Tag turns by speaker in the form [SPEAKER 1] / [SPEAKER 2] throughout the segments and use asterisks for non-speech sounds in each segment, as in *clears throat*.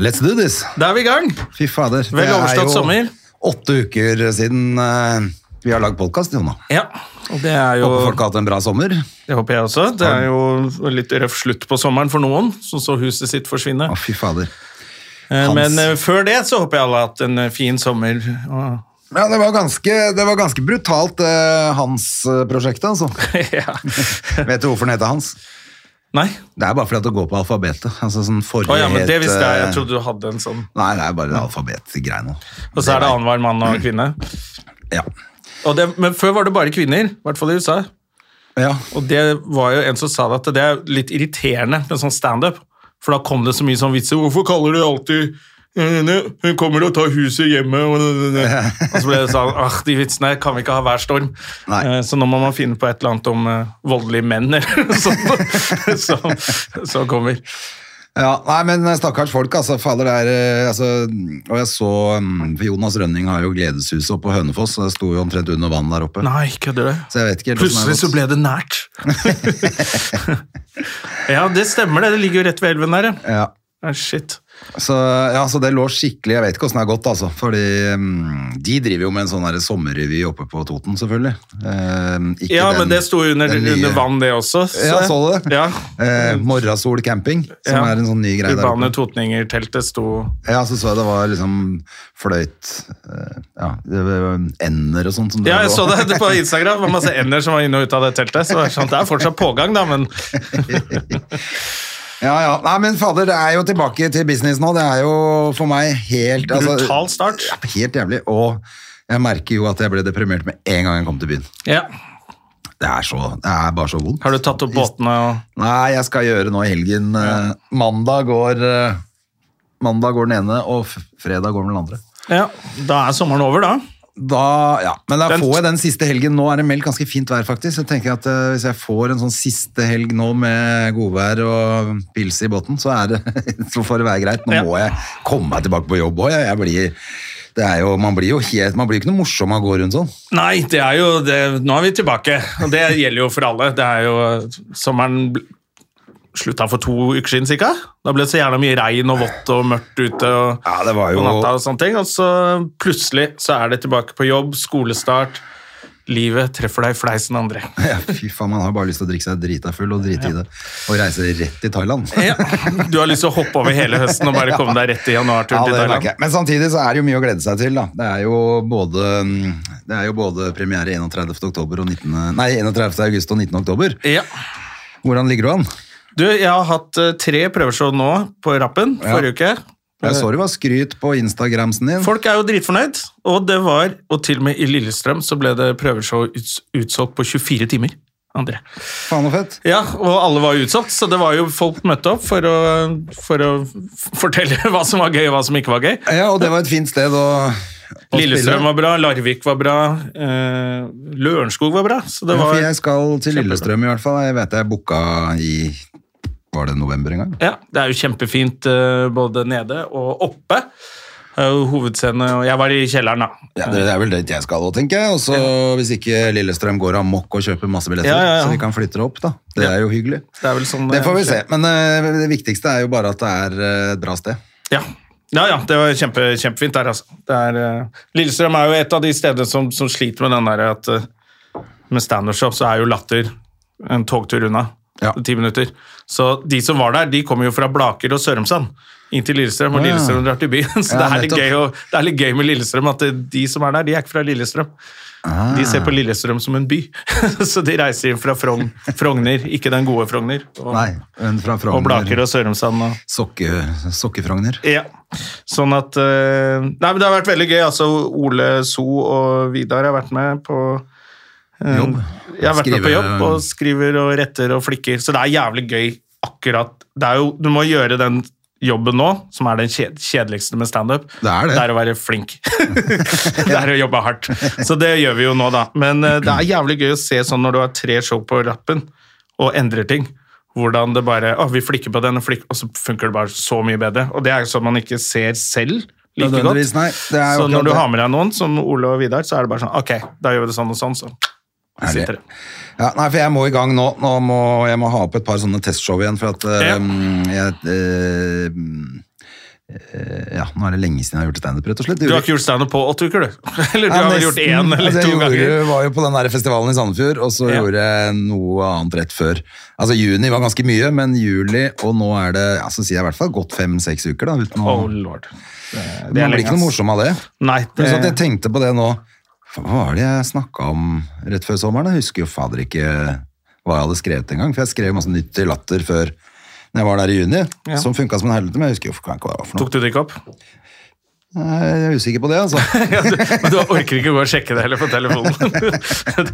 [SPEAKER 1] Let's do this!
[SPEAKER 2] Da er vi i gang.
[SPEAKER 1] Fy fader. det
[SPEAKER 2] Vel
[SPEAKER 1] er
[SPEAKER 2] overstått
[SPEAKER 1] jo
[SPEAKER 2] sommer.
[SPEAKER 1] Åtte uker siden eh, vi har lagd podkast, Jonna.
[SPEAKER 2] Ja, og det er jo
[SPEAKER 1] Håper folk har hatt en bra sommer. Å,
[SPEAKER 2] Det håper jeg også. Det er jo litt røff slutt på sommeren for noen, som så huset sitt forsvinne.
[SPEAKER 1] fy fader.
[SPEAKER 2] Eh,
[SPEAKER 1] Hans.
[SPEAKER 2] Men eh, før det så håper jeg alle har hatt en eh, fin sommer. og-
[SPEAKER 1] Ja, det var ganske, det var ganske brutalt, eh,
[SPEAKER 2] *laughs*
[SPEAKER 1] Hans-prosjektet, altså.
[SPEAKER 2] ja.
[SPEAKER 1] Vet du hvorfor den heter Hans?
[SPEAKER 2] Nei.
[SPEAKER 1] Det er bare fordi at det går på alfabetet. Altså sånn forrige
[SPEAKER 2] Å ja, men det
[SPEAKER 1] het,
[SPEAKER 2] visste jeg. Jeg
[SPEAKER 1] eh,
[SPEAKER 2] trodde du hadde en sånn.
[SPEAKER 1] Nei, det er bare det alfabetgreiene.
[SPEAKER 2] Og så er det annenhver mann og kvinne.
[SPEAKER 1] Ja.
[SPEAKER 2] Og det, men før var det bare kvinner, i hvert fall i USA.
[SPEAKER 1] ja.
[SPEAKER 2] Og det var jo en som sa at det er litt irriterende med sånn standup. For da kom det så mye sånn vitser. Hvorfor kaller de alltid henne Hun kommer og tar huset hjemme og Og så ble det sånn Ah, de vitsene her kan vi ikke ha hver storm.
[SPEAKER 1] Nei.
[SPEAKER 2] Eh, Så nå må man finne på et eller annet om eh, voldelige menn eller *laughs* noe sånt som, som kommer.
[SPEAKER 1] Ja, nei, men stakkars folk, altså, fader, det er, eh, altså, og jeg så, mm, for Jonas Rønning har jo gledeshuset oppe på Hønefoss, og det sto jo omtrent under vann der oppe.
[SPEAKER 2] Nei, kødder du?
[SPEAKER 1] Så jeg vet ikke helt hvordan det
[SPEAKER 2] Plutselig
[SPEAKER 1] har
[SPEAKER 2] så ble
[SPEAKER 1] gått.
[SPEAKER 2] det nært. *laughs* ja, det stemmer det. Det ligger jo rett ved elven der, ja.
[SPEAKER 1] Ja.
[SPEAKER 2] Ah, Shit.
[SPEAKER 1] Så, ja, så det lå skikkelig, jeg vet ikke hvordan det har gått, altså, fordi mm, de driver jo med en sånn der sommerrevy oppe på Toten, selvfølgelig. Eh, ikke
[SPEAKER 2] Ja, men
[SPEAKER 1] den-
[SPEAKER 2] det sto jo under,
[SPEAKER 1] den nye-
[SPEAKER 2] under vann, det også.
[SPEAKER 1] Ja, så du det?
[SPEAKER 2] Ja.
[SPEAKER 1] Eh, Morrasol camping, som
[SPEAKER 2] Ja.
[SPEAKER 1] er en sånn ny greie der oppe.
[SPEAKER 2] Urbane Totninger-teltet sto
[SPEAKER 1] Ja, så så jeg det var liksom fløyt, eh, ja, det var ender og sånt. Som
[SPEAKER 2] Ja, jeg
[SPEAKER 1] drev og-
[SPEAKER 2] så det på Instagram. Det var masse ender som var inne og ut av det teltet. Så det er, sånn, det er fortsatt pågang, da, men
[SPEAKER 1] Ja, ja. Nei, men fader, det er jo tilbake til business nå. Det er jo for meg helt altså,
[SPEAKER 2] brutal start.
[SPEAKER 1] Helt jævlig. Og jeg merker jo at jeg ble deprimert med en gang jeg kom til byen.
[SPEAKER 2] Ja.
[SPEAKER 1] Det er, så, det er bare så vondt.
[SPEAKER 2] Har du tatt opp båtene og
[SPEAKER 1] Nei, jeg skal gjøre nå i helgen. eh, Mandag går eh, Mandag går den ene, og f- fredag går den andre.
[SPEAKER 2] Ja, da er sommeren over, da.
[SPEAKER 1] Da, ja. Men da
[SPEAKER 2] Den-
[SPEAKER 1] får jeg den siste helgen. Nå er det meldt ganske fint vær, faktisk. Så jeg tenker at eh, Hvis jeg får en sånn siste helg nå med godvær og pils i båten, så, er det, *laughs* så får det være greit. Nå
[SPEAKER 2] Ja.
[SPEAKER 1] må jeg komme meg tilbake på jobb òg. Jeg, jeg blir, det er jo, man blir jo helt, man blir jo ikke noe morsom av å gå rundt sånn. *laughs*
[SPEAKER 2] Nei, det er jo det, Nå er vi tilbake, og det gjelder jo for alle. Det er jo Sommeren bl- slutta for to uker siden, cirka. Da ble det så gjerne mye regn og vått og mørkt ute og
[SPEAKER 1] Ja, det var jo-
[SPEAKER 2] på natta og sånne ting. Og så plutselig så er det tilbake på jobb, skolestart. Livet treffer deg i fleisen, André.
[SPEAKER 1] Ja, fy faen, Man har bare lyst til å drikke seg drita full og drite i det. Og reise rett
[SPEAKER 2] *laughs*
[SPEAKER 1] til Thailand.
[SPEAKER 2] Ja. Du har lyst til å hoppe over hele høsten og
[SPEAKER 1] *laughs*
[SPEAKER 2] bare komme deg rett i
[SPEAKER 1] Ja,
[SPEAKER 2] januarturen
[SPEAKER 1] det
[SPEAKER 2] til
[SPEAKER 1] merker
[SPEAKER 2] Thailand.
[SPEAKER 1] jeg. Men samtidig så er det jo mye å glede seg til. Da. Det, er jo både, det er jo både premiere 31. oktober og 19, nei, 31. august og 19. oktober.
[SPEAKER 2] Ja.
[SPEAKER 1] Hvordan ligger du an?
[SPEAKER 2] Du, jeg har hatt eh, tre prøveshow nå på rappen forrige uke.
[SPEAKER 1] Jeg så det var skryt på Instagramsen din.
[SPEAKER 2] Folk er jo dritfornøyd, og det var, og til og med i Lillestrøm så ble det prøveshow uts- utsolgt på 24 timer. André.
[SPEAKER 1] Faen og fett.
[SPEAKER 2] Ja, og alle var utsolgt, så det var jo folk møtte opp for å, for å f- fortelle *laughs* hva som var gøy og hva som ikke var gøy.
[SPEAKER 1] Ja, og det var et fint sted å, å
[SPEAKER 2] Lillestrøm
[SPEAKER 1] spille.
[SPEAKER 2] var bra, Larvik var bra, eh, Lørenskog var bra. Så det
[SPEAKER 1] Ja,
[SPEAKER 2] var,
[SPEAKER 1] for jeg skal til Lillestrøm i hvert fall. Jeg vet jeg booka i Var det november en gang?
[SPEAKER 2] Ja, det er jo kjempefint eh, både nede og oppe. Det er jo Hovedscene og Jeg var i kjelleren, da.
[SPEAKER 1] Ja, Det det er vel det jeg skal òg, tenker jeg. Og så hvis ikke Lillestrøm går amok og kjøper masse billetter,
[SPEAKER 2] Ja, ja, ja.
[SPEAKER 1] så vi kan flytte det opp, da. Det er jo hyggelig.
[SPEAKER 2] Det er vel sånn
[SPEAKER 1] Det får vi se.
[SPEAKER 2] skjer.
[SPEAKER 1] Men eh, det viktigste er jo bare at det er eh, et bra sted.
[SPEAKER 2] Ja. Ja, ja, det var kjempe, kjempefint der, altså. Det er, eh, Lillestrøm er jo et av de stedene som, som sliter med den der at eh, med standup-shop så er jo latter en togtur unna.
[SPEAKER 1] Ja.
[SPEAKER 2] Ti minutter. Så de som var der, de kommer jo fra Blaker og Sørumsand inn til Lillestrøm, og
[SPEAKER 1] Ja.
[SPEAKER 2] Lillestrøm drar til byen. *laughs* Så
[SPEAKER 1] Ja,
[SPEAKER 2] det, er litt
[SPEAKER 1] nettopp.
[SPEAKER 2] gøy å, det er litt gøy med Lillestrøm at det- de som er der, de er ikke fra Lillestrøm.
[SPEAKER 1] Ah.
[SPEAKER 2] De ser på Lillestrøm som en by, *laughs* så de reiser inn fra Frogn, Frogner, ikke den gode Frogner, og,
[SPEAKER 1] Nei, hun fra
[SPEAKER 2] og Blaker
[SPEAKER 1] Frogner.
[SPEAKER 2] og Sørumsand. Og,
[SPEAKER 1] Sokke, sokkefrogner.
[SPEAKER 2] ja. Sånn at eh, Nei, men det har vært veldig gøy. Altså, Ole So og Vidar har vært med på eh,
[SPEAKER 1] Jobb.
[SPEAKER 2] Jeg har vært med på
[SPEAKER 1] Skrive-
[SPEAKER 2] jobb og skriver og retter og flikker, så det er jævlig gøy akkurat Det er jo Du må gjøre den jobben nå, som er den kje- kjedeligste med standup,
[SPEAKER 1] Det er det.
[SPEAKER 2] er å være flink. *laughs* det er å jobbe hardt. Så det gjør vi jo nå, da. Men eh, det er jævlig gøy å se sånn når du har tre show på rappen og endrer ting. Hvordan det bare Å, vi flikker på den, og flikker, og så funker det bare så mye bedre. Og det er jo sånn man ikke ser selv like
[SPEAKER 1] Nødvendigvis,
[SPEAKER 2] godt.
[SPEAKER 1] nei. Det er jo
[SPEAKER 2] så
[SPEAKER 1] akkurat
[SPEAKER 2] når du
[SPEAKER 1] det.
[SPEAKER 2] har med deg noen, som Ole og Vidar, så er det bare sånn Ok, da gjør vi det sånn og sånn, så
[SPEAKER 1] Herlig.
[SPEAKER 2] sitter det.
[SPEAKER 1] Ja, nei, for jeg må i gang nå. Nå må jeg må ha opp et par sånne testshow igjen, for at
[SPEAKER 2] Ja.
[SPEAKER 1] øhm, jeg, øhm, øh, Ja, nå er det lenge siden jeg har gjort standup, rett og slett.
[SPEAKER 2] Du har ikke gjort standup på åtte uker, du? *laughs* Eller du
[SPEAKER 1] Ja,
[SPEAKER 2] har vel
[SPEAKER 1] nesten.
[SPEAKER 2] gjort én eller
[SPEAKER 1] altså,
[SPEAKER 2] to
[SPEAKER 1] jeg
[SPEAKER 2] ganger?
[SPEAKER 1] gjorde, var jo på den der festivalen i Sandefjord, og så
[SPEAKER 2] Ja.
[SPEAKER 1] gjorde jeg noe annet rett før. Altså, juni var ganske mye, men juli, og nå er det ja, så sier jeg i hvert fall gått fem-seks uker, da. Uten å,
[SPEAKER 2] Oh lord. Det,
[SPEAKER 1] man blir ikke noe morsom av det.
[SPEAKER 2] Nei,
[SPEAKER 1] Men
[SPEAKER 2] det,
[SPEAKER 1] sånn at jeg tenkte på det nå. Faen, Hva var det jeg snakka om rett før sommeren? Jeg husker jo fader ikke hva jeg hadde skrevet engang, for jeg skrev masse nytt til latter før når jeg var der i juni,
[SPEAKER 2] Ja.
[SPEAKER 1] som funka som en helvete, men jeg husker jo faen ikke hva det var for noe.
[SPEAKER 2] eh, tok du det ikke opp? *laughs*
[SPEAKER 1] Nei, Jeg er usikker på det, altså.
[SPEAKER 2] Ja, du, men du orker ikke å gå og sjekke det heller på telefonen.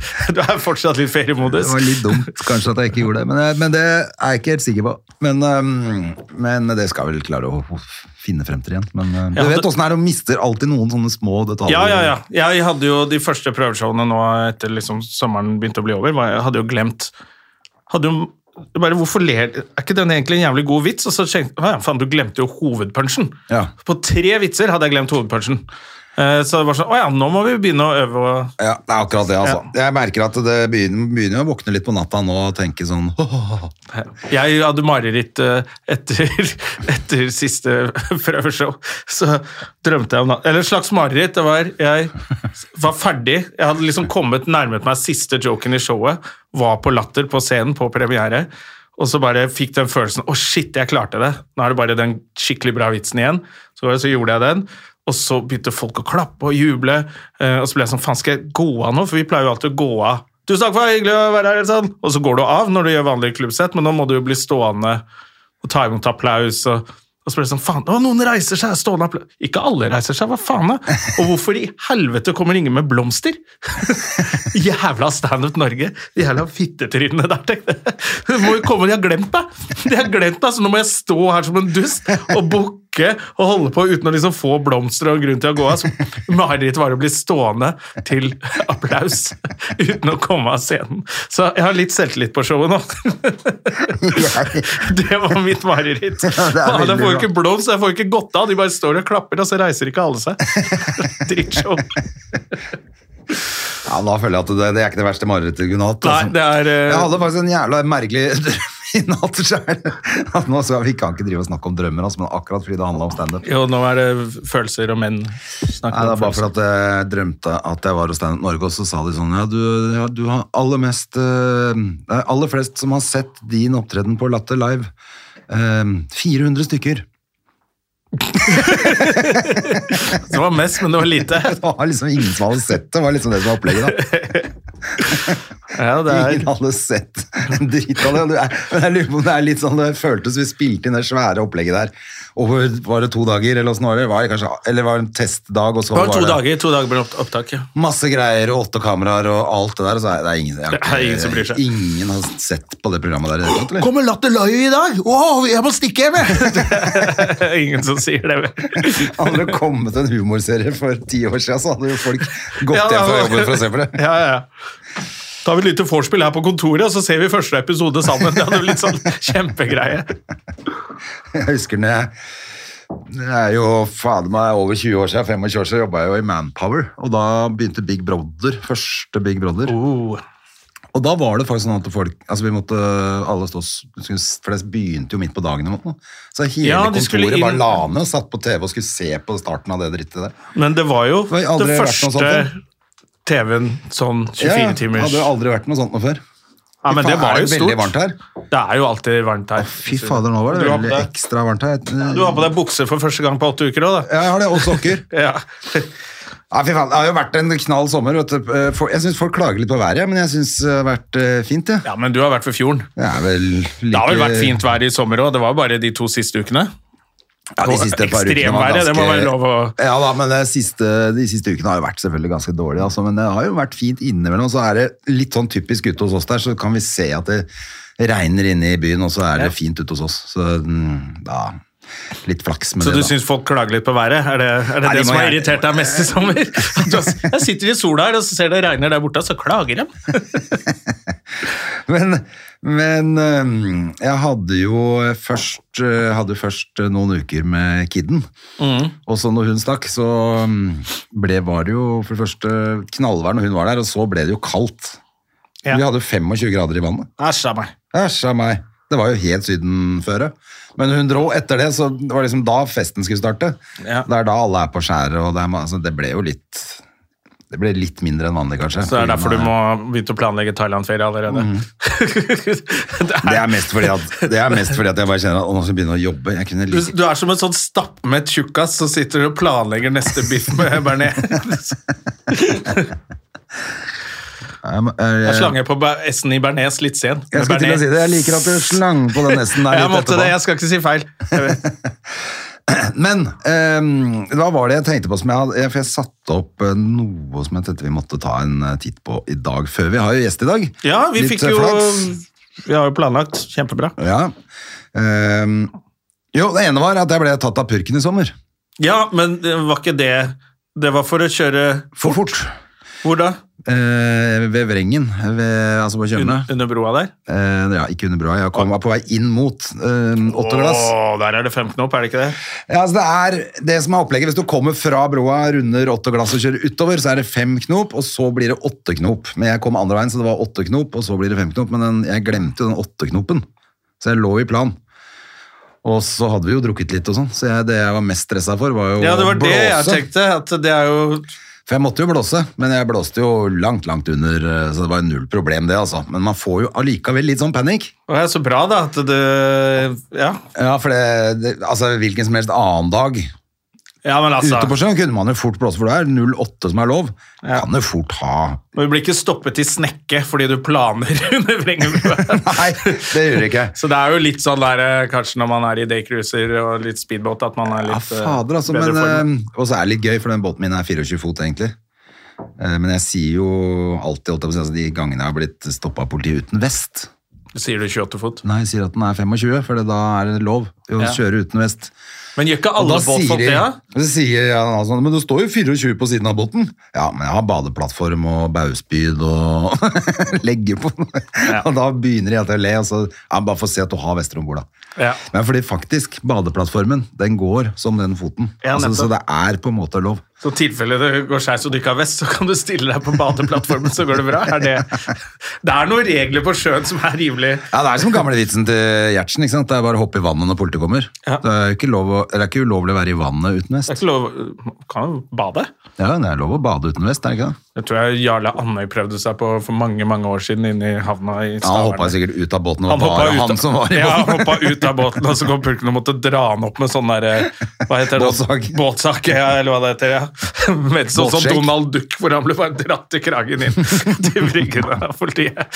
[SPEAKER 2] *laughs* Du er fortsatt litt
[SPEAKER 1] Det
[SPEAKER 2] feriemodus.
[SPEAKER 1] var litt dumt kanskje at jeg ikke gjorde det, men, jeg- men det er jeg ikke helt sikker på. Men, øhm, men det skal jeg vel klare å ho- finne frem til igjen. Men øhm,
[SPEAKER 2] Ja,
[SPEAKER 1] du
[SPEAKER 2] det-
[SPEAKER 1] vet åssen det er, du mister alltid noen sånne små detaljer.
[SPEAKER 2] Ja, ja, ja. Jeg hadde jo de første prøveshowene nå etter liksom sommeren begynte å bli over. var- Jeg hadde jo glemt hadde jo, bare, Hvorfor ler Er ikke den egentlig en jævlig god vits? Og så tenkte jeg ja, faen, du glemte jo hovedpunchen.
[SPEAKER 1] Ja.
[SPEAKER 2] På tre vitser hadde jeg glemt hovedpunchen. Eh, Så det var sånn Å ja, nå må vi begynne å øve. og-
[SPEAKER 1] Ja, det er akkurat det, altså. Jeg merker at det begynner, begynner å våkne litt på natta nå og tenke sånn *laughs*
[SPEAKER 2] Jeg hadde mareritt eh, etter, *laughs* etter siste *laughs* prøveshow. Så drømte jeg om natt. Eller et slags mareritt. Det var Jeg var ferdig. Jeg hadde liksom kommet nærmet meg siste joken i showet. Var på latter på scenen på premiere. Og så bare fikk den følelsen Å, shit, jeg klarte det. Nå er det bare den skikkelig bra vitsen igjen. Så, så gjorde jeg den. Og så begynte folk å klappe og juble. eh, Og så ble jeg sånn Faen, skal jeg gå av nå? For vi pleier jo alltid å gå av. Tusen takk for det, hyggelig å være her. eller Sånn. Og så går du av når du gjør vanlige klubbsett, men nå må du jo bli stående og ta imot applaus. og og så ble det sånn, faen, å, noen reiser seg, stående applaus. Ikke alle reiser seg, hva faen da? Og hvorfor i helvete kommer ingen med blomster? Jævla Standup Norge, de jævla fittetrynene der, tenkte jeg. Det må jo komme, de har glemt meg. De har glemt meg, så nå må jeg stå her som en dust og bukke og holde på uten å liksom få blomster og grunn til å gå av. Så Marerittet var å bli stående til applaus uten å komme av scenen. Så jeg har litt selvtillit på showet nå. Det var mitt mareritt.
[SPEAKER 1] Ja, det er
[SPEAKER 2] Faen, jeg
[SPEAKER 1] veldig
[SPEAKER 2] får
[SPEAKER 1] bra.
[SPEAKER 2] ikke blomst, jeg får ikke godt av. De bare står og klapper, og så reiser ikke alle seg. Drittshow.
[SPEAKER 1] Ja, da føler jeg at det, det er ikke det verste marerittet du kunne hatt.
[SPEAKER 2] Nei,
[SPEAKER 1] altså.
[SPEAKER 2] det er eh,
[SPEAKER 1] Jeg hadde faktisk en jævla merkelig *laughs* drøm i natt sjøl. At nå skal vi kan ikke drive og snakke om drømmer, altså, men akkurat fordi det handla om standup.
[SPEAKER 2] Jo, nå er det følelser og menn.
[SPEAKER 1] Nei, det er bare for at jeg drømte at jeg var hos Standup Norge, og så sa de sånn Ja, du, ja, du har aller mest eh, Det er aller flest som har sett din opptreden på Latter Live. Eh, 400 stykker. *laughs*
[SPEAKER 2] Det var mest, men det var
[SPEAKER 1] *laughs*
[SPEAKER 2] lite.
[SPEAKER 1] Det var liksom ingen som hadde sett det. Det var liksom det som var opplegget, da.
[SPEAKER 2] Ja, det er...
[SPEAKER 1] Ingen hadde sett en dritt av det. og det er- Men jeg lurer på om det er litt sånn det føltes vi spilte inn det svære opplegget der. Over var det to dager, eller åssen var det? Var det kanskje, eller var det en testdag, og så
[SPEAKER 2] Det var
[SPEAKER 1] var
[SPEAKER 2] to
[SPEAKER 1] det
[SPEAKER 2] dager, to dager ble opp- opptak,
[SPEAKER 1] *laughs*
[SPEAKER 2] ja.
[SPEAKER 1] masse greier og åtte kameraer og alt det der. og Så er det er ingen, jeg har
[SPEAKER 2] Det er ingen som bryr seg.
[SPEAKER 1] Ingen har sett på det programmet der i det hele tatt, eller?
[SPEAKER 2] Kommer Latter Live i dag? Wow, jeg må stikke hjem, jeg! Ingen som sier det. *laughs* vel.
[SPEAKER 1] Hadde *laughs* det kommet en humorserie for ti år siden, så hadde jo folk gått
[SPEAKER 2] Ja,
[SPEAKER 1] hjem fra
[SPEAKER 2] da-
[SPEAKER 1] jobben for å se på det.
[SPEAKER 2] Ja, ja, ja. Da har vi et lite vorspiel her på kontoret, og så ser vi første episode sammen. Det hadde vært litt sånn kjempegreie.
[SPEAKER 1] Jeg husker når jeg det er jo fader meg over 20 år siden, 25 år siden, jobba jeg jo i Manpower. Og da begynte Big Brother, første Big Brother.
[SPEAKER 2] Oh.
[SPEAKER 1] Og da var det faktisk sånn at folk altså vi måtte alle stå, s- skulle s- For det begynte jo midt på dagen. og sånt, Så hele
[SPEAKER 2] Ja, de skulle
[SPEAKER 1] kontoret bare
[SPEAKER 2] inn-
[SPEAKER 1] la ned og satt på TV og skulle se på starten av det drittet der.
[SPEAKER 2] Men det var jo
[SPEAKER 1] har
[SPEAKER 2] det,
[SPEAKER 1] aldri vært noe sånt
[SPEAKER 2] første
[SPEAKER 1] før.
[SPEAKER 2] TV-en sånn 24
[SPEAKER 1] Ja, ja,
[SPEAKER 2] timers
[SPEAKER 1] Hadde jo aldri vært noe sånt noe før.
[SPEAKER 2] Ja, men
[SPEAKER 1] Fy
[SPEAKER 2] det
[SPEAKER 1] faen,
[SPEAKER 2] var
[SPEAKER 1] er
[SPEAKER 2] jo
[SPEAKER 1] det
[SPEAKER 2] stort.
[SPEAKER 1] veldig varmt her?
[SPEAKER 2] Det er jo alltid varmt her.
[SPEAKER 1] Fy fader, nå var det
[SPEAKER 2] Du har på
[SPEAKER 1] veldig
[SPEAKER 2] deg-
[SPEAKER 1] ekstra varmt her.
[SPEAKER 2] Du har på deg bukse for første gang på åtte uker òg, da.
[SPEAKER 1] Ja, jeg har det, og sokker.
[SPEAKER 2] Ja.
[SPEAKER 1] *laughs* Ja, fy faen, Det har jo vært en knall sommer. Vet du. Eh, for- Jeg syns folk klager litt på været, men jeg syns det har vært eh, fint, jeg. Ja.
[SPEAKER 2] ja, men du har vært ved fjorden.
[SPEAKER 1] Det er vel like...
[SPEAKER 2] Det har vel vært fint vær i sommer òg, det var bare de to siste ukene.
[SPEAKER 1] Ja, de siste par ukene var
[SPEAKER 2] Ekstremværet, det må være lov å-
[SPEAKER 1] Ja da, men det siste, De siste ukene har jo vært selvfølgelig ganske dårlige, altså, men det har jo vært fint innimellom. Så er det litt sånn typisk ute hos oss der, så kan vi se at det regner inne i byen, og så er det fint ute hos oss. Så mm, da litt flaks med
[SPEAKER 2] Så
[SPEAKER 1] det,
[SPEAKER 2] du
[SPEAKER 1] da.
[SPEAKER 2] syns folk klager litt på været? Er det er det,
[SPEAKER 1] Nei, de
[SPEAKER 2] det
[SPEAKER 1] må
[SPEAKER 2] som har
[SPEAKER 1] gjerne-
[SPEAKER 2] irritert deg mest i sommer? Du har-
[SPEAKER 1] *laughs*
[SPEAKER 2] Jeg sitter i sola her, og så ser det regner der borte, og så klager de.
[SPEAKER 1] Men, men øhm, jeg hadde jo først, øh, hadde først øh, noen uker med kidden.
[SPEAKER 2] Mm.
[SPEAKER 1] Og så når hun stakk, så øhm, ble, var det jo for det første knallvær når hun var der, og så ble det jo kaldt.
[SPEAKER 2] Ja.
[SPEAKER 1] Vi hadde 25 grader i vannet.
[SPEAKER 2] Æsj av meg.
[SPEAKER 1] Æsj av meg. Det var jo helt sydenføre. Men hun dro etter det, så det var liksom da festen skulle starte.
[SPEAKER 2] Ja.
[SPEAKER 1] Det er da alle er på skjæret, og det, er, ma- altså, det ble jo litt Det ble litt mindre enn vanlig, kanskje.
[SPEAKER 2] Så det er derfor du
[SPEAKER 1] Fordi-
[SPEAKER 2] må begynne å planlegge Thailand-ferie allerede. *laughs* det
[SPEAKER 1] Mhm. Det
[SPEAKER 2] er,
[SPEAKER 1] er mest fordi at, det er mest fordi at jeg bare kjenner at å, nå skal jeg begynne å jobbe. Jeg kunne
[SPEAKER 2] du,
[SPEAKER 1] like
[SPEAKER 2] du er som en sånn stappmett tjukkas som sitter og planlegger neste biff med
[SPEAKER 1] *laughs*
[SPEAKER 2] bearnés. Er
[SPEAKER 1] Jeg må- jeg-
[SPEAKER 2] slange på ba- S-en i bearnés litt sen. med
[SPEAKER 1] Jeg skulle til å
[SPEAKER 2] bearnés.
[SPEAKER 1] si det. Jeg liker at du slang på den
[SPEAKER 2] *laughs*
[SPEAKER 1] nesten der
[SPEAKER 2] Jeg
[SPEAKER 1] litt
[SPEAKER 2] måtte det,
[SPEAKER 1] etterpå.
[SPEAKER 2] jeg skal ikke si feil. Jeg vet.
[SPEAKER 1] Men ehm, hva var det jeg tenkte på som jeg hadde For jeg satte opp eh, noe som jeg tenkte vi måtte ta en eh, titt på i dag, før vi har jo gjest i dag.
[SPEAKER 2] Ja, vi
[SPEAKER 1] Litt,
[SPEAKER 2] fikk
[SPEAKER 1] eh,
[SPEAKER 2] jo eh,
[SPEAKER 1] flaks.
[SPEAKER 2] Vi har jo planlagt kjempebra.
[SPEAKER 1] Ja. Ehm, jo, det ene var at jeg ble tatt av purken i sommer.
[SPEAKER 2] Ja, men det var ikke det Det var for å kjøre
[SPEAKER 1] For fort.
[SPEAKER 2] Hvor da?
[SPEAKER 1] Eh, ved Vrengen, ved, altså på
[SPEAKER 2] Un,
[SPEAKER 1] Tjøme.
[SPEAKER 2] under broa der?
[SPEAKER 1] Eh, ja, ikke under broa. Jeg kom, var på vei inn mot eh, Åttoglass.
[SPEAKER 2] Åh, der er det fem knop, er det ikke det?
[SPEAKER 1] Ja, altså det er det som er opplegget. Hvis du kommer fra broa, runder åtte glass og kjører utover, så er det fem knop, og så blir det åtte knop. Men jeg kom andre veien, så det var åtte knop, og så blir det fem knop. Men den, jeg glemte jo den åtte knopen, så jeg lå i plan. Og så hadde vi jo drukket litt og sånn, så jeg, det jeg var mest stressa for, var jo
[SPEAKER 2] Ja, det var
[SPEAKER 1] å blåse.
[SPEAKER 2] det jeg tenkte. At det er jo
[SPEAKER 1] For jeg måtte jo blåse, men jeg blåste jo langt, langt under, eh, så det var null problem det, altså. Men man får jo allikevel litt sånn panikk.
[SPEAKER 2] Å, ja, Så bra, da, at det Ja,
[SPEAKER 1] Ja, for det, det Altså, hvilken som helst annen dag
[SPEAKER 2] ja men altså
[SPEAKER 1] Ute på sjøen kunne man jo fort blåse, for det er 08 som er lov. Kan jo fort ha
[SPEAKER 2] Du blir ikke stoppet i snekke fordi du planer *laughs* under Vrengebrua.
[SPEAKER 1] *laughs* Nei, det gjør det ikke.
[SPEAKER 2] *laughs* Så det er jo litt sånn der eh, kanskje når man er i daycruiser og litt speedbåt, at man er
[SPEAKER 1] Ja,
[SPEAKER 2] litt eh,
[SPEAKER 1] fader, altså.
[SPEAKER 2] bedre
[SPEAKER 1] Men,
[SPEAKER 2] form.
[SPEAKER 1] eh, og så er det litt gøy, for den båten min er 24 fot, egentlig. Eh, Men jeg sier jo alltid, holdt jeg på å si, altså, de gangene jeg har blitt stoppa av politiet uten vest
[SPEAKER 2] Sier du 28 fot?
[SPEAKER 1] Nei, jeg sier at den er 25, for det- da er det lov å
[SPEAKER 2] Ja.
[SPEAKER 1] kjøre uten vest.
[SPEAKER 2] Men gjør ikke
[SPEAKER 1] Og da
[SPEAKER 2] alle båtfolk det, da?
[SPEAKER 1] Så sier jeg altså, men det står jo 24 på siden av båten. Ja, men jeg har badeplattform og baugspyd og *laughs* legger på. Og da begynner de alltid å le, og så ja, bare for å se at du har vester om bord, da.
[SPEAKER 2] Ja.
[SPEAKER 1] Men fordi faktisk, badeplattformen, den går som den foten.
[SPEAKER 2] Ja,
[SPEAKER 1] altså,
[SPEAKER 2] nettopp.
[SPEAKER 1] så det er på en måte lov.
[SPEAKER 2] Så i tilfelle det går skeis og du ikke har vest, så kan du stille deg på badeplattformen, så går det bra? Er det, det er noen regler på sjøen som er rimelig
[SPEAKER 1] Ja, det er som gamle vitsen til Gjertsen, ikke sant? Det er bare å hoppe i vannet når politiet kommer.
[SPEAKER 2] Ja.
[SPEAKER 1] Det er jo ikke, lov å, eller det er ikke ulovlig å være i vannet uten
[SPEAKER 2] Det er
[SPEAKER 1] vest.
[SPEAKER 2] ikke lov Kan jo bade.
[SPEAKER 1] Ja, det er lov å bade uten vest, er det ikke det?
[SPEAKER 2] Jeg tror jeg Jarle Andøy prøvde seg på for mange mange år siden inne i havna i
[SPEAKER 1] Ja, han hoppet sikkert ut av båten, og det var
[SPEAKER 2] hoppet
[SPEAKER 1] bare
[SPEAKER 2] ut
[SPEAKER 1] han
[SPEAKER 2] av-
[SPEAKER 1] som var i
[SPEAKER 2] ja,
[SPEAKER 1] båten.
[SPEAKER 2] han hoppet ut av båten, og så kom pulken og måtte dra han opp med sånn derre Hva heter det?
[SPEAKER 1] Båtsag.
[SPEAKER 2] Båtsak, ja, eller hva det heter. ja. Med sånn som
[SPEAKER 1] Båtsjekk.
[SPEAKER 2] Donald Duck, hvor han ble bare dratt i kragen inn
[SPEAKER 1] *laughs*
[SPEAKER 2] til bryggen av politiet.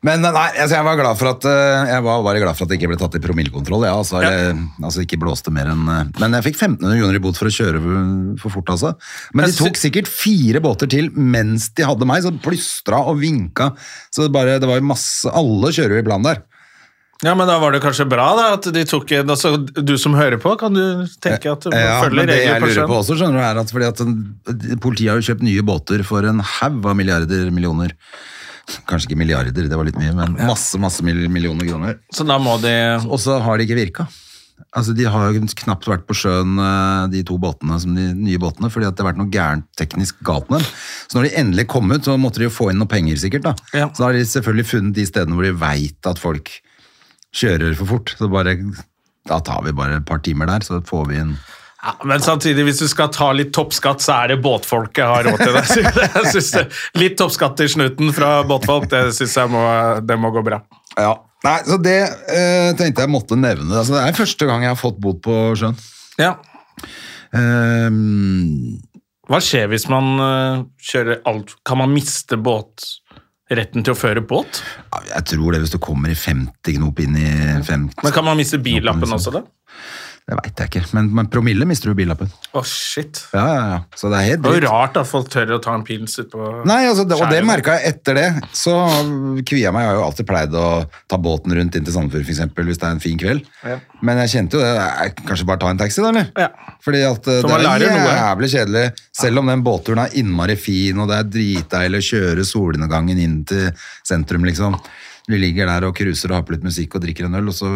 [SPEAKER 1] Men nei, altså jeg var glad for at eh, Jeg var bare glad for at jeg ikke ble tatt i promillekontroll. Ja, altså,
[SPEAKER 2] Ja.
[SPEAKER 1] eller, altså ikke blåste mer enn eh, Men jeg fikk 1500 kroner i bot for å kjøre for- for fort, altså. Men
[SPEAKER 2] Jeg
[SPEAKER 1] de tok sikkert fire båter til mens de hadde meg, så plystra og vinka. Så det, bare, det var jo masse Alle kjører jo i plan der.
[SPEAKER 2] Ja, men da var det kanskje bra da, at de tok en, altså du som hører på, kan du tenke at du
[SPEAKER 1] Eh, Ja, men
[SPEAKER 2] følger
[SPEAKER 1] det jeg
[SPEAKER 2] regler på
[SPEAKER 1] lurer på
[SPEAKER 2] sjøen?
[SPEAKER 1] også, skjønner du, er at fordi at den- politiet har jo kjøpt nye båter for en haug av milliarder millioner. Kanskje ikke milliarder, det var litt mye, men masse, masse mil- millioner kroner.
[SPEAKER 2] Så da må de...
[SPEAKER 1] Og så har det ikke virka. Altså, De har jo knapt vært på sjøen, eh, de to båtene, som de nye båtene, fordi at det har vært noe gærent teknisk galt med dem. Så når de endelig kom ut, så måtte de jo få inn noe penger, sikkert. da.
[SPEAKER 2] Ja.
[SPEAKER 1] Så da har de selvfølgelig funnet de stedene hvor de veit at folk kjører for fort. Så bare, da tar vi bare et par timer der, så får vi inn
[SPEAKER 2] Ja, men samtidig, hvis du skal ta litt toppskatt, så er det båtfolket har råd til det. *laughs* Så Jeg synes det. Litt toppskatt i snuten fra båtfolk, det synes jeg må, det må gå bra.
[SPEAKER 1] Ja. Nei, så det eh, tenkte jeg måtte nevne. Altså, det er første gang jeg har fått bot på sjøen.
[SPEAKER 2] Ja.
[SPEAKER 1] Eh,
[SPEAKER 2] Hva skjer hvis man eh, kjører alt? Kan man miste båt? Retten til å føre båt?
[SPEAKER 1] ja, jeg tror det hvis du kommer i 50 knop inn i 50
[SPEAKER 2] Men kan man miste billappen også da?
[SPEAKER 1] Det veit jeg ikke, men, men promille mister du billappen.
[SPEAKER 2] Å, shit.
[SPEAKER 1] Ja, ja, ja. Så det er helt
[SPEAKER 2] Det er
[SPEAKER 1] dritt.
[SPEAKER 2] jo rart at folk tør å ta en pils utpå
[SPEAKER 1] Nei, altså, det, og det
[SPEAKER 2] Skjæret.
[SPEAKER 1] merka jeg etter det. Så kvia jeg meg. Jeg har jo alltid pleid å ta båten rundt inn til Sandefjord, for eksempel, hvis det er en fin kveld.
[SPEAKER 2] Ja.
[SPEAKER 1] Men jeg kjente jo det. Jeg, kanskje bare ta en taxi, da, eller?
[SPEAKER 2] Ja.
[SPEAKER 1] Fordi at eh,
[SPEAKER 2] Så
[SPEAKER 1] det
[SPEAKER 2] man
[SPEAKER 1] er
[SPEAKER 2] lærer noe.
[SPEAKER 1] jævlig kjedelig. Selv om den båtturen er innmari fin, og det er dritdeilig å kjøre solnedgangen inn til sentrum, liksom. Vi ligger der og cruiser og har på litt musikk og drikker en øl, og så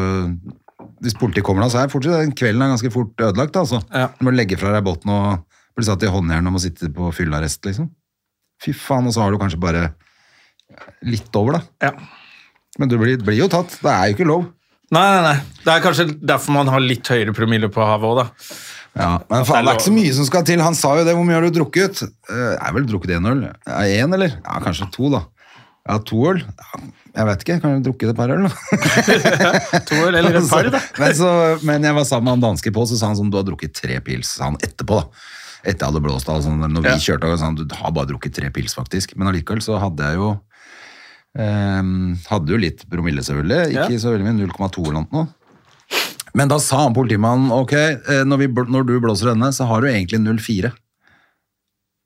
[SPEAKER 1] Hvis politiet kommer da, så er fortsatt, den kvelden er ganske fort ødelagt, altså.
[SPEAKER 2] Ja.
[SPEAKER 1] Du må legge fra deg båten og bli satt i håndjern og må sitte på fyllearrest, liksom. Fy faen, og så har du kanskje bare litt over, da.
[SPEAKER 2] Ja.
[SPEAKER 1] Men du blir, blir jo tatt. Det er jo ikke lov.
[SPEAKER 2] Nei, nei, nei. Det er kanskje derfor man har litt høyere promille på havet òg, da.
[SPEAKER 1] Ja, men faen, det er ikke så mye som skal til. Han sa jo det. Hvor mye har du drukket? Eh, Jeg har vel drukket én øl. Én, eller? Ja, kanskje to, da. Ja, to øl? Ja, jeg vet ikke. Kan du drukke et par øl, da?
[SPEAKER 2] To øl eller et par, da.
[SPEAKER 1] *laughs* men, så, men jeg var sammen med han danske på, så sa han sånn Du har drukket tre pils, sa han etterpå, da. Etter jeg hadde blåst av. Sånn, når vi
[SPEAKER 2] Ja.
[SPEAKER 1] kjørte, og sånn, du har bare drukket tre pils, faktisk. Men allikevel så hadde jeg jo ehm, Hadde jo litt promille, selvfølgelig. Ikke
[SPEAKER 2] Ja.
[SPEAKER 1] så veldig mye. 0,2 eller noe. Men da sa han politimannen ok, eh, når, vi, bl- når du blåser denne, så har du egentlig 04.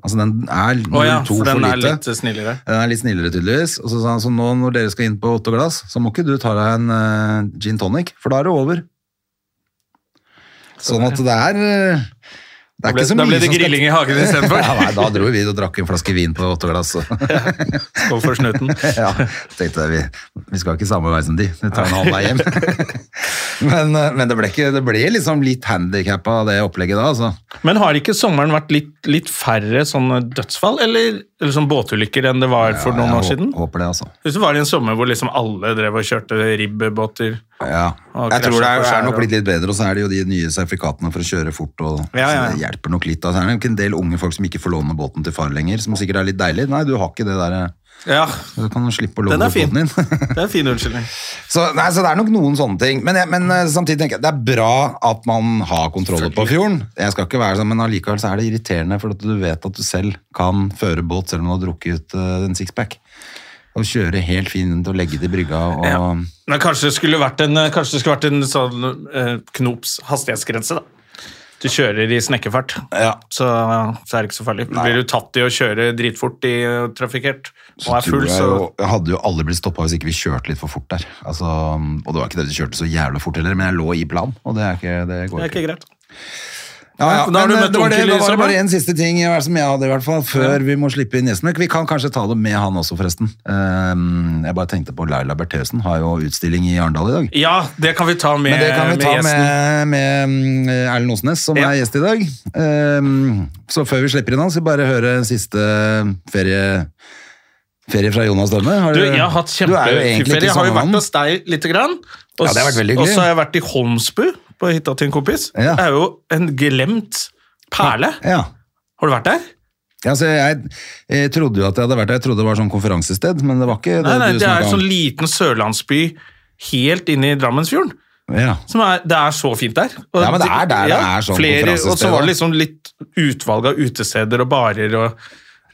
[SPEAKER 1] Altså den er 02
[SPEAKER 2] Å ja, for
[SPEAKER 1] for
[SPEAKER 2] den
[SPEAKER 1] lite.
[SPEAKER 2] er litt snillere.
[SPEAKER 1] Den er litt snillere tydeligvis. Og så sa han så nå når dere skal inn på åtte glass, så må ikke du ta deg en eh, gin tonic, for da er det over. Sånn at det er eh, Det
[SPEAKER 2] Da
[SPEAKER 1] er
[SPEAKER 2] ble,
[SPEAKER 1] ikke så mye
[SPEAKER 2] da ble det
[SPEAKER 1] som skal-
[SPEAKER 2] grilling i hagen istedenfor.
[SPEAKER 1] *laughs* Ja, nei, da dro vi og drakk en flaske vin på åtte glass. så-
[SPEAKER 2] Skål for snuten.
[SPEAKER 1] *laughs* ja, tenkte jeg, vi, vi skal ikke samme vei som de. Vi tar en annen vei hjem. *laughs* men, eh, men det ble, ikke, det ble liksom litt handikappa det opplegget da, altså.
[SPEAKER 2] Men har ikke sommeren vært litt, litt færre sånne dødsfall eller, eller sånn båtulykker enn det var for
[SPEAKER 1] Ja,
[SPEAKER 2] noen
[SPEAKER 1] jeg
[SPEAKER 2] år siden?
[SPEAKER 1] hå- Håper det, altså.
[SPEAKER 2] Husker du var det en sommer hvor liksom alle drev og kjørte ribbebåter?
[SPEAKER 1] Ja.
[SPEAKER 2] Og
[SPEAKER 1] Jeg tror det
[SPEAKER 2] krasjer
[SPEAKER 1] er,
[SPEAKER 2] på
[SPEAKER 1] er
[SPEAKER 2] skjær
[SPEAKER 1] nok
[SPEAKER 2] og-
[SPEAKER 1] blitt litt bedre, og så er det jo de nye sertifikatene for å kjøre fort, og
[SPEAKER 2] Ja, ja.
[SPEAKER 1] så det hjelper nok litt. Da. Så er det nok en del unge folk som ikke får låne båten til far lenger, som sikkert er litt deilig. Nei, du har ikke det der, eh, *laughs*
[SPEAKER 2] Ja,
[SPEAKER 1] du kan jo slippe å
[SPEAKER 2] Den
[SPEAKER 1] låne
[SPEAKER 2] er fin.
[SPEAKER 1] båten din. *laughs*
[SPEAKER 2] Det er en fin unnskyldning.
[SPEAKER 1] Så, nei, så det er nok noen sånne ting. Men, jeg, men eh, samtidig tenker jeg det er bra at man har kontroll på fjorden. Jeg skal ikke være sånn, Men allikevel så er det irriterende, for at du vet at du selv kan føre båt selv om du har drukket eh, en sixpack. Og kjøre helt fin rundt og legge det i brygga og
[SPEAKER 2] Ja. Men kanskje det skulle vært en, kanskje det skulle vært en sånn eh, knops hastighetsgrense, da. Du kjører i snekkefart,
[SPEAKER 1] Ja.
[SPEAKER 2] så, så er det ikke så farlig. Blir du tatt i å kjøre dritfort i eh, trafikkert og er
[SPEAKER 1] tror
[SPEAKER 2] full,
[SPEAKER 1] jeg,
[SPEAKER 2] så
[SPEAKER 1] jo, jeg hadde jo aldri blitt stoppa hvis ikke vi kjørte litt for fort der. Altså, og det var ikke det vi kjørte så jævla fort heller, men jeg lå i plan, og det, er ikke, det går
[SPEAKER 2] det er
[SPEAKER 1] ikke.
[SPEAKER 2] ikke greit.
[SPEAKER 1] Ja, ja,
[SPEAKER 2] Ja, for da har
[SPEAKER 1] men
[SPEAKER 2] du
[SPEAKER 1] eh,
[SPEAKER 2] møtt
[SPEAKER 1] det var det,
[SPEAKER 2] onkel i
[SPEAKER 1] da var det
[SPEAKER 2] sommer.
[SPEAKER 1] bare en siste ting eh, som jeg hadde i hvert fall, før vi må slippe inn gjesten. Vi kan kanskje ta det med han også, forresten. Ehm, Jeg bare tenkte på Laila Bertheussen, har jo utstilling i Arendal i dag.
[SPEAKER 2] Ja, det kan vi ta med,
[SPEAKER 1] Men det kan vi
[SPEAKER 2] med
[SPEAKER 1] ta
[SPEAKER 2] gjesten.
[SPEAKER 1] med, med mm, Erlend Osnes, som
[SPEAKER 2] Ja.
[SPEAKER 1] er gjest i dag. Ehm, Så før vi slipper inn han, skal vi bare høre siste ferie... Ferie fra Jonas Dømme? Har
[SPEAKER 2] Du,
[SPEAKER 1] du-
[SPEAKER 2] jeg har hatt
[SPEAKER 1] Du er jo egentlig
[SPEAKER 2] kjempeferie.
[SPEAKER 1] ikke
[SPEAKER 2] Jeg har jo vært
[SPEAKER 1] sommermann.
[SPEAKER 2] hos deg lite grann. Og,
[SPEAKER 1] Ja, det har vært veldig
[SPEAKER 2] s- og
[SPEAKER 1] hyggelig.
[SPEAKER 2] så har jeg vært i Holmsbu, på hytta til en kompis.
[SPEAKER 1] Ja.
[SPEAKER 2] Det er jo en glemt perle.
[SPEAKER 1] Ja.
[SPEAKER 2] Har du vært der?
[SPEAKER 1] Ja, så jeg, jeg trodde jo at jeg hadde vært der. Jeg trodde det var sånn konferansested, men det var ikke det
[SPEAKER 2] Nei, nei,
[SPEAKER 1] du
[SPEAKER 2] det er
[SPEAKER 1] snakket
[SPEAKER 2] en sånn liten sørlandsby helt inne i Drammensfjorden.
[SPEAKER 1] om. Ja.
[SPEAKER 2] Som er, det er så fint der. Og
[SPEAKER 1] Ja, men det er der det er sånn
[SPEAKER 2] flere,
[SPEAKER 1] konferansested,
[SPEAKER 2] Og så var
[SPEAKER 1] da.
[SPEAKER 2] det liksom litt utvalg av utesteder og barer og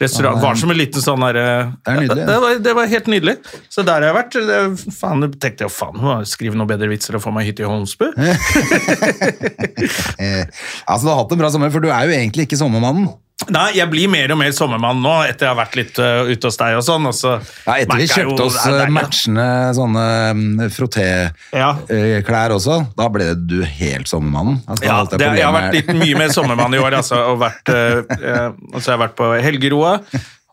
[SPEAKER 1] Ja,
[SPEAKER 2] restaurant.
[SPEAKER 1] det er-
[SPEAKER 2] Var som en liten sånn der
[SPEAKER 1] Det er nydelig, ja.
[SPEAKER 2] Det var, det var helt nydelig. Så der har jeg vært. Det, faen, jeg tenkte jeg, faen, må jeg skrive noen bedre vitser og få meg hytte i Holmsbu.
[SPEAKER 1] Eh, altså, du har hatt en bra sommer, for du er jo egentlig ikke sommermannen.
[SPEAKER 2] Nei, jeg blir mer og mer sommermann nå, etter jeg har vært litt øh, ute hos deg og sånn. Og så
[SPEAKER 1] Ja, etter vi
[SPEAKER 2] merker jeg jo-
[SPEAKER 1] kjøpte oss
[SPEAKER 2] det er
[SPEAKER 1] eh,
[SPEAKER 2] deilig, da.
[SPEAKER 1] matchende sånne mm,
[SPEAKER 2] Ja.
[SPEAKER 1] frotté-klær eh, også, da ble du helt sommermannen. Altså, da
[SPEAKER 2] Ja,
[SPEAKER 1] holdt
[SPEAKER 2] det, jeg har
[SPEAKER 1] problemet
[SPEAKER 2] vært litt
[SPEAKER 1] her.
[SPEAKER 2] mye mer sommermann i år, altså. Og vært, eh, eh, altså jeg har vært på Helgeroa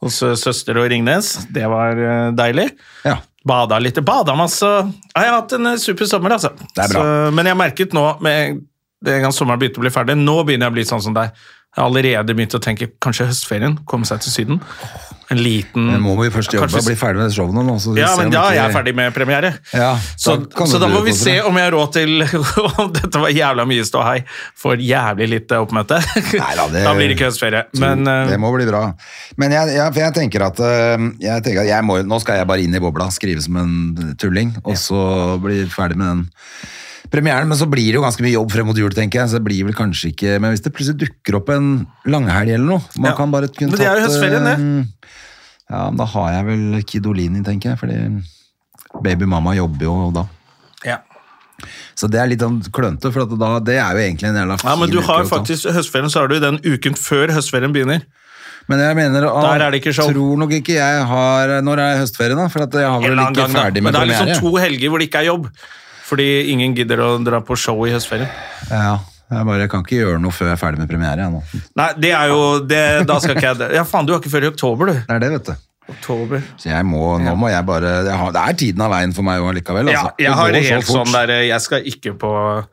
[SPEAKER 2] hos eh, søster og Ringnes. Det var eh, deilig.
[SPEAKER 1] *laughs* Ja.
[SPEAKER 2] Bada litt. Bada masse. Ja, jeg har hatt en eh, super sommer, altså.
[SPEAKER 1] Det er bra.
[SPEAKER 2] Så, men jeg merket nå, med det en gang sommeren begynte å bli ferdig, nå begynner jeg å bli sånn som deg. Jeg har allerede begynt å tenke kanskje høstferien, komme seg til Syden. En liten
[SPEAKER 1] Men må vi først jobbe og bli ferdig med showet nå? nå, Så vi
[SPEAKER 2] ja,
[SPEAKER 1] ser
[SPEAKER 2] men
[SPEAKER 1] om
[SPEAKER 2] da
[SPEAKER 1] ikke-
[SPEAKER 2] er jeg ferdig med premiere.
[SPEAKER 1] Ja,
[SPEAKER 2] så,
[SPEAKER 1] da kan
[SPEAKER 2] så
[SPEAKER 1] du
[SPEAKER 2] da må
[SPEAKER 1] bli
[SPEAKER 2] vi
[SPEAKER 1] på
[SPEAKER 2] se
[SPEAKER 1] det.
[SPEAKER 2] om jeg har råd til *laughs* om Dette var jævla mye ståhei for jævlig lite oppmøte.
[SPEAKER 1] Neida,
[SPEAKER 2] *laughs*
[SPEAKER 1] det-
[SPEAKER 2] Da blir det ikke høstferie. Men
[SPEAKER 1] det
[SPEAKER 2] eh,
[SPEAKER 1] må bli bra. Men jeg, jeg, for jeg tenker at, eh, jeg tenker at jeg må, nå skal jeg bare inn i bobla, skrive som en tulling, og så bli ferdig med den premieren. Men så blir det jo ganske mye jobb frem mot jul, tenker jeg. Så det blir vel kanskje ikke Men hvis det plutselig dukker opp en langhelg eller noe Man
[SPEAKER 2] Ja.
[SPEAKER 1] kan bare kunne
[SPEAKER 2] Men det er jo
[SPEAKER 1] tatt,
[SPEAKER 2] høstferien, det.
[SPEAKER 1] eh, Ja, men da har jeg vel Kidolini, tenker jeg. Fordi baby mamma jobber jo da.
[SPEAKER 2] ja.
[SPEAKER 1] Så det er litt sånn klønete, for at da, det er jo egentlig en jævla fin
[SPEAKER 2] Ja, men du har
[SPEAKER 1] uke å ta.
[SPEAKER 2] faktisk høstferien, så har du den uken før høstferien begynner.
[SPEAKER 1] Men jeg mener, ah,
[SPEAKER 2] Der er det ikke show.
[SPEAKER 1] tror nok ikke jeg har Når er høstferie, da? For at jeg har
[SPEAKER 2] En
[SPEAKER 1] vel
[SPEAKER 2] eller
[SPEAKER 1] ikke
[SPEAKER 2] annen gang, da. Men
[SPEAKER 1] ferdig med
[SPEAKER 2] det er
[SPEAKER 1] premiere.
[SPEAKER 2] liksom to helger hvor det ikke er jobb. Fordi ingen gidder å dra på show i høstferien.
[SPEAKER 1] Ja, jeg bare kan ikke gjøre noe før jeg er ferdig med premiere. Jeg, nå.
[SPEAKER 2] Nei, det er jo det, Da skal ikke jeg Ja, faen, du har ikke før i oktober, du.
[SPEAKER 1] Det er det, vet du.
[SPEAKER 2] Oktober.
[SPEAKER 1] Så jeg må, nå må jeg bare jeg har, Det er tiden av veien for meg òg, likevel.
[SPEAKER 2] Ja,
[SPEAKER 1] Altså.
[SPEAKER 2] jeg har
[SPEAKER 1] Det går så
[SPEAKER 2] helt
[SPEAKER 1] fort.
[SPEAKER 2] sånn der Jeg skal ikke på,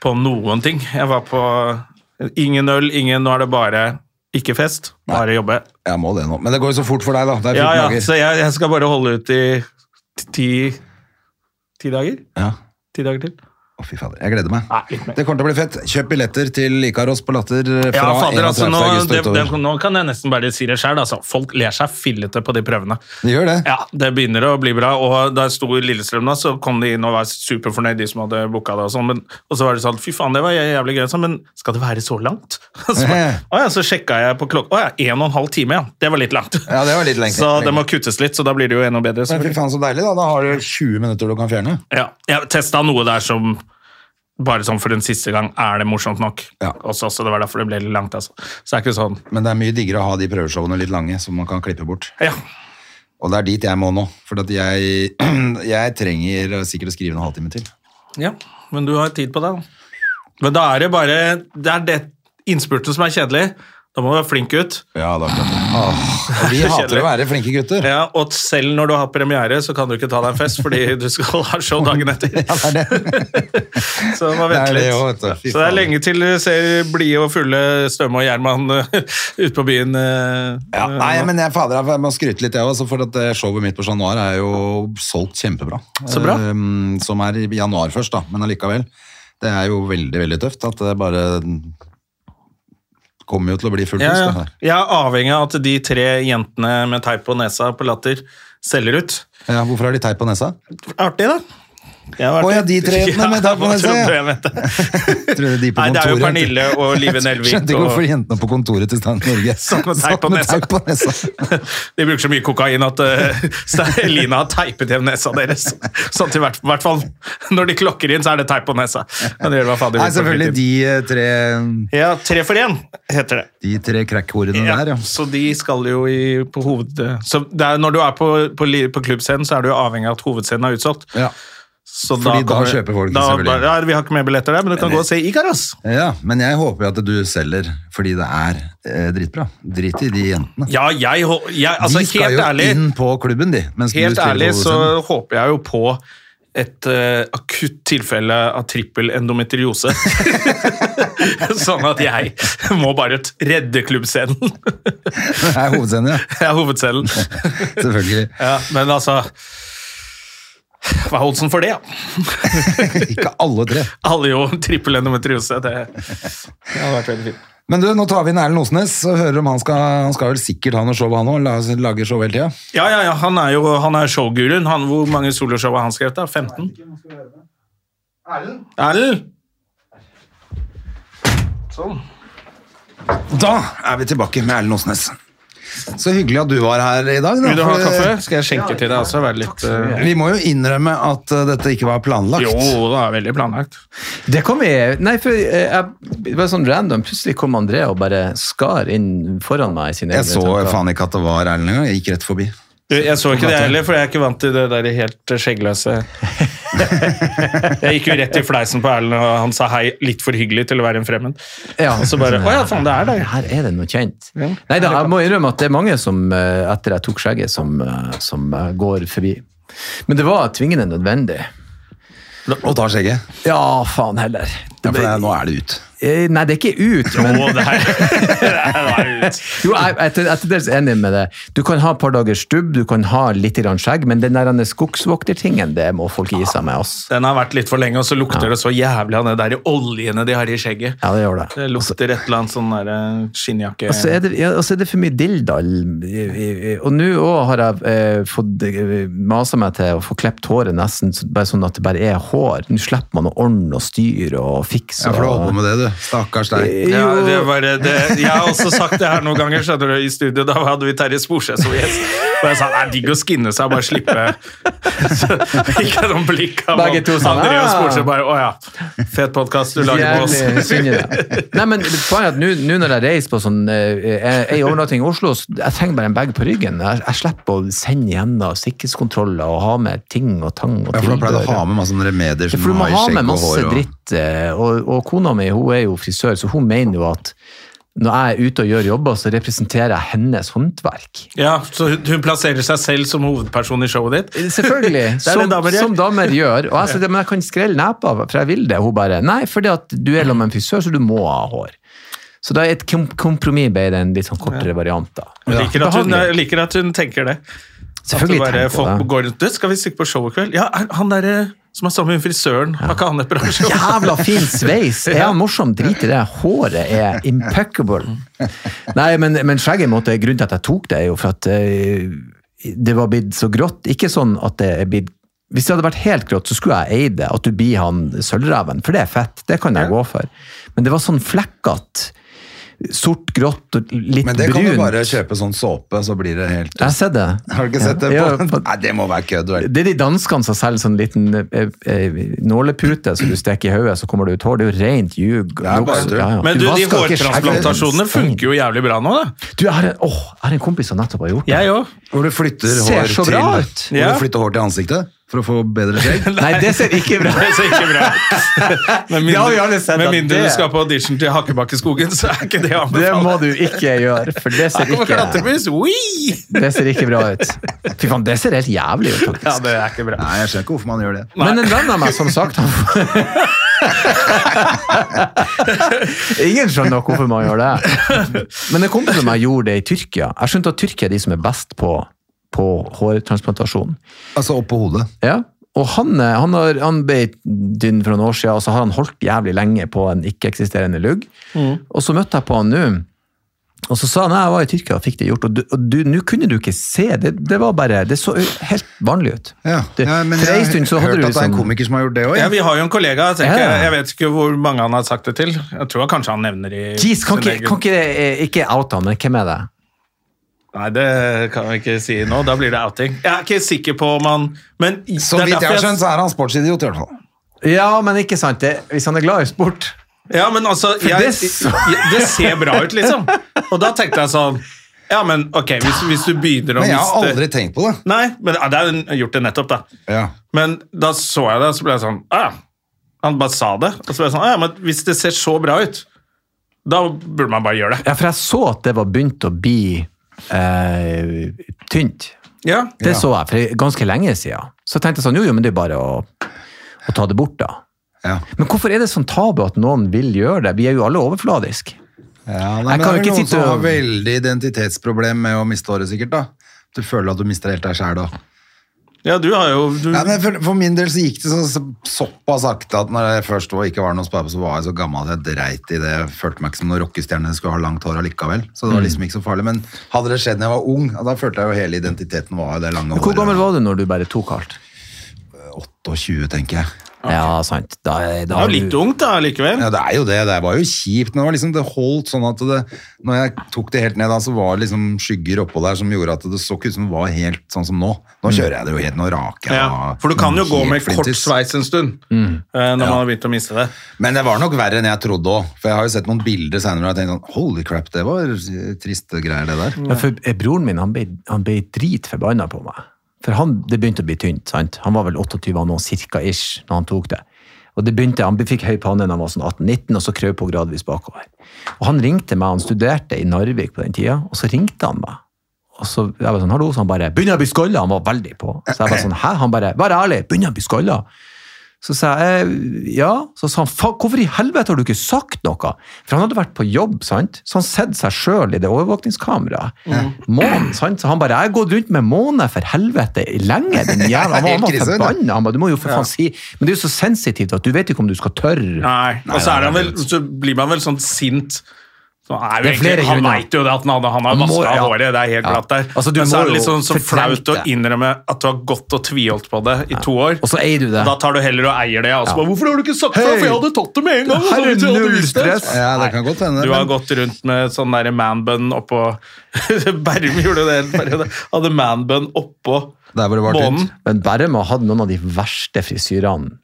[SPEAKER 2] på noen ting. Jeg var på ingen øl, ingen Nå er det bare ikke fest, bare jobbe.
[SPEAKER 1] Jeg må det nå. Men det går jo så fort for deg, da. Det er 14
[SPEAKER 2] Ja, ja,
[SPEAKER 1] dager.
[SPEAKER 2] så jeg, jeg skal bare holde ut i t- ti Ti dager?
[SPEAKER 1] Ja.
[SPEAKER 2] Ti dager til?
[SPEAKER 1] Å, fy fader. Jeg gleder meg.
[SPEAKER 2] Nei, litt mer.
[SPEAKER 1] Det kommer til å bli fett. Kjøp billetter til Ikaros på Latter eh, fra
[SPEAKER 2] Ja, fader, altså,
[SPEAKER 1] 31.
[SPEAKER 2] nå,
[SPEAKER 1] august
[SPEAKER 2] det,
[SPEAKER 1] og utover.
[SPEAKER 2] det, nå kan jeg nesten bare si det sjøl. Altså. Folk ler seg fillete på de prøvene.
[SPEAKER 1] Det gjør det.
[SPEAKER 2] Ja, Det begynner å bli bra. og Da jeg sto i Lillestrøm, da, så kom de inn og var superfornøyd, de som hadde booka det. Og sånn, men, og så var det sånn Fy faen, det var jævlig gøy. Sånn, men skal det være så langt? *laughs* Og så,
[SPEAKER 1] Eh.
[SPEAKER 2] å ja, så sjekka jeg på klokka Å ja, en og en halv time, ja. Det var litt langt.
[SPEAKER 1] Ja, det var litt lenge.
[SPEAKER 2] Så det må kuttes litt, så da blir det jo enda bedre.
[SPEAKER 1] Men fy
[SPEAKER 2] selvfølgelig.
[SPEAKER 1] faen, så deilig, da. Da har du 20 minutter du kan fjerne.
[SPEAKER 2] Ja, jeg testa noe der som bare sånn for en siste gang, er det morsomt nok?
[SPEAKER 1] Ja.
[SPEAKER 2] Også, så det var derfor det ble litt langt, altså. Så det er ikke sånn
[SPEAKER 1] Men det er mye diggere å ha de prøveshowene litt lange, som man kan klippe bort.
[SPEAKER 2] Ja.
[SPEAKER 1] Og det er dit jeg må nå, for at jeg, *clears throat* jeg trenger sikkert å skrive en halvtime til.
[SPEAKER 2] Ja, men du har tid på deg. da. Men da er det bare Det er det innspurten som er kjedelig. Da må du være flink gutt.
[SPEAKER 1] Ja, da klart det. Åh, og
[SPEAKER 2] *laughs* Det
[SPEAKER 1] vi
[SPEAKER 2] er så
[SPEAKER 1] hater å være flinke gutter.
[SPEAKER 2] Ja, og selv når du har premiere, så kan du ikke ta deg en fest fordi du skal ha show dagen etter.
[SPEAKER 1] Ja, det er det.
[SPEAKER 2] *laughs* Så du må
[SPEAKER 1] Det
[SPEAKER 2] vente
[SPEAKER 1] er det
[SPEAKER 2] litt.
[SPEAKER 1] jo, vet du. Fy
[SPEAKER 2] Så det er
[SPEAKER 1] faen.
[SPEAKER 2] lenge til du ser blide og fulle Støme og Gjerman eh, ute på byen. eh,
[SPEAKER 1] Ja,
[SPEAKER 2] eh,
[SPEAKER 1] nei,
[SPEAKER 2] nå.
[SPEAKER 1] men jeg, fader, jeg må skryte litt, jeg også, for at eh, showet mitt på Chat Noir er jo solgt kjempebra.
[SPEAKER 2] Så bra.
[SPEAKER 1] Eh, Som er i januar først, da, men allikevel. Det er jo veldig, veldig tøft at det bare kommer jo til å bli fullt
[SPEAKER 2] ja,
[SPEAKER 1] hus. det
[SPEAKER 2] ja.
[SPEAKER 1] her.
[SPEAKER 2] Jeg er avhengig av at de tre jentene med teip på nesa på latter selger ut.
[SPEAKER 1] Ja, hvorfor har de teip på nesa?
[SPEAKER 2] Artig, da. Jeg har vært
[SPEAKER 1] Å, ja,
[SPEAKER 2] det.
[SPEAKER 1] de tre jentene
[SPEAKER 2] *laughs*
[SPEAKER 1] med teip på
[SPEAKER 2] hva
[SPEAKER 1] nesa,
[SPEAKER 2] trodde
[SPEAKER 1] ja.
[SPEAKER 2] jeg mente?
[SPEAKER 1] Tror du de på
[SPEAKER 2] Nei, det er jo
[SPEAKER 1] kontoret-
[SPEAKER 2] Pernille og Live Nelvik.
[SPEAKER 1] Skjønte ikke hvorfor
[SPEAKER 2] og-
[SPEAKER 1] jentene på kontoret til Stand Norge
[SPEAKER 2] *laughs* Satt med teip på nesa.
[SPEAKER 1] teip på
[SPEAKER 2] *laughs*
[SPEAKER 1] nesa.
[SPEAKER 2] De bruker så mye kokain at *laughs* uh, Lina har teipet igjen nesa deres. Sånn til hvert, hvert fall når de klokker inn, så er det teip på nesa. Men det gjør hva faen de
[SPEAKER 1] Nei,
[SPEAKER 2] vil på
[SPEAKER 1] selvfølgelig
[SPEAKER 2] fritiden.
[SPEAKER 1] de eh, tre,
[SPEAKER 2] Ja, Tre for én heter det.
[SPEAKER 1] de tre crack-horene
[SPEAKER 2] Ja,
[SPEAKER 1] Mm, der, ja.
[SPEAKER 2] Så de skal jo i, på hoved... Så det er, når du er på, på, li- på klubbscenen, så er du jo avhengig av at hovedscenen er utsolgt.
[SPEAKER 1] ja.
[SPEAKER 2] Så
[SPEAKER 1] Fordi da
[SPEAKER 2] kommer-
[SPEAKER 1] kjøper folk,
[SPEAKER 2] da,
[SPEAKER 1] selvfølgelig.
[SPEAKER 2] bare, ja, Vi har ikke mer billetter der, men du kan gå og se Ikaros.
[SPEAKER 1] Ja, men jeg håper jo at du selger, fordi det er eh, dritbra. Drit i de jentene.
[SPEAKER 2] Ja, jeg, hå- jeg altså,
[SPEAKER 1] de skal
[SPEAKER 2] Helt
[SPEAKER 1] jo
[SPEAKER 2] ærlig.
[SPEAKER 1] inn på klubben, de. mens du
[SPEAKER 2] Helt
[SPEAKER 1] spiller på
[SPEAKER 2] ærlig så
[SPEAKER 1] hovedscenen. *laughs*
[SPEAKER 2] håper jeg jo på et eh, akutt tilfelle av trippel endometriose. *laughs* sånn at jeg må bare t- redde klubbscenen. *laughs*
[SPEAKER 1] Det er hovedscenen, ja.
[SPEAKER 2] Det er hovedscenen.
[SPEAKER 1] Selvfølgelig.
[SPEAKER 2] ja, men altså Hva er oddsen for det, da?
[SPEAKER 1] Ikke alle tre.
[SPEAKER 2] Alle jo trippel endometriose. Det, det hadde vært veldig fint.
[SPEAKER 1] Men du, nå tar vi inn Erlend Osnes og hører om han skal Han skal vel sikkert ha noe show, han òg. Lager show hele tida.
[SPEAKER 2] Ja, ja, ja, han er jo han er showguruen. Han, hvor mange soloshow har han skrevet? da? 15? Erlend? Sånn.
[SPEAKER 1] Da er vi tilbake med Erlend Osnes. Så hyggelig at du var her i dag. da,
[SPEAKER 2] Vil du ha
[SPEAKER 1] for-
[SPEAKER 2] kaffe? Skal jeg skjenke til deg også? Være litt, eh,
[SPEAKER 1] Vi må jo innrømme at eh, dette ikke var planlagt.
[SPEAKER 2] jo, det er veldig planlagt.
[SPEAKER 3] Det kom i Nei, for eh, jeg, det var sånn random. Plutselig kom André og bare skar inn foran meg. i sine
[SPEAKER 1] Jeg
[SPEAKER 3] egne
[SPEAKER 1] så
[SPEAKER 3] tanker.
[SPEAKER 1] faen ikke at det var Erlend engang. Jeg gikk rett forbi.
[SPEAKER 2] Du, jeg så ikke det heller, for jeg er ikke vant til det der helt eh, *laughs* skjeggløse Jeg gikk jo rett i fleisen på Erlend, og han sa hei litt for hyggelig til å være en fremmed.
[SPEAKER 3] Ja.
[SPEAKER 2] Og så bare Å *laughs* ja, faen, det er deg.
[SPEAKER 3] Her er det noe kjent. Nei da, jeg må innrømme at det er mange som, eh, etter jeg tok skjegget, som, eh, som eh, går forbi. Men det var tvingende nødvendig.
[SPEAKER 1] Og tar skjegget.
[SPEAKER 3] Ja, faen heller.
[SPEAKER 1] Ja, for det, er- nå er det ut.
[SPEAKER 3] Eh, Nei, det er ikke ut, men
[SPEAKER 2] Å, det her det her er ut.
[SPEAKER 3] *laughs* Jo, jeg jeg er til- jeg er til dels enig med deg. Du kan ha et par dagers stubb, du kan ha litt grann skjegg, men den der skogsvoktertingen, det må folk gi seg med, ass.
[SPEAKER 2] *laughs* Den har vært litt for lenge, og så lukter det så jævlig av de der oljene de har i skjegget.
[SPEAKER 3] Ja, det gjør det.
[SPEAKER 2] Det lukter et eller annet sånn der eh, skinnjakke
[SPEAKER 3] Og så er det, ja, og så er det for mye dilldall. i- i- i- Og nå òg har jeg eh, fått eh, masa meg til å få klept håret nesten så- bare sånn at det bare er hår. Nå slipper man å ordne og styre og
[SPEAKER 1] Ja,
[SPEAKER 3] fikse.
[SPEAKER 1] for du holder på
[SPEAKER 3] og,
[SPEAKER 1] med det, du. Stakkars deg.
[SPEAKER 2] Ja, det var, det, jeg har også sagt det her noen ganger skjønner du, i studio. Da hadde vi Terje Sporseth som gjest. Og jeg sa det er digg å skinne seg og bare slippe. Så fikk jeg noen blikk av
[SPEAKER 3] Begge to sa,
[SPEAKER 2] André og
[SPEAKER 3] «Ah».
[SPEAKER 2] Sporseth bare Å ja, fet podkast du lager med
[SPEAKER 3] Jævlig
[SPEAKER 2] oss.
[SPEAKER 3] synd i det. Nei, men poenget er at nå nå når jeg reiser på sånn eh, ei overnatting i Oslo, så jeg trenger bare en bag på ryggen. Jeg, jeg slipper å sende gjennom sikkerhetskontroller og ha med ting og tang og
[SPEAKER 1] Ja, for da pleide å
[SPEAKER 3] tilbehør.
[SPEAKER 1] ha med masse sånne remedier
[SPEAKER 3] Ja,
[SPEAKER 1] som
[SPEAKER 3] for du må ha med
[SPEAKER 1] skjegg og
[SPEAKER 3] masse
[SPEAKER 1] hår. Og...
[SPEAKER 3] dritt. eh, Og, og kona mi hun er jo frisør, så hun mener jo at når jeg er ute og gjør jobber, så representerer jeg hennes håndverk.
[SPEAKER 2] Ja, så hun- hun plasserer seg selv som hovedperson i showet ditt.
[SPEAKER 3] Selvfølgelig,
[SPEAKER 2] er *laughs* det
[SPEAKER 3] som,
[SPEAKER 2] damer gjør.
[SPEAKER 3] som damer gjør. Og jeg sier, men jeg kan skrelle nepa, for jeg vil det. Hun bare, nei, fordi at du er sammen med en frisør, så du må ha hår. Så da er et kom- kompromiss bedre en litt sånn kortere variant da.
[SPEAKER 2] Jeg liker at hun,
[SPEAKER 3] Behagelig.
[SPEAKER 2] jeg liker at hun tenker det. at
[SPEAKER 3] Selvfølgelig
[SPEAKER 2] det bare,
[SPEAKER 3] tenker
[SPEAKER 2] folk
[SPEAKER 3] jeg det.
[SPEAKER 2] går rundt, «Du, Skal vi stikke på show i kveld? Ja, er han derre som er sammen med frisøren, har ikke han et bra show?
[SPEAKER 3] Jævla fin
[SPEAKER 1] *laughs*
[SPEAKER 3] sveis! Er han morsom? Drit i det. Håret er impeccable. Nei, men, men skjegget måtte, grunnen til at jeg tok det, er jo for at eh, det var blitt så grått. Ikke sånn at det er blitt Hvis det hadde vært helt grått, så skulle jeg eid det. At du blir han sølvreven. For det er fett. Det kan jeg gå for. Men det var sånn flekkete. Sort, grått og litt
[SPEAKER 1] Men det kan du
[SPEAKER 3] brunt.
[SPEAKER 1] bare kjøpe sånn såpe, så blir det helt
[SPEAKER 3] Jeg har sett det.
[SPEAKER 1] Har du ikke sett det
[SPEAKER 3] Ja,
[SPEAKER 1] på?
[SPEAKER 3] for-
[SPEAKER 1] Nei, det må være kødd, vel.
[SPEAKER 3] det er de danskene som selger sånn liten eh, eh, nålepute som du steker i hodet, så kommer det ut hår. Det er jo rent ljug.
[SPEAKER 1] Det er bare
[SPEAKER 3] juks.
[SPEAKER 1] tull.
[SPEAKER 2] Men du, de
[SPEAKER 3] vasker ikke skjegget.
[SPEAKER 2] hårtransplantasjonene funker jo jævlig bra nå, da.
[SPEAKER 3] Du, jeg har, en, åh, jeg har en kompis som nettopp har gjort det.
[SPEAKER 2] Jeg òg.
[SPEAKER 1] Hvor du flytter
[SPEAKER 3] Ser
[SPEAKER 1] hår
[SPEAKER 3] så
[SPEAKER 1] til
[SPEAKER 3] bra ut.
[SPEAKER 1] Hvor
[SPEAKER 2] Ja.
[SPEAKER 1] du flytter hår til ansiktet for å få bedre skjegg.
[SPEAKER 3] Nei, det ser ikke bra ut.
[SPEAKER 2] Det ser ikke bra ut. *laughs* Med
[SPEAKER 3] Det har vi
[SPEAKER 2] mindre,
[SPEAKER 3] alle sett
[SPEAKER 2] med
[SPEAKER 3] at
[SPEAKER 2] mindre
[SPEAKER 3] det-
[SPEAKER 2] du skal på audition til Hakkebakkeskogen, så er ikke det å
[SPEAKER 3] *laughs* Det
[SPEAKER 2] anbefale.
[SPEAKER 3] må du ikke gjøre, for det ser
[SPEAKER 2] Her kommer
[SPEAKER 3] ikke,
[SPEAKER 2] klatremus! Ui!
[SPEAKER 3] det ser ikke bra ut. Fy faen, det ser helt jævlig ut, faktisk.
[SPEAKER 2] Ja, det er ikke bra.
[SPEAKER 1] Nei, jeg skjønner ikke hvorfor man gjør det.
[SPEAKER 3] Men en venn av meg, som sagt
[SPEAKER 1] *laughs*
[SPEAKER 3] han... Ingen skjønner nok hvorfor man gjør det. Men en kompis av meg gjorde det i Tyrkia. Jeg skjønte at Tyrkia er de som er best på, på hårtransplantasjon.
[SPEAKER 1] Altså opp på hodet.
[SPEAKER 3] Ja. Og han, eh, han, har, han ble dynn for noen år siden, og så har han holdt jævlig lenge på en ikke-eksisterende lugg.
[SPEAKER 1] Mm.
[SPEAKER 3] Og så møtte jeg på han nå, og så sa han at jeg var i Tyrkia og fikk det gjort. Og du- og du- nå kunne du ikke se, det, det var bare Det så helt vanlig ut.
[SPEAKER 1] Ja,
[SPEAKER 3] Det-
[SPEAKER 1] ja men
[SPEAKER 3] for
[SPEAKER 1] jeg
[SPEAKER 3] en
[SPEAKER 1] har
[SPEAKER 3] stund så hadde
[SPEAKER 1] hørt
[SPEAKER 3] du
[SPEAKER 1] at det er en
[SPEAKER 3] liksom-
[SPEAKER 1] komiker som har gjort det òg.
[SPEAKER 2] Ja, vi har jo en kollega, jeg, tenker,
[SPEAKER 3] Ja.
[SPEAKER 2] jeg vet ikke hvor mange han har sagt det til. Jeg tror kanskje han nevner i
[SPEAKER 3] Jeez, kan
[SPEAKER 2] sin
[SPEAKER 3] ikke, kan ikke, eh, ikke out han, men hvem er det?
[SPEAKER 2] Nei, det kan vi ikke si nå. Da blir det outing. Jeg er ikke sikker på om han Men det
[SPEAKER 1] Så
[SPEAKER 2] er
[SPEAKER 1] vidt jeg
[SPEAKER 2] derfor
[SPEAKER 1] har skjønt, så er han sportsidiot, i hvert fall.
[SPEAKER 3] Ja, men ikke sant. Det, hvis han er glad i sport
[SPEAKER 2] Ja, men altså jeg,
[SPEAKER 3] det så-
[SPEAKER 2] jeg, Det ser bra ut, liksom. Og da tenkte jeg sånn Ja, men ok, hvis, hvis du begynner å
[SPEAKER 1] Men jeg har
[SPEAKER 2] miste-
[SPEAKER 1] aldri tenkt på det.
[SPEAKER 2] Nei, men ja, det er jo gjort det nettopp, da.
[SPEAKER 1] Ja.
[SPEAKER 2] Men da så jeg det, og så ble jeg sånn «Å ja. Han bare sa det. Og så ble jeg sånn «Å ja, men hvis det ser så bra ut, da burde man bare gjøre det.
[SPEAKER 3] Ja, for jeg så at det var begynt å bli eh, tynt.
[SPEAKER 2] Ja.
[SPEAKER 3] Det så jeg for ganske lenge siden. Så tenkte jeg sånn, jo, jo, men det er bare å, å ta det bort da.
[SPEAKER 1] Ja.
[SPEAKER 3] Men hvorfor er det sånn tabu at noen vil gjøre det? Vi er jo alle overfladisk.
[SPEAKER 1] Ja, nei,
[SPEAKER 3] Jeg
[SPEAKER 1] men det
[SPEAKER 3] kan
[SPEAKER 1] er
[SPEAKER 3] ikke
[SPEAKER 1] vel noen
[SPEAKER 3] sitte
[SPEAKER 1] som har
[SPEAKER 3] og-
[SPEAKER 1] veldig identitetsproblem med å miste håret, sikkert. da. Du føler at du mister helt deg sjæl òg.
[SPEAKER 2] ja, du har jo du,
[SPEAKER 1] Ja, men for, for min del så gikk det så, så, såpass sakte at når jeg først var, ikke var noe spade, så var jeg så gammel at jeg dreit i det. Jeg følte meg ikke som noen rockestjerne, skulle ha langt hår allikevel. Så det var liksom ikke så farlig. Men hadde det skjedd da jeg var ung, ja, da følte jeg jo hele identiteten var det lange håret.
[SPEAKER 3] Hvor gammel var du når du bare tok alt?
[SPEAKER 1] 28, tenker jeg.
[SPEAKER 3] Ja, sant. Da,
[SPEAKER 2] det
[SPEAKER 3] da
[SPEAKER 2] er jo litt ungt, da, likevel.
[SPEAKER 1] Ja, det er jo det. Det var jo kjipt. Men det, var liksom, det holdt sånn at det, når jeg tok det helt ned, da, så var det liksom skygger oppå der som gjorde at det så ikke ut som det var helt sånn som nå. Nå kjører jeg det jo helt, nå raker jeg
[SPEAKER 2] Ja,
[SPEAKER 1] av
[SPEAKER 2] for du kan jo gå
[SPEAKER 1] Mm. helt
[SPEAKER 2] med kort
[SPEAKER 1] flintis.
[SPEAKER 2] sveis en stund
[SPEAKER 3] Mm.
[SPEAKER 2] eh, når man har begynt å miste det.
[SPEAKER 1] Men det var nok verre enn jeg trodde òg. For jeg har jo sett noen bilder senere og jeg tenkte sånn Holy crap, det var eh, triste greier, det der.
[SPEAKER 3] Ja, for eh, broren min, han ble, han ble dritforbanna på meg. For han, det begynte å bli tynt, sant? Han var vel 28 og noe cirka ish når han tok det. Og det begynte, Han fikk høy panne da han var sånn 18-19, og så krøp på gradvis bakover. Og Han ringte meg, han studerte i Narvik på den tida, og så ringte han meg. Og så jeg var sånn, hallo, så han bare 'Begynner jeg å bli skalla?' Han var veldig på. Så jeg var sånn, hæ? Han bare 'Vær ærlig, begynner jeg å bli skalla?' Så sa jeg «Eh, ja. Så sa han faen, hvorfor i helvete har du ikke sagt noe? For han hadde vært på jobb, sant? så han sett seg sjøl i det overvåkningskameraet. Månen, sant? Så han bare jeg har gått rundt med måne for helvete lenge. Den jævla, han var, han
[SPEAKER 1] Helt
[SPEAKER 3] var
[SPEAKER 1] krise,
[SPEAKER 3] forbanna. Han ba, du må jo for faen si Men det er jo så sensitivt at du vet ikke om du skal tørre.
[SPEAKER 2] Nei, og så, er han vel, så blir man vel sånn sint Så han er jo
[SPEAKER 3] Det er flere
[SPEAKER 2] egentlig, han
[SPEAKER 3] grunner.
[SPEAKER 2] veit jo det at han hadde han har
[SPEAKER 3] Han må-
[SPEAKER 2] vaska
[SPEAKER 3] ja.
[SPEAKER 2] håret, det er helt
[SPEAKER 3] Ja.
[SPEAKER 2] glatt der.
[SPEAKER 3] Altså, du
[SPEAKER 2] Men så
[SPEAKER 3] må
[SPEAKER 2] er det litt
[SPEAKER 3] jo
[SPEAKER 2] sånn, så
[SPEAKER 3] fortrengt
[SPEAKER 2] flaut å
[SPEAKER 3] det.
[SPEAKER 2] innrømme at du har gått og tviholdt på det i to år.
[SPEAKER 3] Og så eier du det.
[SPEAKER 2] Da tar du heller og eier det. Og så bare, 'Hvorfor har du ikke sagt fra?'
[SPEAKER 1] Hei!
[SPEAKER 2] For jeg hadde tatt det med en gang! og så
[SPEAKER 3] Her er
[SPEAKER 2] hvis jeg hadde
[SPEAKER 3] null
[SPEAKER 2] visst det,
[SPEAKER 3] stress.
[SPEAKER 1] Ja, det kan godt hende.
[SPEAKER 2] du har
[SPEAKER 1] men-
[SPEAKER 2] gått rundt med sånn derre manbun oppå *laughs* Berrum gjorde det en periode. Hadde manbun oppå
[SPEAKER 1] Der hvor det var
[SPEAKER 2] månen.
[SPEAKER 1] tynt.
[SPEAKER 3] Men Berrum har hatt noen av de verste frisyrene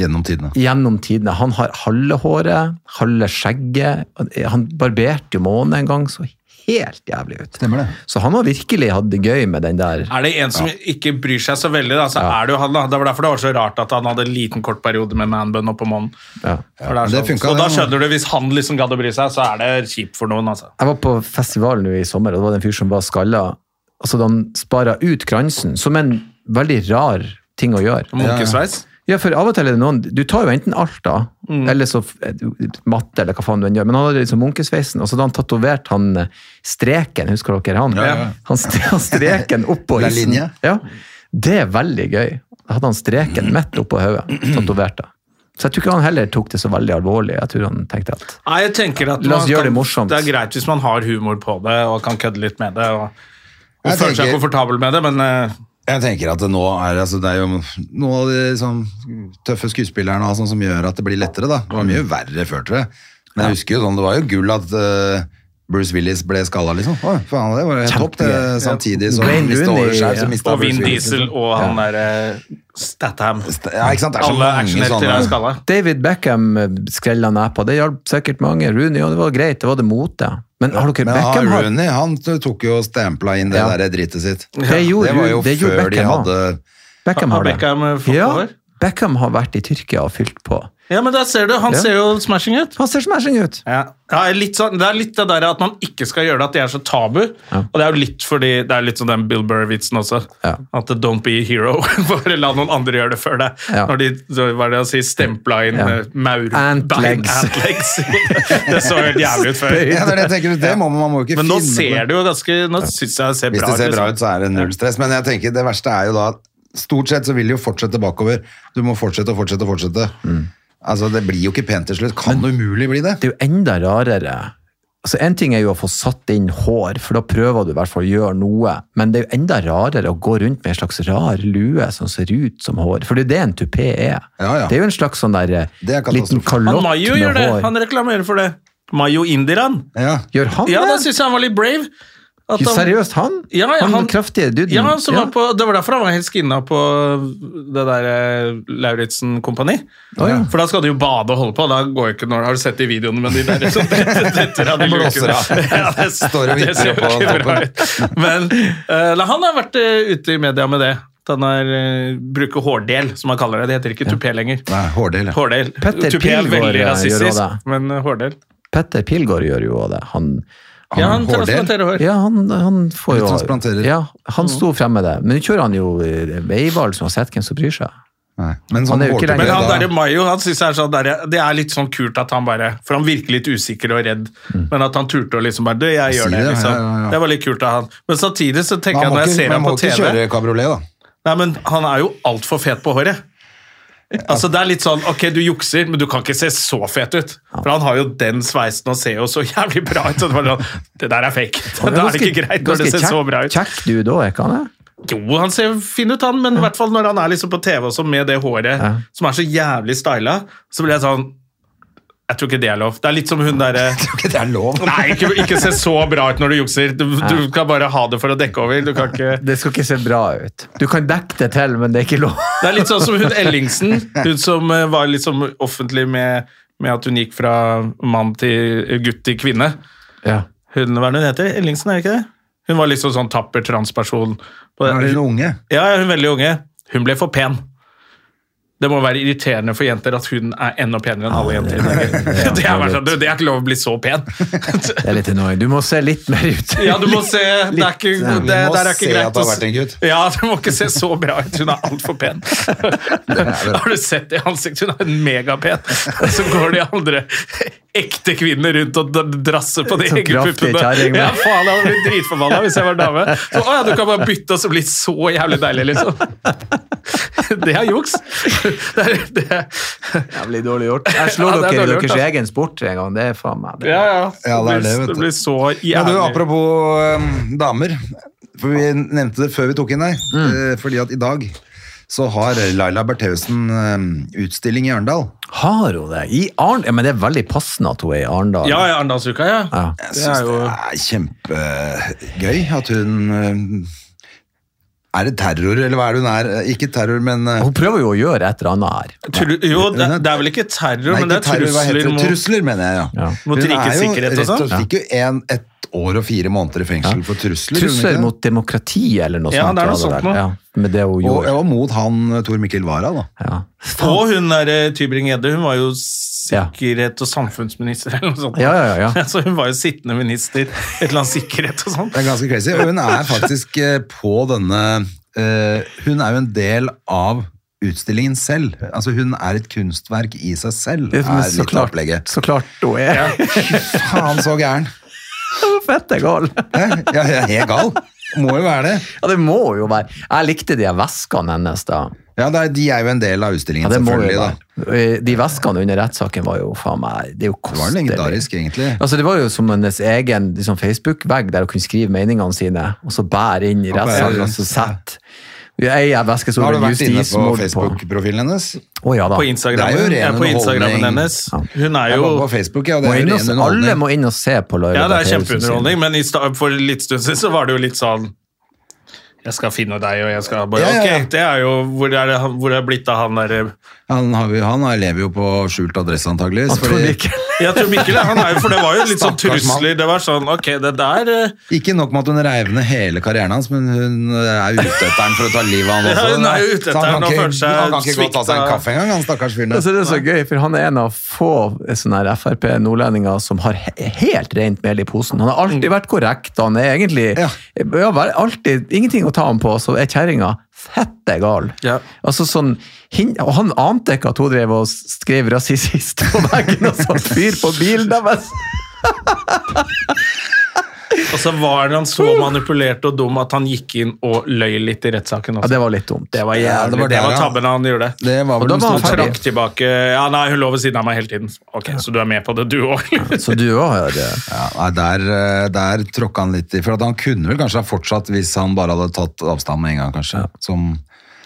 [SPEAKER 1] Gjennom tidene.
[SPEAKER 3] gjennom tidene. Han har halve håret, halve skjegget. Han barberte jo månen en gang, så helt jævlig ut.
[SPEAKER 1] Stemmer det.
[SPEAKER 3] Så han har virkelig hatt det gøy med den der.
[SPEAKER 2] Er det en som ikke bryr seg så veldig, da, så er det jo han. da. Det var derfor det var så rart at han hadde en liten kort periode med manbun oppå månen.
[SPEAKER 3] Ja.
[SPEAKER 2] For det er
[SPEAKER 1] men det
[SPEAKER 2] sånn.
[SPEAKER 1] funka,
[SPEAKER 2] og da
[SPEAKER 1] det, da.
[SPEAKER 2] skjønner du, hvis han liksom gadd å bry seg, så er det kjipt for noen, altså.
[SPEAKER 3] Jeg var på festival nå i sommer, og det var det en fyr som var skalla. Altså, han spara ut kransen, som en veldig rar ting å gjøre.
[SPEAKER 2] Munkesveis.
[SPEAKER 3] Ja, for av og til er det noen Du tar jo enten alt, da,
[SPEAKER 2] Mm.
[SPEAKER 3] eller så f- eh, matte, eller hva faen du enn gjør, men han hadde liksom munkesveisen, og så hadde han tatovert han eh, streken, husker dere han?
[SPEAKER 1] Ja, ja.
[SPEAKER 3] Han, st- han streken oppå
[SPEAKER 1] Den
[SPEAKER 3] isen.
[SPEAKER 1] linje?
[SPEAKER 3] Ja. Det er veldig gøy. Da hadde han streken midt oppå hodet, tatovert det. Så jeg tror ikke han heller tok det så veldig alvorlig. Jeg tror han tenkte at
[SPEAKER 2] Nei, jeg tenker at
[SPEAKER 3] La oss
[SPEAKER 2] man
[SPEAKER 3] gjøre
[SPEAKER 2] kan-
[SPEAKER 3] det morsomt.
[SPEAKER 2] Det er greit hvis man har humor på det og kan kødde litt med det. og og
[SPEAKER 1] Jeg
[SPEAKER 2] føler seg
[SPEAKER 1] tenker-
[SPEAKER 2] komfortabel med det, men eh,
[SPEAKER 1] Jeg tenker at det nå er altså det er jo noen av de sånn, tøffe skuespillerne og sånn som gjør at det blir lettere. da. Det var
[SPEAKER 3] Mm.
[SPEAKER 1] mye verre før, tror jeg. Men jeg husker jo sånn, det var jo gull at eh, Bruce Willis ble skalla, liksom. Å, faen, det var jo helt topp. det,
[SPEAKER 3] Kjempegøy.
[SPEAKER 1] Samtidig som
[SPEAKER 3] Wayne
[SPEAKER 1] mistet
[SPEAKER 3] Rooney,
[SPEAKER 1] overskjær,
[SPEAKER 3] ja.
[SPEAKER 1] så mistet
[SPEAKER 2] Og Vin
[SPEAKER 1] Bruce Willis,
[SPEAKER 2] Diesel
[SPEAKER 1] liksom.
[SPEAKER 2] og han derre Statham.
[SPEAKER 1] Ja, ikke sant? Det er så
[SPEAKER 2] Alle
[SPEAKER 1] mange
[SPEAKER 2] actionhelter er
[SPEAKER 1] sånne.
[SPEAKER 2] skalla.
[SPEAKER 3] David Beckham eh, skrella nepa, det hjalp sikkert mange. Rooney, ja, det var greit, det var det mote. Men har dere
[SPEAKER 1] Men han,
[SPEAKER 3] Beckham har
[SPEAKER 1] Rooney han tok jo og stempla inn det
[SPEAKER 3] Ja.
[SPEAKER 1] der drittet sitt.
[SPEAKER 3] Det gjorde
[SPEAKER 1] det var jo
[SPEAKER 3] Ro- det gjorde
[SPEAKER 1] før de
[SPEAKER 3] Beckham også.
[SPEAKER 1] hadde
[SPEAKER 3] Beckham
[SPEAKER 2] Har
[SPEAKER 3] har det.
[SPEAKER 2] Beckham eh, fått
[SPEAKER 3] Ja,
[SPEAKER 2] over?
[SPEAKER 3] Beckham har vært i Tyrkia og fylt på.
[SPEAKER 2] Ja, men der ser du. Han
[SPEAKER 3] Ja.
[SPEAKER 2] ser jo smashing ut.
[SPEAKER 3] Han ser smashing ut!
[SPEAKER 2] Ja. Ja, litt sånn, det er litt det der at man ikke skal gjøre det, at det er så tabu. Og det er jo litt fordi det er litt sånn den Bill Burr-vitsen også.
[SPEAKER 3] Ja.
[SPEAKER 2] At det don't be a hero. *laughs* Bare la noen andre gjøre det før deg.
[SPEAKER 3] Ja.
[SPEAKER 2] Når de så hva er det å si, stempla inn eh,
[SPEAKER 3] Ja.
[SPEAKER 2] ja. maur...
[SPEAKER 3] Ant
[SPEAKER 2] bein-
[SPEAKER 3] legs.
[SPEAKER 2] Ant legs.
[SPEAKER 3] *laughs*
[SPEAKER 2] *laughs* det så helt jævlig ut før.
[SPEAKER 1] ja, det er det jeg tenker, det må man, man må jo ikke
[SPEAKER 2] Men nå
[SPEAKER 1] finne på.
[SPEAKER 2] ser det jo ganske Nå syns jeg det ser
[SPEAKER 1] Hvis
[SPEAKER 2] bra
[SPEAKER 1] det ser bra
[SPEAKER 2] liksom.
[SPEAKER 1] ut, så er det null stress. Men jeg tenker det verste er jo da at stort sett så vil det jo fortsette bakover. Du må fortsette og fortsette og fortsette.
[SPEAKER 2] Mm.
[SPEAKER 1] Altså, Det blir jo ikke pent til slutt. Kan det umulig bli det?
[SPEAKER 3] Det er jo enda rarere. Altså, en ting er jo å få satt inn hår, for da prøver du i hvert fall å gjøre noe. Men det er jo enda rarere å gå rundt med en slags rar lue som ser ut som hår. For det er jo det en tupé er.
[SPEAKER 1] Ja, ja.
[SPEAKER 3] Det er jo en slags sånn der eh,
[SPEAKER 1] Det er katastrofe.
[SPEAKER 3] liten kalott
[SPEAKER 2] Han Mayo gjør
[SPEAKER 3] med
[SPEAKER 2] det.
[SPEAKER 3] hår.
[SPEAKER 2] Han reklamerer for det. Mayo Indiran.
[SPEAKER 1] Ja.
[SPEAKER 3] Gjør han
[SPEAKER 2] Ja, da
[SPEAKER 3] det?
[SPEAKER 2] syns jeg han var litt brave. At han-
[SPEAKER 3] Seriøst, han?
[SPEAKER 2] Ja, ja,
[SPEAKER 3] han,
[SPEAKER 2] han-
[SPEAKER 3] kraftige duden?
[SPEAKER 2] Ja, han som
[SPEAKER 3] Ja.
[SPEAKER 2] Var på, det var derfor han var helt skinna på det der eh, Lauritzen-kompani.
[SPEAKER 3] Å, ja.
[SPEAKER 2] For da skal du jo bade og holde på. Da går jo ikke når, Har du sett de videoene med de der
[SPEAKER 3] *laughs*
[SPEAKER 2] som detter av de
[SPEAKER 1] Blåser
[SPEAKER 2] lukene?
[SPEAKER 1] av.
[SPEAKER 2] *laughs* Ja, det,
[SPEAKER 1] Står og vipper
[SPEAKER 2] ser
[SPEAKER 1] oppå
[SPEAKER 2] jo ikke bra
[SPEAKER 1] toppen.
[SPEAKER 2] ut. Men eh, nei, han har vært eh, ute i media med det. At han er, eh, bruker hårdel, som han kaller det. Det heter ikke tupé lenger.
[SPEAKER 1] Nei, hårdel. ja.
[SPEAKER 2] Hårdel.
[SPEAKER 3] Petter
[SPEAKER 2] Tupé er
[SPEAKER 3] Pilgaard,
[SPEAKER 2] veldig
[SPEAKER 3] eh, gjør også det.
[SPEAKER 2] rasistisk, men eh, hårdel.
[SPEAKER 3] Petter Pilgaard gjør jo det. Han,
[SPEAKER 2] Ja, han
[SPEAKER 1] hårdel?
[SPEAKER 2] transplanterer hår.
[SPEAKER 3] ja, han, han får jo
[SPEAKER 1] Han transplanterer.
[SPEAKER 3] Ja, han
[SPEAKER 2] Mm.
[SPEAKER 3] sto frem med det. Men nå kjører han jo eh, Veivald, som har sett hvem som bryr seg.
[SPEAKER 1] Nei. Men
[SPEAKER 3] Han
[SPEAKER 1] sånn
[SPEAKER 3] er jo ikke
[SPEAKER 1] hårdel
[SPEAKER 3] lenger-
[SPEAKER 2] Men han
[SPEAKER 1] da-
[SPEAKER 2] derre Mayo, han synes jeg er sånn derre- det er litt sånn kult at han bare For han virker litt usikker og redd, men at han turte å liksom bare Du, jeg
[SPEAKER 1] Si
[SPEAKER 2] gjør det,
[SPEAKER 1] Mm. det,
[SPEAKER 2] liksom.
[SPEAKER 1] ja, ja, ja.
[SPEAKER 2] Det var litt kult av han. Men samtidig så tenker
[SPEAKER 1] Man
[SPEAKER 2] jeg
[SPEAKER 1] må
[SPEAKER 2] når jeg
[SPEAKER 1] ikke,
[SPEAKER 2] ser
[SPEAKER 1] man
[SPEAKER 2] ham
[SPEAKER 1] må
[SPEAKER 2] på
[SPEAKER 1] ikke
[SPEAKER 2] TV
[SPEAKER 1] kjøre kabriolet, da.
[SPEAKER 2] Nei, men han er jo altfor fet på håret. Altså Det er litt sånn Ok, du jukser, men du kan ikke se så fet ut. For han har jo den sveisen og ser jo så jævlig bra ut. Så det, var sånn, det der er fake. *laughs*
[SPEAKER 3] Han
[SPEAKER 2] Da er det
[SPEAKER 3] ganske-
[SPEAKER 2] ikke greit når det
[SPEAKER 3] ganske
[SPEAKER 2] ser så
[SPEAKER 3] kjekk-
[SPEAKER 2] bra ut.
[SPEAKER 3] Kjekk du da, er ikke han det?
[SPEAKER 2] Jo, han ser fin ut, han, men i hvert fall når han er liksom på TV også med det håret
[SPEAKER 3] Ja.
[SPEAKER 2] som er så jævlig styla, så blir jeg sånn Jeg tror ikke det er lov. Det er litt som hun derre *laughs*
[SPEAKER 1] Det er lov.
[SPEAKER 2] Nei, ikke, ikke se så bra ut når du jukser. Du, du kan bare ha det for å dekke over. Du kan ikke
[SPEAKER 3] Det skal ikke se bra ut. Du kan dekke det til, men det er ikke lov.
[SPEAKER 2] Det er litt sånn som hun Ellingsen, hun som eh, var liksom offentlig med, med at hun gikk fra mann til gutt til kvinne.
[SPEAKER 3] Ja.
[SPEAKER 2] Hun, hva er det hun heter? Ellingsen, er det ikke det? Hun var liksom sånn tapper transperson. På
[SPEAKER 1] Nå er de
[SPEAKER 2] det.
[SPEAKER 1] unge.
[SPEAKER 2] Ja, ja, hun er veldig unge. Hun ble for pen. Det må være irriterende for jenter at hun er enda penere enn alle jenter i
[SPEAKER 1] Ah,
[SPEAKER 2] Norge. *laughs* Det er bare sånn, du, det er ikke lov å bli så
[SPEAKER 1] *laughs*
[SPEAKER 2] pen.
[SPEAKER 3] Det er litt annoying. Du må se litt mer ut.
[SPEAKER 2] Ja, du må se Det er ikke,
[SPEAKER 1] Vi
[SPEAKER 2] det,
[SPEAKER 1] må
[SPEAKER 2] det er ikke
[SPEAKER 1] se
[SPEAKER 2] greit
[SPEAKER 1] at
[SPEAKER 2] å
[SPEAKER 1] det har
[SPEAKER 2] s-
[SPEAKER 1] vært en gutt.
[SPEAKER 2] Ja, du må ikke se så bra ut. Hun er altfor pen. Har du sett det i ansiktet? Hun er megapen. Så går de andre ekte kvinner rundt og d- drasse på de
[SPEAKER 3] Sånn
[SPEAKER 2] egne
[SPEAKER 3] kraftig
[SPEAKER 2] puppene.
[SPEAKER 3] kjerring,
[SPEAKER 2] Ja,
[SPEAKER 3] da.
[SPEAKER 2] faen, jeg hadde blitt dritforbanna hvis jeg var dame. Så, å ja, du kan bare bytte, og så blir det så jævlig deilig, liksom. Det er juks. Det er, det er,
[SPEAKER 3] Jævlig dårlig gjort. Jeg slår
[SPEAKER 2] Ja, det er
[SPEAKER 3] dere i
[SPEAKER 2] dårlig gjort,
[SPEAKER 3] deres
[SPEAKER 2] ass.
[SPEAKER 3] egen sport en gang. Det er faen meg det.
[SPEAKER 2] ja, ja.
[SPEAKER 1] Ja, det er det, vet du.
[SPEAKER 2] det blir så
[SPEAKER 1] Men du,
[SPEAKER 2] jævlig.
[SPEAKER 1] apropos eh, damer, for vi nevnte det før vi tok inn deg,
[SPEAKER 2] Mm.
[SPEAKER 1] eh, fordi at i dag så har Laila Bertheussen eh, utstilling i Arendal.
[SPEAKER 3] Har hun det? I Arn... Ja, men det er veldig passende at hun er i Arendal.
[SPEAKER 2] Ja, ja, Arendalsuka, ja.
[SPEAKER 3] Ja.
[SPEAKER 1] Jeg
[SPEAKER 2] Det
[SPEAKER 1] synes
[SPEAKER 2] er jo-
[SPEAKER 1] det er kjempegøy at hun eh, Er det terror, eller hva er det hun er? Ikke terror, men eh,
[SPEAKER 3] Hun prøver jo å gjøre et eller annet her.
[SPEAKER 2] Tru, jo, det, det er vel ikke terror, men det
[SPEAKER 1] ikke
[SPEAKER 2] er
[SPEAKER 1] terror, hva
[SPEAKER 2] trusler
[SPEAKER 1] heter det?
[SPEAKER 2] mot
[SPEAKER 1] Trusler, mener jeg, ja.
[SPEAKER 3] Ja.
[SPEAKER 2] Mot
[SPEAKER 1] Hun er
[SPEAKER 2] rikets
[SPEAKER 1] jo
[SPEAKER 2] sikkerhet og
[SPEAKER 1] rett
[SPEAKER 2] sånn.
[SPEAKER 1] fikk jo en, et år og fire måneder i fengsel for trusler. gjorde hun ikke
[SPEAKER 3] Trusler
[SPEAKER 1] det?
[SPEAKER 3] mot demokrati eller noe
[SPEAKER 2] Ja,
[SPEAKER 3] sånt.
[SPEAKER 2] det er noe
[SPEAKER 3] var
[SPEAKER 2] sånt
[SPEAKER 3] der.
[SPEAKER 2] nå.
[SPEAKER 3] Ja, med det hun
[SPEAKER 1] Og,
[SPEAKER 3] gjorde.
[SPEAKER 1] og mot han eh, Tor Mikkel Wara, da.
[SPEAKER 3] Ja.
[SPEAKER 2] Og hun der eh, Tybring-Gjedde, hun var jo
[SPEAKER 3] Ja.
[SPEAKER 2] sikkerhet- og samfunnsminister eller noe sånt.
[SPEAKER 3] Ja, ja,
[SPEAKER 2] *laughs*
[SPEAKER 3] ja, ja.
[SPEAKER 2] Så hun var jo sittende minister, et eller annet sikkerhet og sånt.
[SPEAKER 1] Det er ganske crazy. Og hun
[SPEAKER 2] *laughs*
[SPEAKER 1] er faktisk eh, på denne eh, Hun er jo en del av utstillingen selv. Altså Hun er et kunstverk i seg selv,
[SPEAKER 3] Det er
[SPEAKER 1] er
[SPEAKER 3] så,
[SPEAKER 1] litt av
[SPEAKER 3] klart,
[SPEAKER 1] opplegget.
[SPEAKER 3] så klart hun er. *laughs*
[SPEAKER 1] Faen, så gæren!
[SPEAKER 3] Fette gal.
[SPEAKER 1] Hæ? Ja, jeg er helt gal. Må jo være det.
[SPEAKER 3] Ja, det må hun jo være. Jeg likte de her veskene hennes da.
[SPEAKER 1] Ja, det er, De er jo en del av
[SPEAKER 3] Ja,
[SPEAKER 1] utstillingen,
[SPEAKER 3] det må hun
[SPEAKER 1] selvfølgelig.
[SPEAKER 3] jo
[SPEAKER 1] da.
[SPEAKER 3] være. Eh, De veskene under rettssaken var jo faen meg Det er
[SPEAKER 1] Det
[SPEAKER 3] jo
[SPEAKER 1] var
[SPEAKER 3] kostelig.
[SPEAKER 1] legendarisk, egentlig.
[SPEAKER 3] Altså, det var jo som hennes egen liksom, Facebook-vegg der hun kunne skrive meningene sine, og så bære inn i altså,
[SPEAKER 1] Ja,
[SPEAKER 3] rettssalen,
[SPEAKER 1] bære-
[SPEAKER 3] og så sette Jeg
[SPEAKER 1] Nå
[SPEAKER 3] er
[SPEAKER 1] har
[SPEAKER 3] veskesolen
[SPEAKER 1] du vært inne på
[SPEAKER 3] justismord på
[SPEAKER 1] Facebook-profilen hennes.
[SPEAKER 3] Å ja da.
[SPEAKER 2] På Instagrammen,
[SPEAKER 1] Det er jo ren
[SPEAKER 2] ja, på Instagrammen
[SPEAKER 1] underholdning.
[SPEAKER 2] hennes. Hun er
[SPEAKER 1] Jeg
[SPEAKER 2] jo
[SPEAKER 1] var på Facebook, ja. og Det
[SPEAKER 3] Må
[SPEAKER 1] er
[SPEAKER 3] inn
[SPEAKER 1] jo
[SPEAKER 3] og,
[SPEAKER 1] ren
[SPEAKER 3] alle
[SPEAKER 1] underholdning.
[SPEAKER 3] må inn og se på
[SPEAKER 2] Ja,
[SPEAKER 3] Laila
[SPEAKER 2] det er
[SPEAKER 3] Bertheussen sin.
[SPEAKER 2] kjempeunderholdning, men i sta- for litt stund siden så var det jo litt sånn Jeg skal finne deg, og jeg skal bare
[SPEAKER 1] Ja, ja, ja.
[SPEAKER 2] Ok, det er jo Hvor er det, han- hvor er det blitt av han eh? derre
[SPEAKER 1] Han, har, jo- han lever jo på skjult adresse, antageligvis.
[SPEAKER 3] *laughs* Tror du
[SPEAKER 1] fordi-
[SPEAKER 3] ikke?
[SPEAKER 2] Jeg tror Mikkel, han er jo For det var jo litt sånn
[SPEAKER 1] Stakkars mann.
[SPEAKER 2] trusler. Det var sånn Ok, det der eh,
[SPEAKER 1] Ikke nok med at hun reiv ned hele karrieren hans, men hun eh, er ute etter han for å ta livet av han
[SPEAKER 2] *laughs*
[SPEAKER 1] også.
[SPEAKER 2] Ja, hun er jo ute etter
[SPEAKER 1] Så han kan
[SPEAKER 2] han og
[SPEAKER 1] ikke-
[SPEAKER 2] føler seg
[SPEAKER 1] Han kan ikke gå og ta seg en
[SPEAKER 2] svikta.
[SPEAKER 1] kaffe engang, han stakkars fyren
[SPEAKER 2] *laughs*
[SPEAKER 3] Altså,
[SPEAKER 1] der.
[SPEAKER 3] det er så gøy, for han er en av få sånne her Frp-nordlendinger som har he helt rent mel i posen. Han har alltid vært korrekt, han er egentlig
[SPEAKER 1] Ja.
[SPEAKER 3] ja, vær- alltid, ingenting å ta ham på, så er kjerringa fette gal.
[SPEAKER 2] Ja.
[SPEAKER 3] Altså, sånn, hin- og han ante ikke at hun drev og skrev rasist på veggen og satt fyr på bilen deres.
[SPEAKER 2] Og så var han så manipulert og dum at han gikk inn og løy litt i rettssaken
[SPEAKER 3] Ja,
[SPEAKER 2] også.
[SPEAKER 3] det var litt dumt.
[SPEAKER 2] Det var
[SPEAKER 1] Ja, det
[SPEAKER 2] jævlig.
[SPEAKER 1] var
[SPEAKER 2] Det
[SPEAKER 1] der,
[SPEAKER 2] var
[SPEAKER 1] ja.
[SPEAKER 2] tabben han gjorde.
[SPEAKER 1] Det var
[SPEAKER 3] Og
[SPEAKER 1] vel
[SPEAKER 3] da var
[SPEAKER 1] den
[SPEAKER 3] han
[SPEAKER 2] Han
[SPEAKER 1] store
[SPEAKER 3] ferdig.
[SPEAKER 2] trakk tilbake Ja, nei, hun lå ved siden av meg hele tiden. Ok, Så du er med på det, du òg?
[SPEAKER 3] Så du òg har eh,
[SPEAKER 1] ja, nei, der, eh, der tråkka han litt i. For at han kunne vel kanskje ha fortsatt hvis han bare hadde tatt avstand med en gang, kanskje. Som,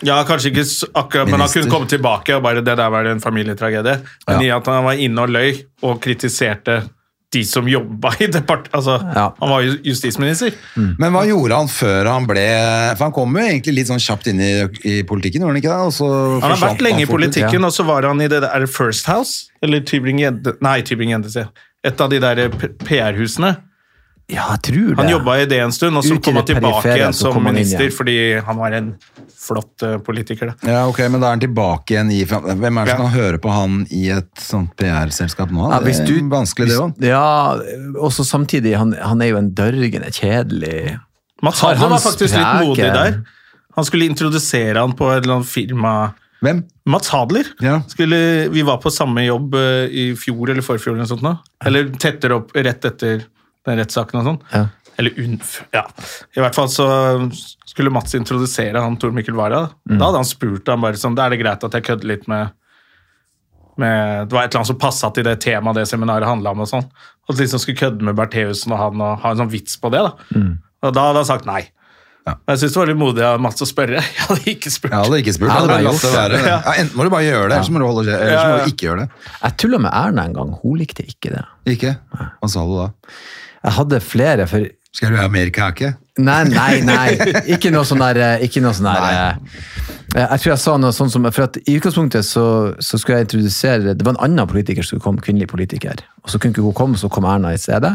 [SPEAKER 2] Ja, kanskje ikke s- akkurat, men han
[SPEAKER 1] Minister.
[SPEAKER 2] kunne komme tilbake og bare Det der var en familietragedie. Men i at han var inne og løy og kritiserte de som jobba i departementet Altså,
[SPEAKER 3] Ja.
[SPEAKER 2] han var jo justisminister.
[SPEAKER 1] men hva gjorde han før han ble For han kom jo egentlig litt sånn kjapt inn i, i politikken, gjorde han ikke det? Og så
[SPEAKER 2] Han har
[SPEAKER 1] forsvant
[SPEAKER 2] vært lenge i
[SPEAKER 1] fort ut.
[SPEAKER 2] politikken, og så var han i det der er det First House, eller Tybring-Gjedde Nei, Tybring-Gjedde, sier jeg. Et av de der P- PR-husene.
[SPEAKER 3] Ja, jeg tror det.
[SPEAKER 2] Han jobba i det en stund, og så
[SPEAKER 3] Ut i
[SPEAKER 2] kom han
[SPEAKER 3] det
[SPEAKER 2] tilbake
[SPEAKER 3] perifere,
[SPEAKER 2] igjen
[SPEAKER 3] så
[SPEAKER 2] som
[SPEAKER 3] kom han inn
[SPEAKER 2] minister
[SPEAKER 3] igjen.
[SPEAKER 2] fordi han var en flott eh, politiker. Da.
[SPEAKER 1] Ja, ok, men da er han tilbake igjen i Hvem er det som
[SPEAKER 2] Ja.
[SPEAKER 1] kan høre på han i et sånt PR-selskap nå?
[SPEAKER 3] Ja, hvis
[SPEAKER 1] det er
[SPEAKER 3] du-
[SPEAKER 1] vanskelig, det
[SPEAKER 3] hvis-
[SPEAKER 1] òg.
[SPEAKER 3] Ja, og så samtidig, han, han er jo en dørgende kjedelig
[SPEAKER 2] Mats Hansen
[SPEAKER 3] Har han
[SPEAKER 2] var faktisk litt
[SPEAKER 3] spreke-
[SPEAKER 2] modig der. Han skulle introdusere han på et eller annet firma
[SPEAKER 1] Hvem?
[SPEAKER 2] Mats Hadler.
[SPEAKER 1] Ja.
[SPEAKER 2] Skulle, vi var på samme jobb eh, i fjor eller forfjor, eller, noe sånt nå. eller tettere opp rett etter den rettssaken og sånn.
[SPEAKER 3] Ja.
[SPEAKER 2] Eller UNF. Ja. I hvert fall så skulle Mats introdusere han Tor Mikkel Wara.
[SPEAKER 3] Mm.
[SPEAKER 2] Da hadde han spurt han bare sånn, da er det greit at jeg kødder litt med, med Det var et eller annet som passa til det temaet det seminaret handla om. og sånn. At liksom skulle kødde med Bertheussen og han og ha en sånn vits på det. da.
[SPEAKER 3] Mm.
[SPEAKER 2] Og da hadde han sagt nei. Men Jeg syns det var litt modig av Mats å spørre. *laughs* Jeg hadde ikke spurt.
[SPEAKER 1] Jeg hadde ikke spurt.
[SPEAKER 3] Ja,
[SPEAKER 1] Jeg
[SPEAKER 3] det
[SPEAKER 1] hadde
[SPEAKER 3] er
[SPEAKER 1] bare latt det
[SPEAKER 3] gjort
[SPEAKER 1] være. Ja, enten må du bare gjøre det, eller så må du, holde, kje- eller så må du ikke gjøre det.
[SPEAKER 3] Jeg tulla med Erna en gang, hun likte ikke det.
[SPEAKER 1] Ikke? Hva sa du da?
[SPEAKER 3] Jeg hadde flere, for
[SPEAKER 1] Skal du ha mer kake?
[SPEAKER 3] Nei, nei, nei. Ikke noe sånn der, eh, ikke noe sånn der eh, Jeg tror jeg sa noe sånn som For at i utgangspunktet så, så skulle jeg introdusere Det var en annen politiker som kom, kvinnelig politiker. Og så kunne ikke hun komme, så kom Erna i stedet.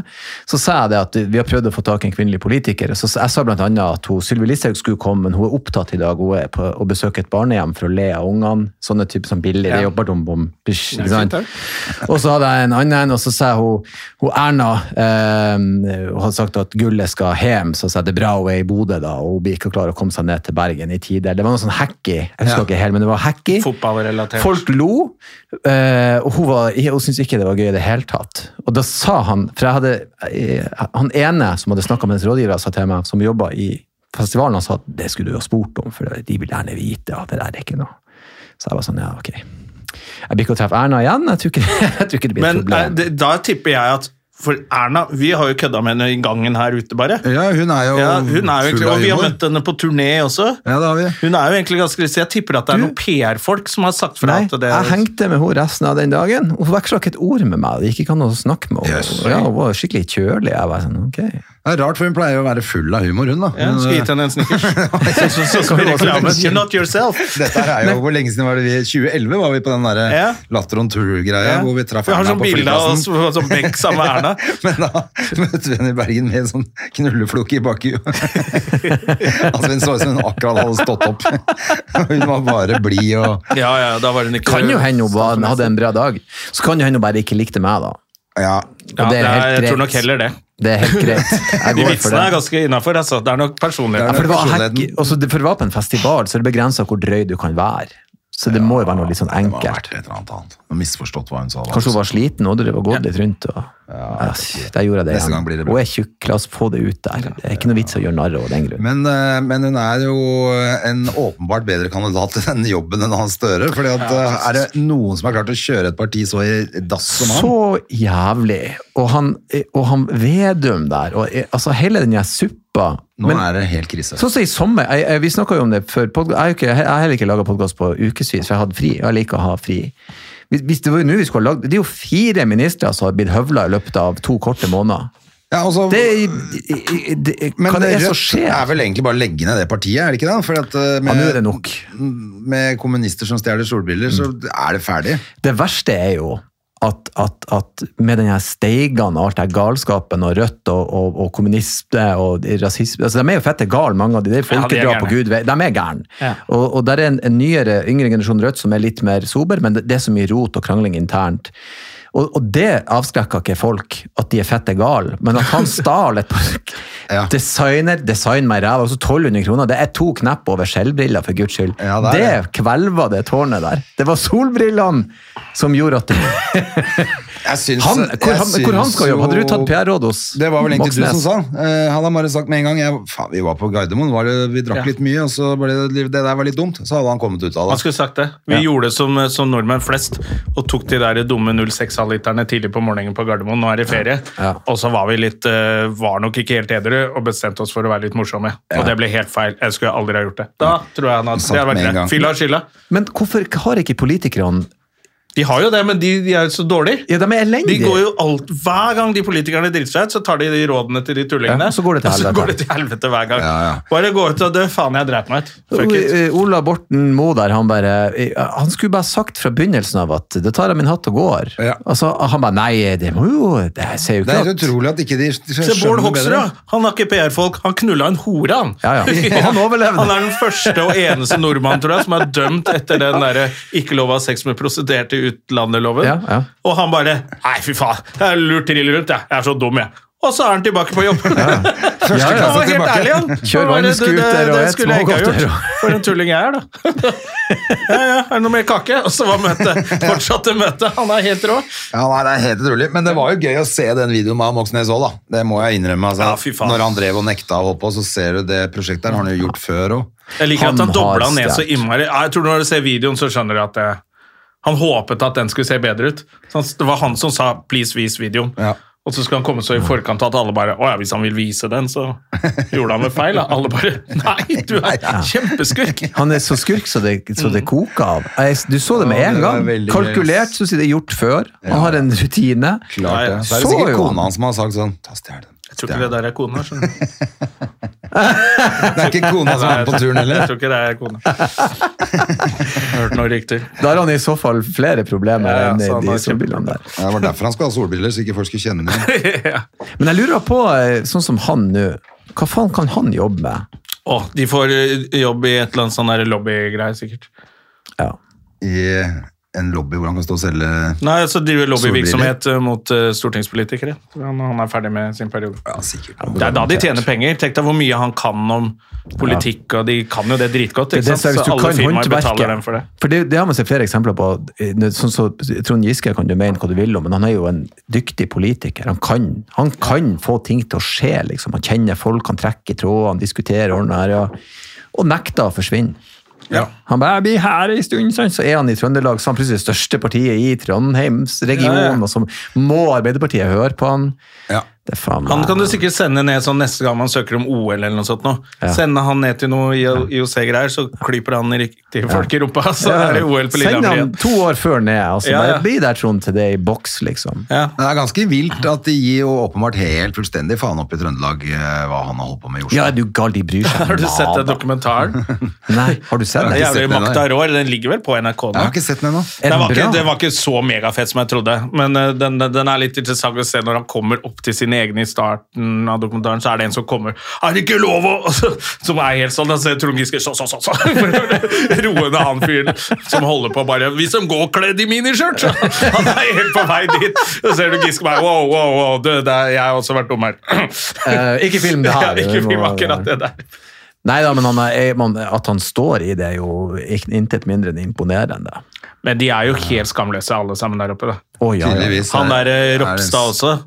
[SPEAKER 3] Så sa jeg det at vi har prøvd å få tak i en kvinnelig politiker. Så jeg sa blant annet at hun- Sylvi Listhaug skulle komme, men hun er opptatt i dag. Hun er på å besøke et barnehjem for å le av ungene. Sånne typer som billig. Det jobber de om. Bish, ikke sant? Og så hadde jeg en annen, en, og så sa hun, hun Erna eh, Hun hadde sagt at gullet skal hjem, så sa jeg det er bra hun er i Bodø, da, og hun blir ikke klar å komme seg ned til Bergen i tide. Det var noe sånn hacky. Jeg husker
[SPEAKER 1] Ja.
[SPEAKER 3] ikke helt, men det var hacky.
[SPEAKER 2] Fotballrelatert.
[SPEAKER 3] Folk lo, eh, og hun, var, hun syntes ikke det var gøy i det hele tatt. prat. Og da sa han For jeg hadde, eh, han ene som hadde snakka med hans rådgivere, sa til meg, som jobba i festivalen, han sa at det skulle du ha spurt om, for de vil gjerne vite at det der er ikke noe. Så jeg var sånn, ja, ok. Jeg blir ikke å treffe Erna igjen. Jeg tror ikke, jeg tror ikke det *laughs* blir et
[SPEAKER 2] Men eh,
[SPEAKER 3] problem.
[SPEAKER 2] det, da tipper jeg at For Erna, vi har jo kødda med henne i gangen her ute, bare.
[SPEAKER 1] Ja, hun er jo,
[SPEAKER 2] Ja, hun er jo egentlig,
[SPEAKER 1] full av
[SPEAKER 2] Og vi har
[SPEAKER 1] humor.
[SPEAKER 2] møtt henne på turné også.
[SPEAKER 1] Ja, det har vi.
[SPEAKER 2] Hun er jo egentlig ganske Så jeg tipper at det er noen PR-folk som har sagt fra.
[SPEAKER 3] Nei,
[SPEAKER 2] at det,
[SPEAKER 3] jeg hengte med henne resten av den dagen. Hun veksla ikke et ord med meg. Det gikk ikke an å snakke med henne.
[SPEAKER 1] Yes.
[SPEAKER 3] Ja, hun var skikkelig kjølig. Jeg var sånn, ok.
[SPEAKER 1] Det er rart, for hun pleier jo å være full av humor, hun da.
[SPEAKER 2] ja,
[SPEAKER 1] Men,
[SPEAKER 2] Skal gitt henne en *laughs* snickers. Så- så- så- så- reklamen, You're not yourself.
[SPEAKER 1] Dette her er jo hvor lenge siden var det vi 2011 var vi på den der eh,
[SPEAKER 2] Ja.
[SPEAKER 1] Latter on Tour-greia hvor vi traff
[SPEAKER 2] Vi har
[SPEAKER 1] Erna
[SPEAKER 2] sånn
[SPEAKER 1] på
[SPEAKER 2] bilde av oss
[SPEAKER 1] flyplassen.
[SPEAKER 2] på sånn benk sammen med Erna.
[SPEAKER 1] *laughs* Men da møtte vi henne i Bergen med en sånn knulleflok i bakhjulet. *laughs* altså, hun så ut som hun akkurat hadde stått opp. *laughs* hun var bare blid og
[SPEAKER 2] *laughs* Ja, ja, da var hun ikke
[SPEAKER 3] Kan jo hende hun bare hadde en bra dag. Så kan jo hende hun bare ikke likte meg, da.
[SPEAKER 1] Ja.
[SPEAKER 2] Ja,
[SPEAKER 3] Og
[SPEAKER 2] det
[SPEAKER 3] det er
[SPEAKER 2] er,
[SPEAKER 3] helt
[SPEAKER 2] jeg tror
[SPEAKER 3] greit.
[SPEAKER 2] nok heller det.
[SPEAKER 3] Det er helt
[SPEAKER 1] *laughs*
[SPEAKER 3] greit. Jeg
[SPEAKER 2] De
[SPEAKER 3] går for
[SPEAKER 2] vitsene er
[SPEAKER 3] det.
[SPEAKER 2] ganske innafor. Altså. Det er nok
[SPEAKER 3] Ja,
[SPEAKER 2] personligheten.
[SPEAKER 3] for det var hack,
[SPEAKER 1] Personligheten.
[SPEAKER 3] også, det- for det var på en festival, så er det begrensa hvor drøy du kan være. Så det må jo være noe litt sånn
[SPEAKER 1] Det må ha vært
[SPEAKER 3] enkelt.
[SPEAKER 1] et eller annet annet. Hun har misforstått hva hun sa. da.
[SPEAKER 3] Kanskje hun var sliten og drev og gått litt rundt. Og, ja, der gjorde jeg det
[SPEAKER 1] Neste gang blir
[SPEAKER 3] igjen.
[SPEAKER 1] det bra.
[SPEAKER 3] Hun er tjukk, la oss få det ut der. Det er ikke noe vits å gjøre narr av den grunn.
[SPEAKER 1] Men, eh, men hun er jo en åpenbart bedre kandidat til den jobben enn Hans Støre. fordi at eh, er det noen som har klart å kjøre et parti så i dass som han?
[SPEAKER 3] Så jævlig. Og han, og han Vedum der, og altså hele den der suppa
[SPEAKER 1] Nå
[SPEAKER 3] Men-
[SPEAKER 1] er det helt krise.
[SPEAKER 3] Sånn som i sommer, jeg, jeg, Vi snakka jo om det før. podca- Jeg har jo ikke- jeg har heller ikke laga podkast på ukevis, for jeg hadde fri. og Jeg liker å ha fri. Hvis, hvis det var jo nå vi skulle ha lagd Det er jo fire ministre som har blitt høvla i løpet av to korte måneder.
[SPEAKER 1] Ja, altså,
[SPEAKER 3] Det, er- det, det
[SPEAKER 1] men
[SPEAKER 3] Hva det er som
[SPEAKER 1] Rødt er
[SPEAKER 3] skjer?
[SPEAKER 1] vel egentlig bare å legge ned det partiet, er det ikke det? For at, eh,
[SPEAKER 3] Ja, nå er det
[SPEAKER 1] med,
[SPEAKER 3] nok. Mm.
[SPEAKER 1] med kommunister som stjeler solbriller, så er det ferdig.
[SPEAKER 3] Det verste er jo at, at, at med den her steigende alt det her galskapen og Rødt og, og, og kommunisme og rasisme altså De er jo fette gale, mange av de. Det er
[SPEAKER 2] Ja, de er
[SPEAKER 3] folkedrap og
[SPEAKER 2] gærne.
[SPEAKER 3] gud vet. De er gærne.
[SPEAKER 2] Ja.
[SPEAKER 3] Og, og der er en, en nyere, yngre generasjon Rødt som er litt mer sober, men det, det er så mye rot og krangling internt. Og, og det avskrekker ikke folk, at de er fette gale, men at han stjal et par
[SPEAKER 1] Ja.
[SPEAKER 3] Designer, design meg i ræva, altså 1200 kroner. Det er to knepp over skjellbriller, for guds skyld.
[SPEAKER 1] Ja, det
[SPEAKER 3] det
[SPEAKER 1] er det.
[SPEAKER 3] kvelva det tårnet der. Det var solbrillene som gjorde at det,
[SPEAKER 1] *laughs* Jeg syns-
[SPEAKER 3] han,
[SPEAKER 1] jeg
[SPEAKER 3] hvor, han, hvor han
[SPEAKER 1] syns
[SPEAKER 3] skal jobbe? Hadde
[SPEAKER 1] jo-
[SPEAKER 3] du tatt PR-råd hos
[SPEAKER 1] Det var vel egentlig
[SPEAKER 3] Moxnes?
[SPEAKER 1] du som sa. Eh, han har bare sagt med en gang jeg, faen, Vi var på Gardermoen, var det, vi drakk
[SPEAKER 2] Ja.
[SPEAKER 1] litt mye, og så ble det, det der var litt dumt. Så hadde han kommet ut av
[SPEAKER 2] Man
[SPEAKER 1] det.
[SPEAKER 2] skulle sagt det. Vi gjorde det som, som nordmenn flest, og tok de der dumme 06-literne tidlig på morgenen på Gardermoen. Nå er det ferie.
[SPEAKER 3] Ja.
[SPEAKER 2] Og så var vi litt eh, Var nok ikke helt edru og bestemte oss for å være litt morsomme. Og det ble helt feil. Jeg skulle aldri ha gjort det. Da tror jeg han hadde
[SPEAKER 1] Sant
[SPEAKER 2] Det hadde
[SPEAKER 1] med
[SPEAKER 2] vært
[SPEAKER 1] en gang.
[SPEAKER 2] greit. Fylla og skylda.
[SPEAKER 3] Men hvorfor har ikke politikerne
[SPEAKER 2] De har jo det, men de, de er jo så dårlige.
[SPEAKER 3] Ja, de er
[SPEAKER 2] De
[SPEAKER 3] elendige!
[SPEAKER 2] går jo alt, Hver gang de politikerne driter seg ut, så tar de de rådene til de tullingene.
[SPEAKER 3] Ja, så går det til
[SPEAKER 2] og så
[SPEAKER 3] helvete.
[SPEAKER 2] går det til helvete hver gang.
[SPEAKER 1] Ja, ja.
[SPEAKER 2] Bare gå ut og dø. Faen, jeg dreit meg ut. Fuck it.
[SPEAKER 3] O- eh, Ola Borten Moe der, han bare eh, Han skulle bare sagt fra begynnelsen av at da tar jeg min hatt og går.
[SPEAKER 1] Ja.
[SPEAKER 3] Og så han bare Nei, det må jo Det ser jo
[SPEAKER 1] Det
[SPEAKER 3] ikke
[SPEAKER 1] er helt
[SPEAKER 3] at
[SPEAKER 1] utrolig at ikke de
[SPEAKER 2] Se Bård
[SPEAKER 1] skjønner det
[SPEAKER 2] Hoksrud,
[SPEAKER 1] bedre.
[SPEAKER 2] da. han har ikke PR-folk. Han knulla en hore, han.
[SPEAKER 3] Ja, ja.
[SPEAKER 2] *laughs*
[SPEAKER 3] Og han overlevde.
[SPEAKER 2] Han er den første og eneste nordmann tror jeg, som er dømt etter den derre ikke lov å ha sex med prostituerte i utlandet-loven.
[SPEAKER 3] Ja, ja.
[SPEAKER 2] Og han bare Nei, fy faen, jeg har lurt trill rundt, jeg. Jeg er så dum, jeg. Og så er han tilbake på jobb. *laughs*
[SPEAKER 1] Første
[SPEAKER 3] Ja, ja.
[SPEAKER 2] Han var
[SPEAKER 1] klasse
[SPEAKER 2] helt
[SPEAKER 1] tilbake.
[SPEAKER 2] ærlig, han.
[SPEAKER 3] Kjør
[SPEAKER 2] Han bare,
[SPEAKER 3] vannskuter
[SPEAKER 2] "Du, det-
[SPEAKER 3] og
[SPEAKER 2] det
[SPEAKER 3] et
[SPEAKER 2] skulle jeg ikke ha
[SPEAKER 3] smågodter
[SPEAKER 2] gjort." For en tulling jeg er, da. *laughs* Ja, ja, er det noe mer kake? Og så var møtet. Fortsatte møtet. Han er helt rå.
[SPEAKER 1] Ja, nei, det er helt utrolig. Men det var jo gøy å se den videoen med Moxnes òg, da. Det må jeg innrømme. Altså,
[SPEAKER 2] Ja, fy faen.
[SPEAKER 1] Når han drev og nekta å holde på, så ser du det prosjektet der. Har han jo gjort før òg.
[SPEAKER 2] Jeg liker
[SPEAKER 3] Han
[SPEAKER 2] at han
[SPEAKER 3] har
[SPEAKER 2] dobla ned så
[SPEAKER 3] stjert.
[SPEAKER 2] innmari. Ja, Jeg tror Når du ser videoen, så skjønner du at det, han håpet at den skulle se bedre ut. Så han- det var han som sa 'please, vis videoen'.
[SPEAKER 1] Ja.
[SPEAKER 2] Og så skulle han komme så i forkant at alle bare 'Å ja, hvis han vil vise den, så gjorde han vel feil', da. Alle bare 'Nei, du er kjempeskurk'.
[SPEAKER 3] Han er så skurk så det, så det koker av. Jeg, du så det med
[SPEAKER 1] Ja,
[SPEAKER 3] en
[SPEAKER 1] det var
[SPEAKER 3] gang.
[SPEAKER 1] veldig gøy.
[SPEAKER 3] Kalkulert, så å si det er gjort før. Han har en rutine.
[SPEAKER 1] Klart det.
[SPEAKER 2] Nei,
[SPEAKER 1] Så er
[SPEAKER 3] så
[SPEAKER 1] det sikkert
[SPEAKER 3] jo han.
[SPEAKER 1] kona hans som har sagt sånn Ta stjel den.
[SPEAKER 2] Jeg tror ikke det der er kona. skjønner du.
[SPEAKER 1] Det er ikke kona som er med på turen
[SPEAKER 2] Jeg
[SPEAKER 1] heller.
[SPEAKER 2] tror ikke det er kona. Hørte noen rykter.
[SPEAKER 3] *laughs* Da har han i så fall flere problemer
[SPEAKER 2] Ja, ja,
[SPEAKER 3] enn
[SPEAKER 2] så han
[SPEAKER 3] de
[SPEAKER 2] har
[SPEAKER 3] solbrillene der.
[SPEAKER 1] Ja, Det var derfor han skulle ha solbriller, så ikke folk skulle kjenne ham.
[SPEAKER 3] Men jeg lurer på, eh, sånn som han nå, hva faen kan han jobbe med?
[SPEAKER 2] Å, de får eh, jobb i et eller annet sånn der lobbygreie, sikkert.
[SPEAKER 3] Ja.
[SPEAKER 1] I en lobby hvor han kan stå og selge
[SPEAKER 2] Nei, altså, så driver lobbyvirksomhet eh, mot eh, stortingspolitikere når han er ferdig med sin periode.
[SPEAKER 1] Ja, sikkert.
[SPEAKER 2] Det er da de tjener penger. Tenk deg hvor mye han kan om politikk, og de kan jo det dritgodt.
[SPEAKER 3] Det
[SPEAKER 2] Ikke
[SPEAKER 3] er det som er
[SPEAKER 2] sant? Så
[SPEAKER 3] hvis du
[SPEAKER 2] alle
[SPEAKER 3] kan
[SPEAKER 2] firmaer
[SPEAKER 3] håndverket.
[SPEAKER 2] betaler dem for det.
[SPEAKER 3] For det, det har man sett flere eksempler på. eh, det- Sånn så, Trond Giske kan du mene hva du vil om, men han er jo en dyktig politiker. Han kan, han kan få ting til å skje. Liksom. Han kjenner folk, han trekker i tråder, han diskuterer ordene her. Ja. Og nekter å forsvinne. Han bare 'jeg blir her ei stund', sånn, så er han i Trøndelag, så han er plutselig det største partiet i
[SPEAKER 2] Ja, ja.
[SPEAKER 3] Trondheimsregionen, og så må Arbeiderpartiet høre på han.
[SPEAKER 1] Ja.
[SPEAKER 3] Det er faen meg
[SPEAKER 2] Han kan du sikkert sende ned sånn neste gang man søker om OL eller noe sånt. Nå.
[SPEAKER 3] Ja.
[SPEAKER 2] Sende han ned til noe IOC-greier, så klyper han riktige folk i rumpa, *laughs* så er det OL på
[SPEAKER 3] Send
[SPEAKER 2] Lillehammer
[SPEAKER 3] han
[SPEAKER 2] igjen.
[SPEAKER 3] to år før ned, og så
[SPEAKER 2] Ja, ja.
[SPEAKER 3] bare bli der, Trond, til det er i boks, liksom.
[SPEAKER 2] Ja.
[SPEAKER 1] Men Det er ganske vilt at de gir jo åpenbart helt fullstendig faen opp i Trøndelag eh, hva han har holdt på med i Oslo.
[SPEAKER 3] Ja, er du gal, de bryr
[SPEAKER 2] *laughs*
[SPEAKER 3] seg.
[SPEAKER 2] Har du sett den
[SPEAKER 3] nada.
[SPEAKER 2] dokumentaren?
[SPEAKER 3] Nei, har
[SPEAKER 2] *laughs*
[SPEAKER 3] du sett
[SPEAKER 2] Det er
[SPEAKER 3] den?
[SPEAKER 1] ikke
[SPEAKER 2] jævlig
[SPEAKER 1] sett den,
[SPEAKER 2] makta
[SPEAKER 1] nei.
[SPEAKER 2] rår. Den ligger vel på NRK nå?
[SPEAKER 1] Jeg har ikke sett den ennå.
[SPEAKER 2] Det
[SPEAKER 3] Er den
[SPEAKER 2] var, ikke,
[SPEAKER 3] bra?
[SPEAKER 2] det var ikke så megafett som jeg trodde, men eh, den, den- den er litt interessant å se når han kommer opp til sine egne i starten av dokumentaren, så er det en som kommer Er det ikke lov å *laughs* Og så- Som er helt sånn. Da ser Trond Giske sånn, sånn, sånn. sånn. *laughs* Roende han fyren som holder på bare Vi som går kledd i miniskjørt! så Han er helt på vei dit. Så ser du Giske bare Wow, wow, wow. Du, det er, jeg har også vært dum her.
[SPEAKER 3] Eh, ikke film det
[SPEAKER 2] *laughs*
[SPEAKER 3] her.
[SPEAKER 2] Ja, ikke film akkurat det der.
[SPEAKER 3] Nei da, men han er, er- man, at han står i det er jo ikke- intet mindre enn imponerende.
[SPEAKER 2] Men de er jo helt skamløse, alle sammen der oppe. da.
[SPEAKER 3] Å, ja, ja.
[SPEAKER 1] Tydeligvis.
[SPEAKER 2] Han
[SPEAKER 1] er-
[SPEAKER 2] der eh,
[SPEAKER 1] er det-
[SPEAKER 2] Ropstad også,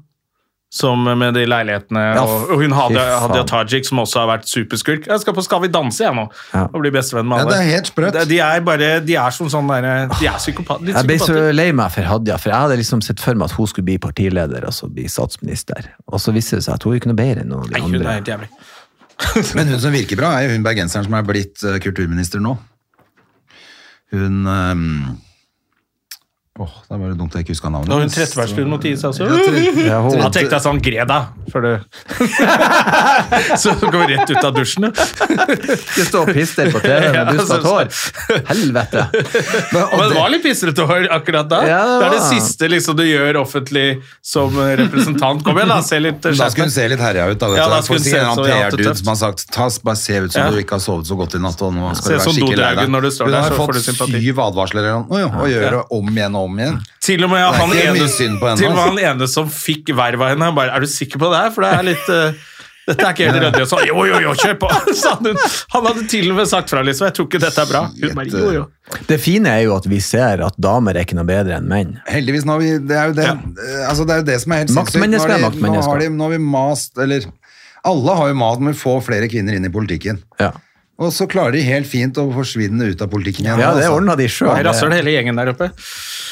[SPEAKER 2] som eh, med de leilighetene
[SPEAKER 3] Ja,
[SPEAKER 2] og, og hun Hadia,
[SPEAKER 3] fy faen.
[SPEAKER 2] Hadia Tajik, som også har vært superskurk. Jeg skal på Skal vi danse, jeg nå,
[SPEAKER 3] Ja.
[SPEAKER 2] og bli bestevenn med
[SPEAKER 1] Ja,
[SPEAKER 2] alle.
[SPEAKER 1] det er helt sprøtt.
[SPEAKER 2] Det- De er bare De er som sånn derre De er psykopat, litt
[SPEAKER 3] Jeg ble så
[SPEAKER 2] psykopater.
[SPEAKER 3] lei meg for Hadia, for jeg hadde liksom sett for meg at hun skulle bli partileder og så bli statsminister. Og så viste det seg at hun er ikke noe bedre enn noen av de
[SPEAKER 2] Nei, hun er
[SPEAKER 3] andre.
[SPEAKER 2] helt jævlig.
[SPEAKER 1] Men hun som virker bra, er jo hun bergenseren som er blitt eh, kulturminister nå. Hun ehm, Åh, det var det dumt jeg ikke huska navnet.
[SPEAKER 2] Og hun Trettebergstuen måtte gi seg også. *laughs*
[SPEAKER 3] Ja, hun-
[SPEAKER 2] Han tenkte sånn Greda, før du *laughs* Så hun går rett ut av dusjen.
[SPEAKER 3] Ikke stå og pisse
[SPEAKER 2] *laughs*
[SPEAKER 3] deg på TV
[SPEAKER 2] Ja, altså,
[SPEAKER 3] med dustete
[SPEAKER 2] så- *laughs*
[SPEAKER 3] hår. Helvete!
[SPEAKER 2] Men
[SPEAKER 1] og
[SPEAKER 2] det
[SPEAKER 1] det-
[SPEAKER 2] var litt pissete hår akkurat da.
[SPEAKER 3] Ja, det
[SPEAKER 2] det, er det
[SPEAKER 3] var.
[SPEAKER 2] siste liksom, du gjør offentlig som eh, representant. Kom igjen, da. Se litt eh,
[SPEAKER 1] Da
[SPEAKER 2] skjerpet.
[SPEAKER 1] skulle hun se litt herja ut. da, vet
[SPEAKER 2] Ja,
[SPEAKER 1] du.
[SPEAKER 2] da
[SPEAKER 1] Jeg
[SPEAKER 2] skulle
[SPEAKER 1] får
[SPEAKER 2] hun
[SPEAKER 1] si
[SPEAKER 2] se
[SPEAKER 1] en
[SPEAKER 2] ut
[SPEAKER 1] annen
[SPEAKER 2] som jævla
[SPEAKER 1] PR-dude
[SPEAKER 2] tøft.
[SPEAKER 1] som har sagt Ta, bare se ut som
[SPEAKER 2] Ja.
[SPEAKER 1] du ikke har sovet så godt i natt. og nå
[SPEAKER 2] Se
[SPEAKER 1] skal
[SPEAKER 2] som
[SPEAKER 1] du være skikkelig lei
[SPEAKER 2] dodragen
[SPEAKER 1] deg.
[SPEAKER 2] når du står
[SPEAKER 1] Hun
[SPEAKER 2] der,
[SPEAKER 1] har
[SPEAKER 2] så får
[SPEAKER 1] fått
[SPEAKER 2] du sympati.
[SPEAKER 1] syv advarsler eller noe, og gjør det om igjen og om igjen.
[SPEAKER 2] Til og med han
[SPEAKER 1] Det er ikke
[SPEAKER 2] ene,
[SPEAKER 1] mye synd på henne,
[SPEAKER 2] til og med
[SPEAKER 1] altså.
[SPEAKER 2] han ene som fikk verv av henne, han bare Er du sikker på det her? For det er litt eh, dette er ikke helt ryddig. Og så jo, jo, jo, kjør på! *laughs* sa hun. Han hadde til og med sagt fra, liksom. Jeg tror ikke dette er bra. Hun bare, jo, jo.
[SPEAKER 3] Det fine er jo at vi ser at damer er ikke noe bedre enn menn.
[SPEAKER 1] Heldigvis, nå har vi, det er jo det, eh, altså, det, er jo det som er helt sinnssykt. Nå
[SPEAKER 3] Maktmennesker
[SPEAKER 1] har de-
[SPEAKER 3] er
[SPEAKER 1] Nå har
[SPEAKER 3] maktmennesker.
[SPEAKER 1] de- nå har vi mast, eller Alle har jo mast med å få flere kvinner inn i politikken.
[SPEAKER 3] Ja,
[SPEAKER 1] Og så klarer de helt fint å forsvinne ut av politikken igjen.
[SPEAKER 3] ja det
[SPEAKER 1] altså.
[SPEAKER 3] ordna de sjøl.
[SPEAKER 2] Jeg rasser hele gjengen der oppe.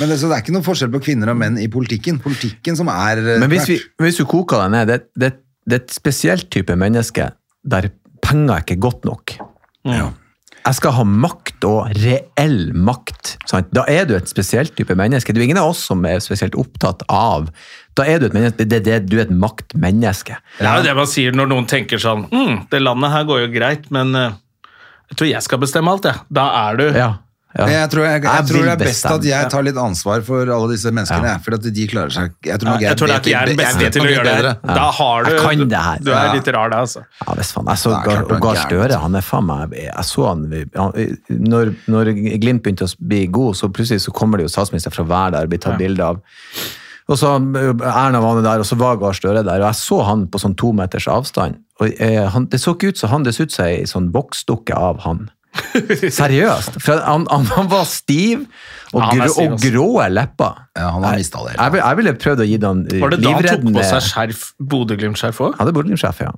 [SPEAKER 1] Men det, så det er ikke noen forskjell på kvinner og menn i politikken. Politikken som er eh,
[SPEAKER 3] Men hvis, vi,
[SPEAKER 1] tvert.
[SPEAKER 3] hvis du koker deg ned, det, det, det er et spesielt type menneske der penger er ikke godt nok. Jeg skal ha makt og reell makt. Sant? Da er du et spesielt type menneske. Det er jo ingen av oss som er spesielt opptatt av Da er du et menneske, det, det, du er et maktmenneske.
[SPEAKER 2] Det er jo det man sier når noen tenker sånn mm, Det landet her går jo greit, men eh, jeg tror jeg skal bestemme alt, jeg. Da er du
[SPEAKER 3] Ja, ja.
[SPEAKER 1] Men jeg tror, jeg, jeg, tror
[SPEAKER 3] vil
[SPEAKER 1] det er best
[SPEAKER 3] bestemme.
[SPEAKER 1] at jeg tar litt ansvar for alle disse menneskene. jeg, For at de klarer seg Jeg tror, nok
[SPEAKER 2] Jeg tror da ikke jeg er den
[SPEAKER 1] vet-
[SPEAKER 2] beste
[SPEAKER 1] vet
[SPEAKER 2] til å
[SPEAKER 1] nok
[SPEAKER 2] gjøre det. her.
[SPEAKER 1] bedre.
[SPEAKER 2] Da har du
[SPEAKER 3] Jeg kan det her.
[SPEAKER 2] Du er litt rar, da, altså.
[SPEAKER 3] Ja, hvis faen. Jeg så
[SPEAKER 1] Det er klart
[SPEAKER 3] Gar-
[SPEAKER 1] det er
[SPEAKER 3] Gahr
[SPEAKER 1] gærent.
[SPEAKER 3] Støre. Han er faen meg Jeg så han, han når, når Glimt begynte å bli god, så plutselig så kommer det jo statsminister fra hver der og blir tatt bilde av. Og så Erna var der, og så var Gahr Støre der. Og jeg så han på sånn to meters avstand. Og eh, han, Det så ikke ut som han, det så ut som ei sånn voksdukke av
[SPEAKER 2] *laughs*
[SPEAKER 3] han. Seriøst. For han, han, han var stiv, og,
[SPEAKER 2] Ja, han er
[SPEAKER 3] grå,
[SPEAKER 2] stiv,
[SPEAKER 3] og
[SPEAKER 2] altså.
[SPEAKER 3] grå lepper.
[SPEAKER 1] Ja, han har mistet det hele.
[SPEAKER 3] Jeg, vil- jeg ville prøvd å gi han eh,
[SPEAKER 2] Var det da han tok på
[SPEAKER 3] livreddende
[SPEAKER 2] seg skjerf, Bodø-Glimt-skjerf òg?
[SPEAKER 3] Han er Bodø-Glimt-sjef, ja.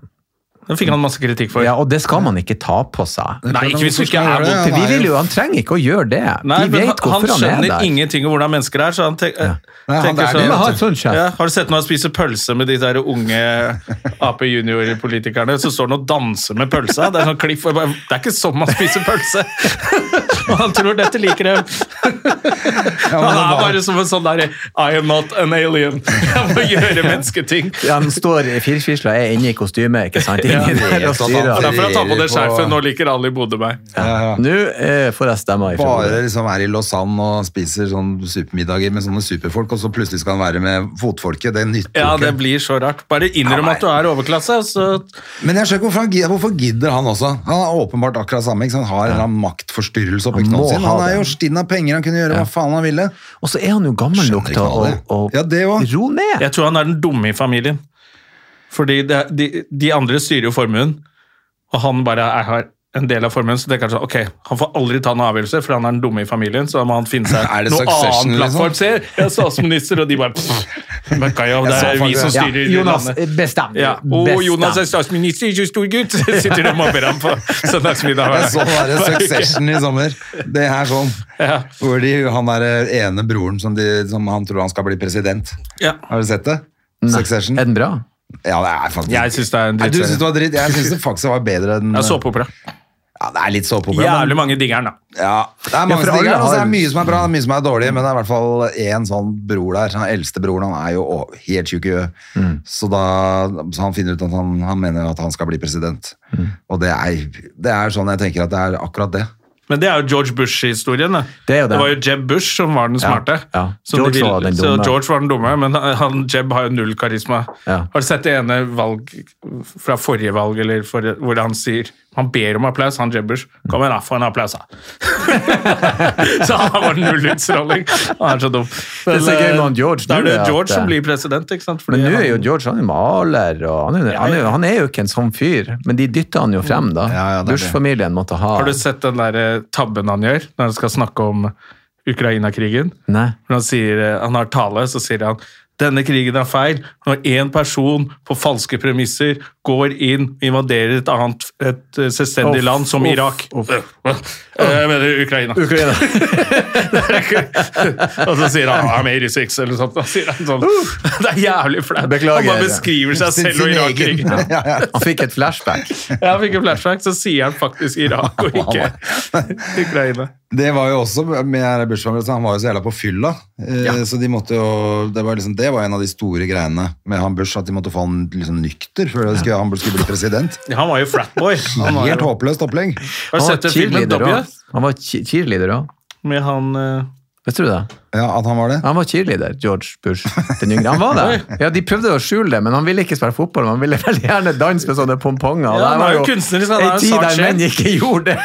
[SPEAKER 2] Det fikk han masse kritikk for.
[SPEAKER 3] ja. Og det skal man ikke ta på seg.
[SPEAKER 2] Nei, ikke hvis du ikke er
[SPEAKER 1] Ja,
[SPEAKER 2] vondt.
[SPEAKER 3] vi
[SPEAKER 1] nei.
[SPEAKER 3] vil jo, Han trenger ikke å gjøre det.
[SPEAKER 2] Nei,
[SPEAKER 3] vi
[SPEAKER 2] men
[SPEAKER 3] vet
[SPEAKER 2] han, han
[SPEAKER 3] hvorfor han,
[SPEAKER 2] skjønner
[SPEAKER 3] er der.
[SPEAKER 2] ingenting om hvordan mennesker er, så han tenk,
[SPEAKER 1] Nei, han
[SPEAKER 2] tenker
[SPEAKER 1] er det,
[SPEAKER 2] sånn
[SPEAKER 1] vet
[SPEAKER 3] ha et sånt sjef.
[SPEAKER 2] ja, Har du sett når han spiser pølse med de der unge Ap junior-politikerne? Så står han og danser med pølsa. Det er sånn kliff, og jeg bare, det er ikke sånn man spiser pølse! og han tror dette liker jeg.
[SPEAKER 1] Ja, men
[SPEAKER 2] han
[SPEAKER 1] det
[SPEAKER 2] er
[SPEAKER 1] var-
[SPEAKER 2] bare som en sånn derre I am not an alien. *laughs* Jeg må gjøre mennesketing.
[SPEAKER 3] Han står i firfisla, er inne i kostyme, ikke sant? Inni
[SPEAKER 1] Ja.
[SPEAKER 3] der og
[SPEAKER 2] Det er
[SPEAKER 3] styrer.
[SPEAKER 2] derfor jeg tar på det skjerfet. Nå liker alle i Bodø meg.
[SPEAKER 3] Nå eh, får jeg stemmer ifra.
[SPEAKER 1] Bare liksom er i Lausanne og spiser sånn supermiddager med sånne superfolk, og så plutselig skal han være med fotfolket. Det nytter
[SPEAKER 2] Ja,
[SPEAKER 1] jo ikke.
[SPEAKER 2] det blir så rart. Bare innrøm at du er overklasse, og så
[SPEAKER 1] Men jeg skjønner ikke hvorfor, han gi- hvorfor gidder han også. Han er åpenbart akkurat samme. Ikke? sant? Han har en eller annen maktforstyrrelse jobbe
[SPEAKER 3] Han må
[SPEAKER 1] knallen sin.
[SPEAKER 3] ha
[SPEAKER 1] Han er
[SPEAKER 3] det.
[SPEAKER 1] jo stinn av penger, han kunne gjøre hva faen han ville.
[SPEAKER 3] Og så er han jo gammel
[SPEAKER 1] Skjønner
[SPEAKER 3] nok
[SPEAKER 1] ikke
[SPEAKER 3] til å,
[SPEAKER 1] alle.
[SPEAKER 3] å
[SPEAKER 1] Ja, det også.
[SPEAKER 3] *laughs* ro ned.
[SPEAKER 2] Jeg tror han er den dumme i familien. Fordi det, er- de, de andre styrer jo formuen, og han bare er, har en del av formuen. Så tenker han sånn, ok, han får aldri ta noen avgjørelser, for han er den dumme i familien. Så da må han finne seg
[SPEAKER 1] *laughs* Er det
[SPEAKER 2] noe
[SPEAKER 1] Succession,
[SPEAKER 2] annet
[SPEAKER 1] liksom?
[SPEAKER 2] plattform. Se, jeg er statsminister, og de bare pff, men Kaja, det
[SPEAKER 1] Jeg
[SPEAKER 2] er
[SPEAKER 1] så
[SPEAKER 2] vi som
[SPEAKER 1] faktisk-
[SPEAKER 2] styrer i
[SPEAKER 3] Jonas, eh,
[SPEAKER 2] landet.
[SPEAKER 3] bestem.
[SPEAKER 2] Ja. Og Jonas er statsminister, ikke stor gutt! *laughs* Sitter de og mobber ham på søndagsmiddag.
[SPEAKER 1] Jeg så bare Succession i sommer. Det her sånn.
[SPEAKER 2] Ja.
[SPEAKER 1] Hvor de, han er eh, ene broren som, de, som han tror han skal bli president.
[SPEAKER 2] Ja.
[SPEAKER 1] Har du sett det? Succession?
[SPEAKER 3] Er den bra?
[SPEAKER 1] Ja, det er faktisk
[SPEAKER 2] Jeg syns det er en
[SPEAKER 1] Nei, du synes det
[SPEAKER 2] drittserie.
[SPEAKER 1] var dritt. Jeg syns det faktisk var bedre enn
[SPEAKER 2] Det er såpeopera.
[SPEAKER 1] Ja, det er litt såpeopera. men-
[SPEAKER 2] Jævlig mange digger den, da.
[SPEAKER 1] Ja, det er
[SPEAKER 3] Ja,
[SPEAKER 1] mange
[SPEAKER 3] for
[SPEAKER 1] som digger
[SPEAKER 3] alle
[SPEAKER 1] den, og så er det
[SPEAKER 3] har-
[SPEAKER 1] mye som er bra, mye som er dårlig, men det er i hvert fall én sånn bror der. Han eldste broren, han er jo å- helt tjukk i huet. Så da så han finner ut at han, han mener at han skal bli president. Og det er, det er sånn jeg tenker at det er akkurat det.
[SPEAKER 2] Men det er jo George Bush-historien. da.
[SPEAKER 3] Det er jo det.
[SPEAKER 2] var jo Jeb Bush som var den smarte.
[SPEAKER 3] ja.
[SPEAKER 2] Som de
[SPEAKER 3] George var den
[SPEAKER 2] så
[SPEAKER 3] dumme.
[SPEAKER 2] George var den dumme, men han, Jeb har jo null karisma.
[SPEAKER 3] Ja.
[SPEAKER 2] Har du sett det ene valg fra forrige valg, eller forrige, hvor han sier Han ber om applaus, han Jeb Bush. Kom igjen, da, få en applaus, da. *laughs* så han var null utstråling. Han er så dum. eh,
[SPEAKER 3] er så gøy med han George
[SPEAKER 2] Da
[SPEAKER 3] nå,
[SPEAKER 2] er det
[SPEAKER 3] det at-
[SPEAKER 2] George som blir president, ikke sant?
[SPEAKER 3] Men nå er jo
[SPEAKER 2] han-
[SPEAKER 3] George han er maler, og han er, han er, jo- han er jo ikke en sånn fyr. Men de dytter han jo frem, da.
[SPEAKER 1] Ja, ja, det er det.
[SPEAKER 3] Bush-familien måtte ha
[SPEAKER 2] Har du sett den der eh, tabben han gjør når han skal snakke om Ukraina-krigen?
[SPEAKER 3] Nei.
[SPEAKER 2] Når han, sier, eh, han har tale, så sier han denne krigen er feil når én person på falske premisser går inn og invaderer et annet et eh, selvstendig
[SPEAKER 3] Uff,
[SPEAKER 2] land, som
[SPEAKER 3] uff,
[SPEAKER 2] Irak.
[SPEAKER 3] uff.
[SPEAKER 2] Øh, øh, *laughs* Jeg mener Ukraina. *laughs* og så sier han I'm 86, eller sånt. Da sier han sånn. *laughs* Det er jævlig flaut.
[SPEAKER 3] Beklager.
[SPEAKER 2] Han bare beskriver seg
[SPEAKER 1] Sin-
[SPEAKER 2] selv og
[SPEAKER 1] sin
[SPEAKER 2] Irak-krigen.
[SPEAKER 1] egen. *laughs* Ja, ja.
[SPEAKER 3] Han fikk et flashback.
[SPEAKER 2] Jeg fikk en flashback, så sier han faktisk Irak og ikke Ukraina.
[SPEAKER 1] Det var jo også med bursdagen, han var jo så jævla på fylla. eh, Så de måtte jo, det var, liksom, det var en av de store greiene med han Bush, at de måtte få han liksom nykter før de skulle, han skulle bli president.
[SPEAKER 2] Han var jo flatboy. Han var
[SPEAKER 1] Helt
[SPEAKER 2] jo,
[SPEAKER 1] håpløst opplegg.
[SPEAKER 2] har du
[SPEAKER 3] Han var
[SPEAKER 2] sett den filmen
[SPEAKER 3] cheerleader
[SPEAKER 2] W?
[SPEAKER 3] også. Han var che- cheerleader òg.
[SPEAKER 2] Med han eh,
[SPEAKER 3] Visste du det?
[SPEAKER 1] Ja, at han var det.
[SPEAKER 3] Han var cheerleader, George Bush. Den yngre. Han
[SPEAKER 2] *laughs*
[SPEAKER 3] var det. Ja, De prøvde å skjule det, men han ville ikke spille fotball. men Han ville veldig gjerne danse med sånne pomponger. og
[SPEAKER 2] Ja,
[SPEAKER 3] der
[SPEAKER 2] han
[SPEAKER 3] var
[SPEAKER 2] er jo kunstnerisk, han er
[SPEAKER 3] en
[SPEAKER 2] en
[SPEAKER 3] tid
[SPEAKER 2] sart
[SPEAKER 3] der
[SPEAKER 2] sjel.
[SPEAKER 3] menn ikke gjorde
[SPEAKER 2] *laughs*
[SPEAKER 3] det.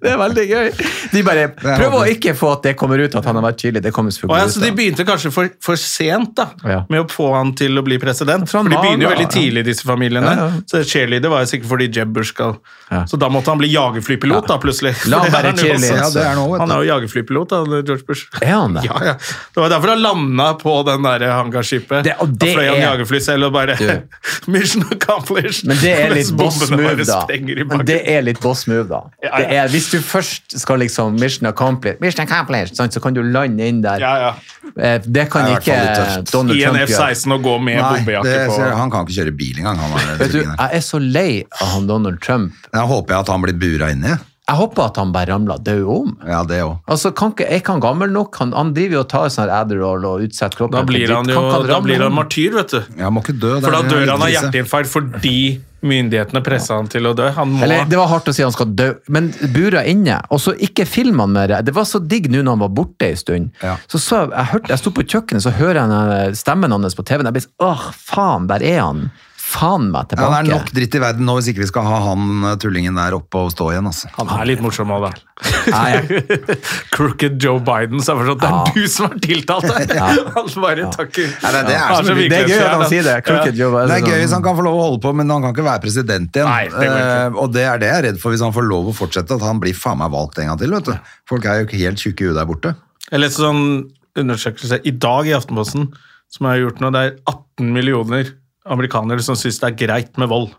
[SPEAKER 3] det er veldig gøy. De bare prøv å ikke få at det kommer ut at han har vært cheerleader. Det kommer
[SPEAKER 2] Å
[SPEAKER 3] selvfølgelig
[SPEAKER 2] ja, så de
[SPEAKER 3] ut. da.
[SPEAKER 2] begynte kanskje for, for sent da,
[SPEAKER 3] Ja.
[SPEAKER 2] med å få han til å bli president.
[SPEAKER 3] Fra
[SPEAKER 2] For de begynner jo
[SPEAKER 3] Mala,
[SPEAKER 2] veldig
[SPEAKER 3] ja.
[SPEAKER 2] tidlig, disse familiene.
[SPEAKER 3] Ja, ja.
[SPEAKER 2] Så cheerleader var jo sikkert fordi Jeb Bush skal
[SPEAKER 3] Ja.
[SPEAKER 2] Så da måtte han bli jagerflypilot, da, plutselig.
[SPEAKER 3] La han
[SPEAKER 2] For *laughs* det er
[SPEAKER 3] være
[SPEAKER 2] jo også.
[SPEAKER 3] cheerleader.
[SPEAKER 1] Ja, det er nå, vet du.
[SPEAKER 2] Han er jo jagerflypilot, da, George Bush.
[SPEAKER 3] Er han det?
[SPEAKER 2] *laughs* Ja, ja. Det var derfor han landa på den der hangarskipet.
[SPEAKER 3] Det- og det
[SPEAKER 2] da fløy han
[SPEAKER 3] er-
[SPEAKER 2] jagerfly selv og bare *laughs* Mission accomplished!
[SPEAKER 3] Men det er
[SPEAKER 2] Mens
[SPEAKER 3] litt boss
[SPEAKER 2] *laughs* bombene
[SPEAKER 3] move,
[SPEAKER 2] bare
[SPEAKER 3] da.
[SPEAKER 2] sprenger i
[SPEAKER 3] Men
[SPEAKER 2] bakken.
[SPEAKER 3] det er litt boss move, da.
[SPEAKER 2] Ja,
[SPEAKER 3] Det
[SPEAKER 2] ja.
[SPEAKER 3] er, hvis du først skal liksom mission accomplished, mission accomplished sant, så kan du lande inn der.
[SPEAKER 2] Ja, ja.
[SPEAKER 3] Eh, Det kan
[SPEAKER 1] Det er i hvert
[SPEAKER 3] ikke
[SPEAKER 1] fall litt tøft.
[SPEAKER 3] Donald
[SPEAKER 2] I en
[SPEAKER 3] Trump gjøre.
[SPEAKER 2] F-16 og gå med
[SPEAKER 1] Nei, det,
[SPEAKER 2] bombejakke på
[SPEAKER 1] ser- han kan ikke kjøre bil engang. Han er,
[SPEAKER 3] Vet du, jeg er så lei av han Donald Trump.
[SPEAKER 1] Jeg håper jeg at han blir bura inni.
[SPEAKER 3] Jeg håper at han bare ramler død om.
[SPEAKER 1] Ja, det òg.
[SPEAKER 3] Altså, kan ikke, Er ikke han gammel nok? Han, han driver jo og tar sånn her Adderall og utsetter kroppen.
[SPEAKER 2] Da
[SPEAKER 3] for
[SPEAKER 2] blir
[SPEAKER 3] dritt.
[SPEAKER 2] han
[SPEAKER 3] Kan
[SPEAKER 2] jo
[SPEAKER 3] ikke
[SPEAKER 2] da
[SPEAKER 3] ramle
[SPEAKER 2] blir han
[SPEAKER 3] om?
[SPEAKER 2] martyr, vet du.
[SPEAKER 1] Jeg må ikke dø. det
[SPEAKER 2] For da
[SPEAKER 1] er
[SPEAKER 2] dør
[SPEAKER 1] litt
[SPEAKER 2] han av
[SPEAKER 1] krise.
[SPEAKER 2] hjerteinfarkt fordi myndighetene pressa han til å dø. Han må
[SPEAKER 3] Eller, Det var hardt å si han skal dø, men bura inne. Og så ikke film han mer. Det var så digg nå når han var borte en stund.
[SPEAKER 1] Ja.
[SPEAKER 3] Så så jeg, jeg, hørte, jeg sto på kjøkkenet, så hører jeg den der stemmen hans på TV-en. Jeg ble sånn Åh, faen, der er han! Faen
[SPEAKER 1] Ja,
[SPEAKER 3] meg
[SPEAKER 1] det
[SPEAKER 3] tilbake.
[SPEAKER 1] er nok dritt i verden nå hvis ikke vi skal ha han eh, tullingen der oppe og stå igjen. Altså.
[SPEAKER 2] Han er litt morsom òg, da.
[SPEAKER 3] Nei, jeg-
[SPEAKER 2] *laughs* Crooked Joe Biden sa fortsatt det er du som er tiltalt! her!» *laughs* Han bare takker.
[SPEAKER 1] Nei, det- det er
[SPEAKER 2] Han
[SPEAKER 1] så mye-
[SPEAKER 2] virkelig
[SPEAKER 3] det er gøy at
[SPEAKER 2] fjern,
[SPEAKER 3] han sier det. Crooked Joe Biden.
[SPEAKER 1] Det er sånn- gøy hvis han kan få lov å holde på, men han kan ikke være president igjen.
[SPEAKER 2] sånn- Nei, det går ikke.
[SPEAKER 1] Eh, og det er det jeg er redd for hvis han får lov å fortsette, at han blir faen meg valgt en gang til. Vet du. Folk er jo ikke helt tjukke i huet der borte.
[SPEAKER 2] Jeg leste sånn undersøkelse i dag i Aftenposten som jeg har gjort nå. Det er 18 millioner amerikanere som syns det er greit med vold.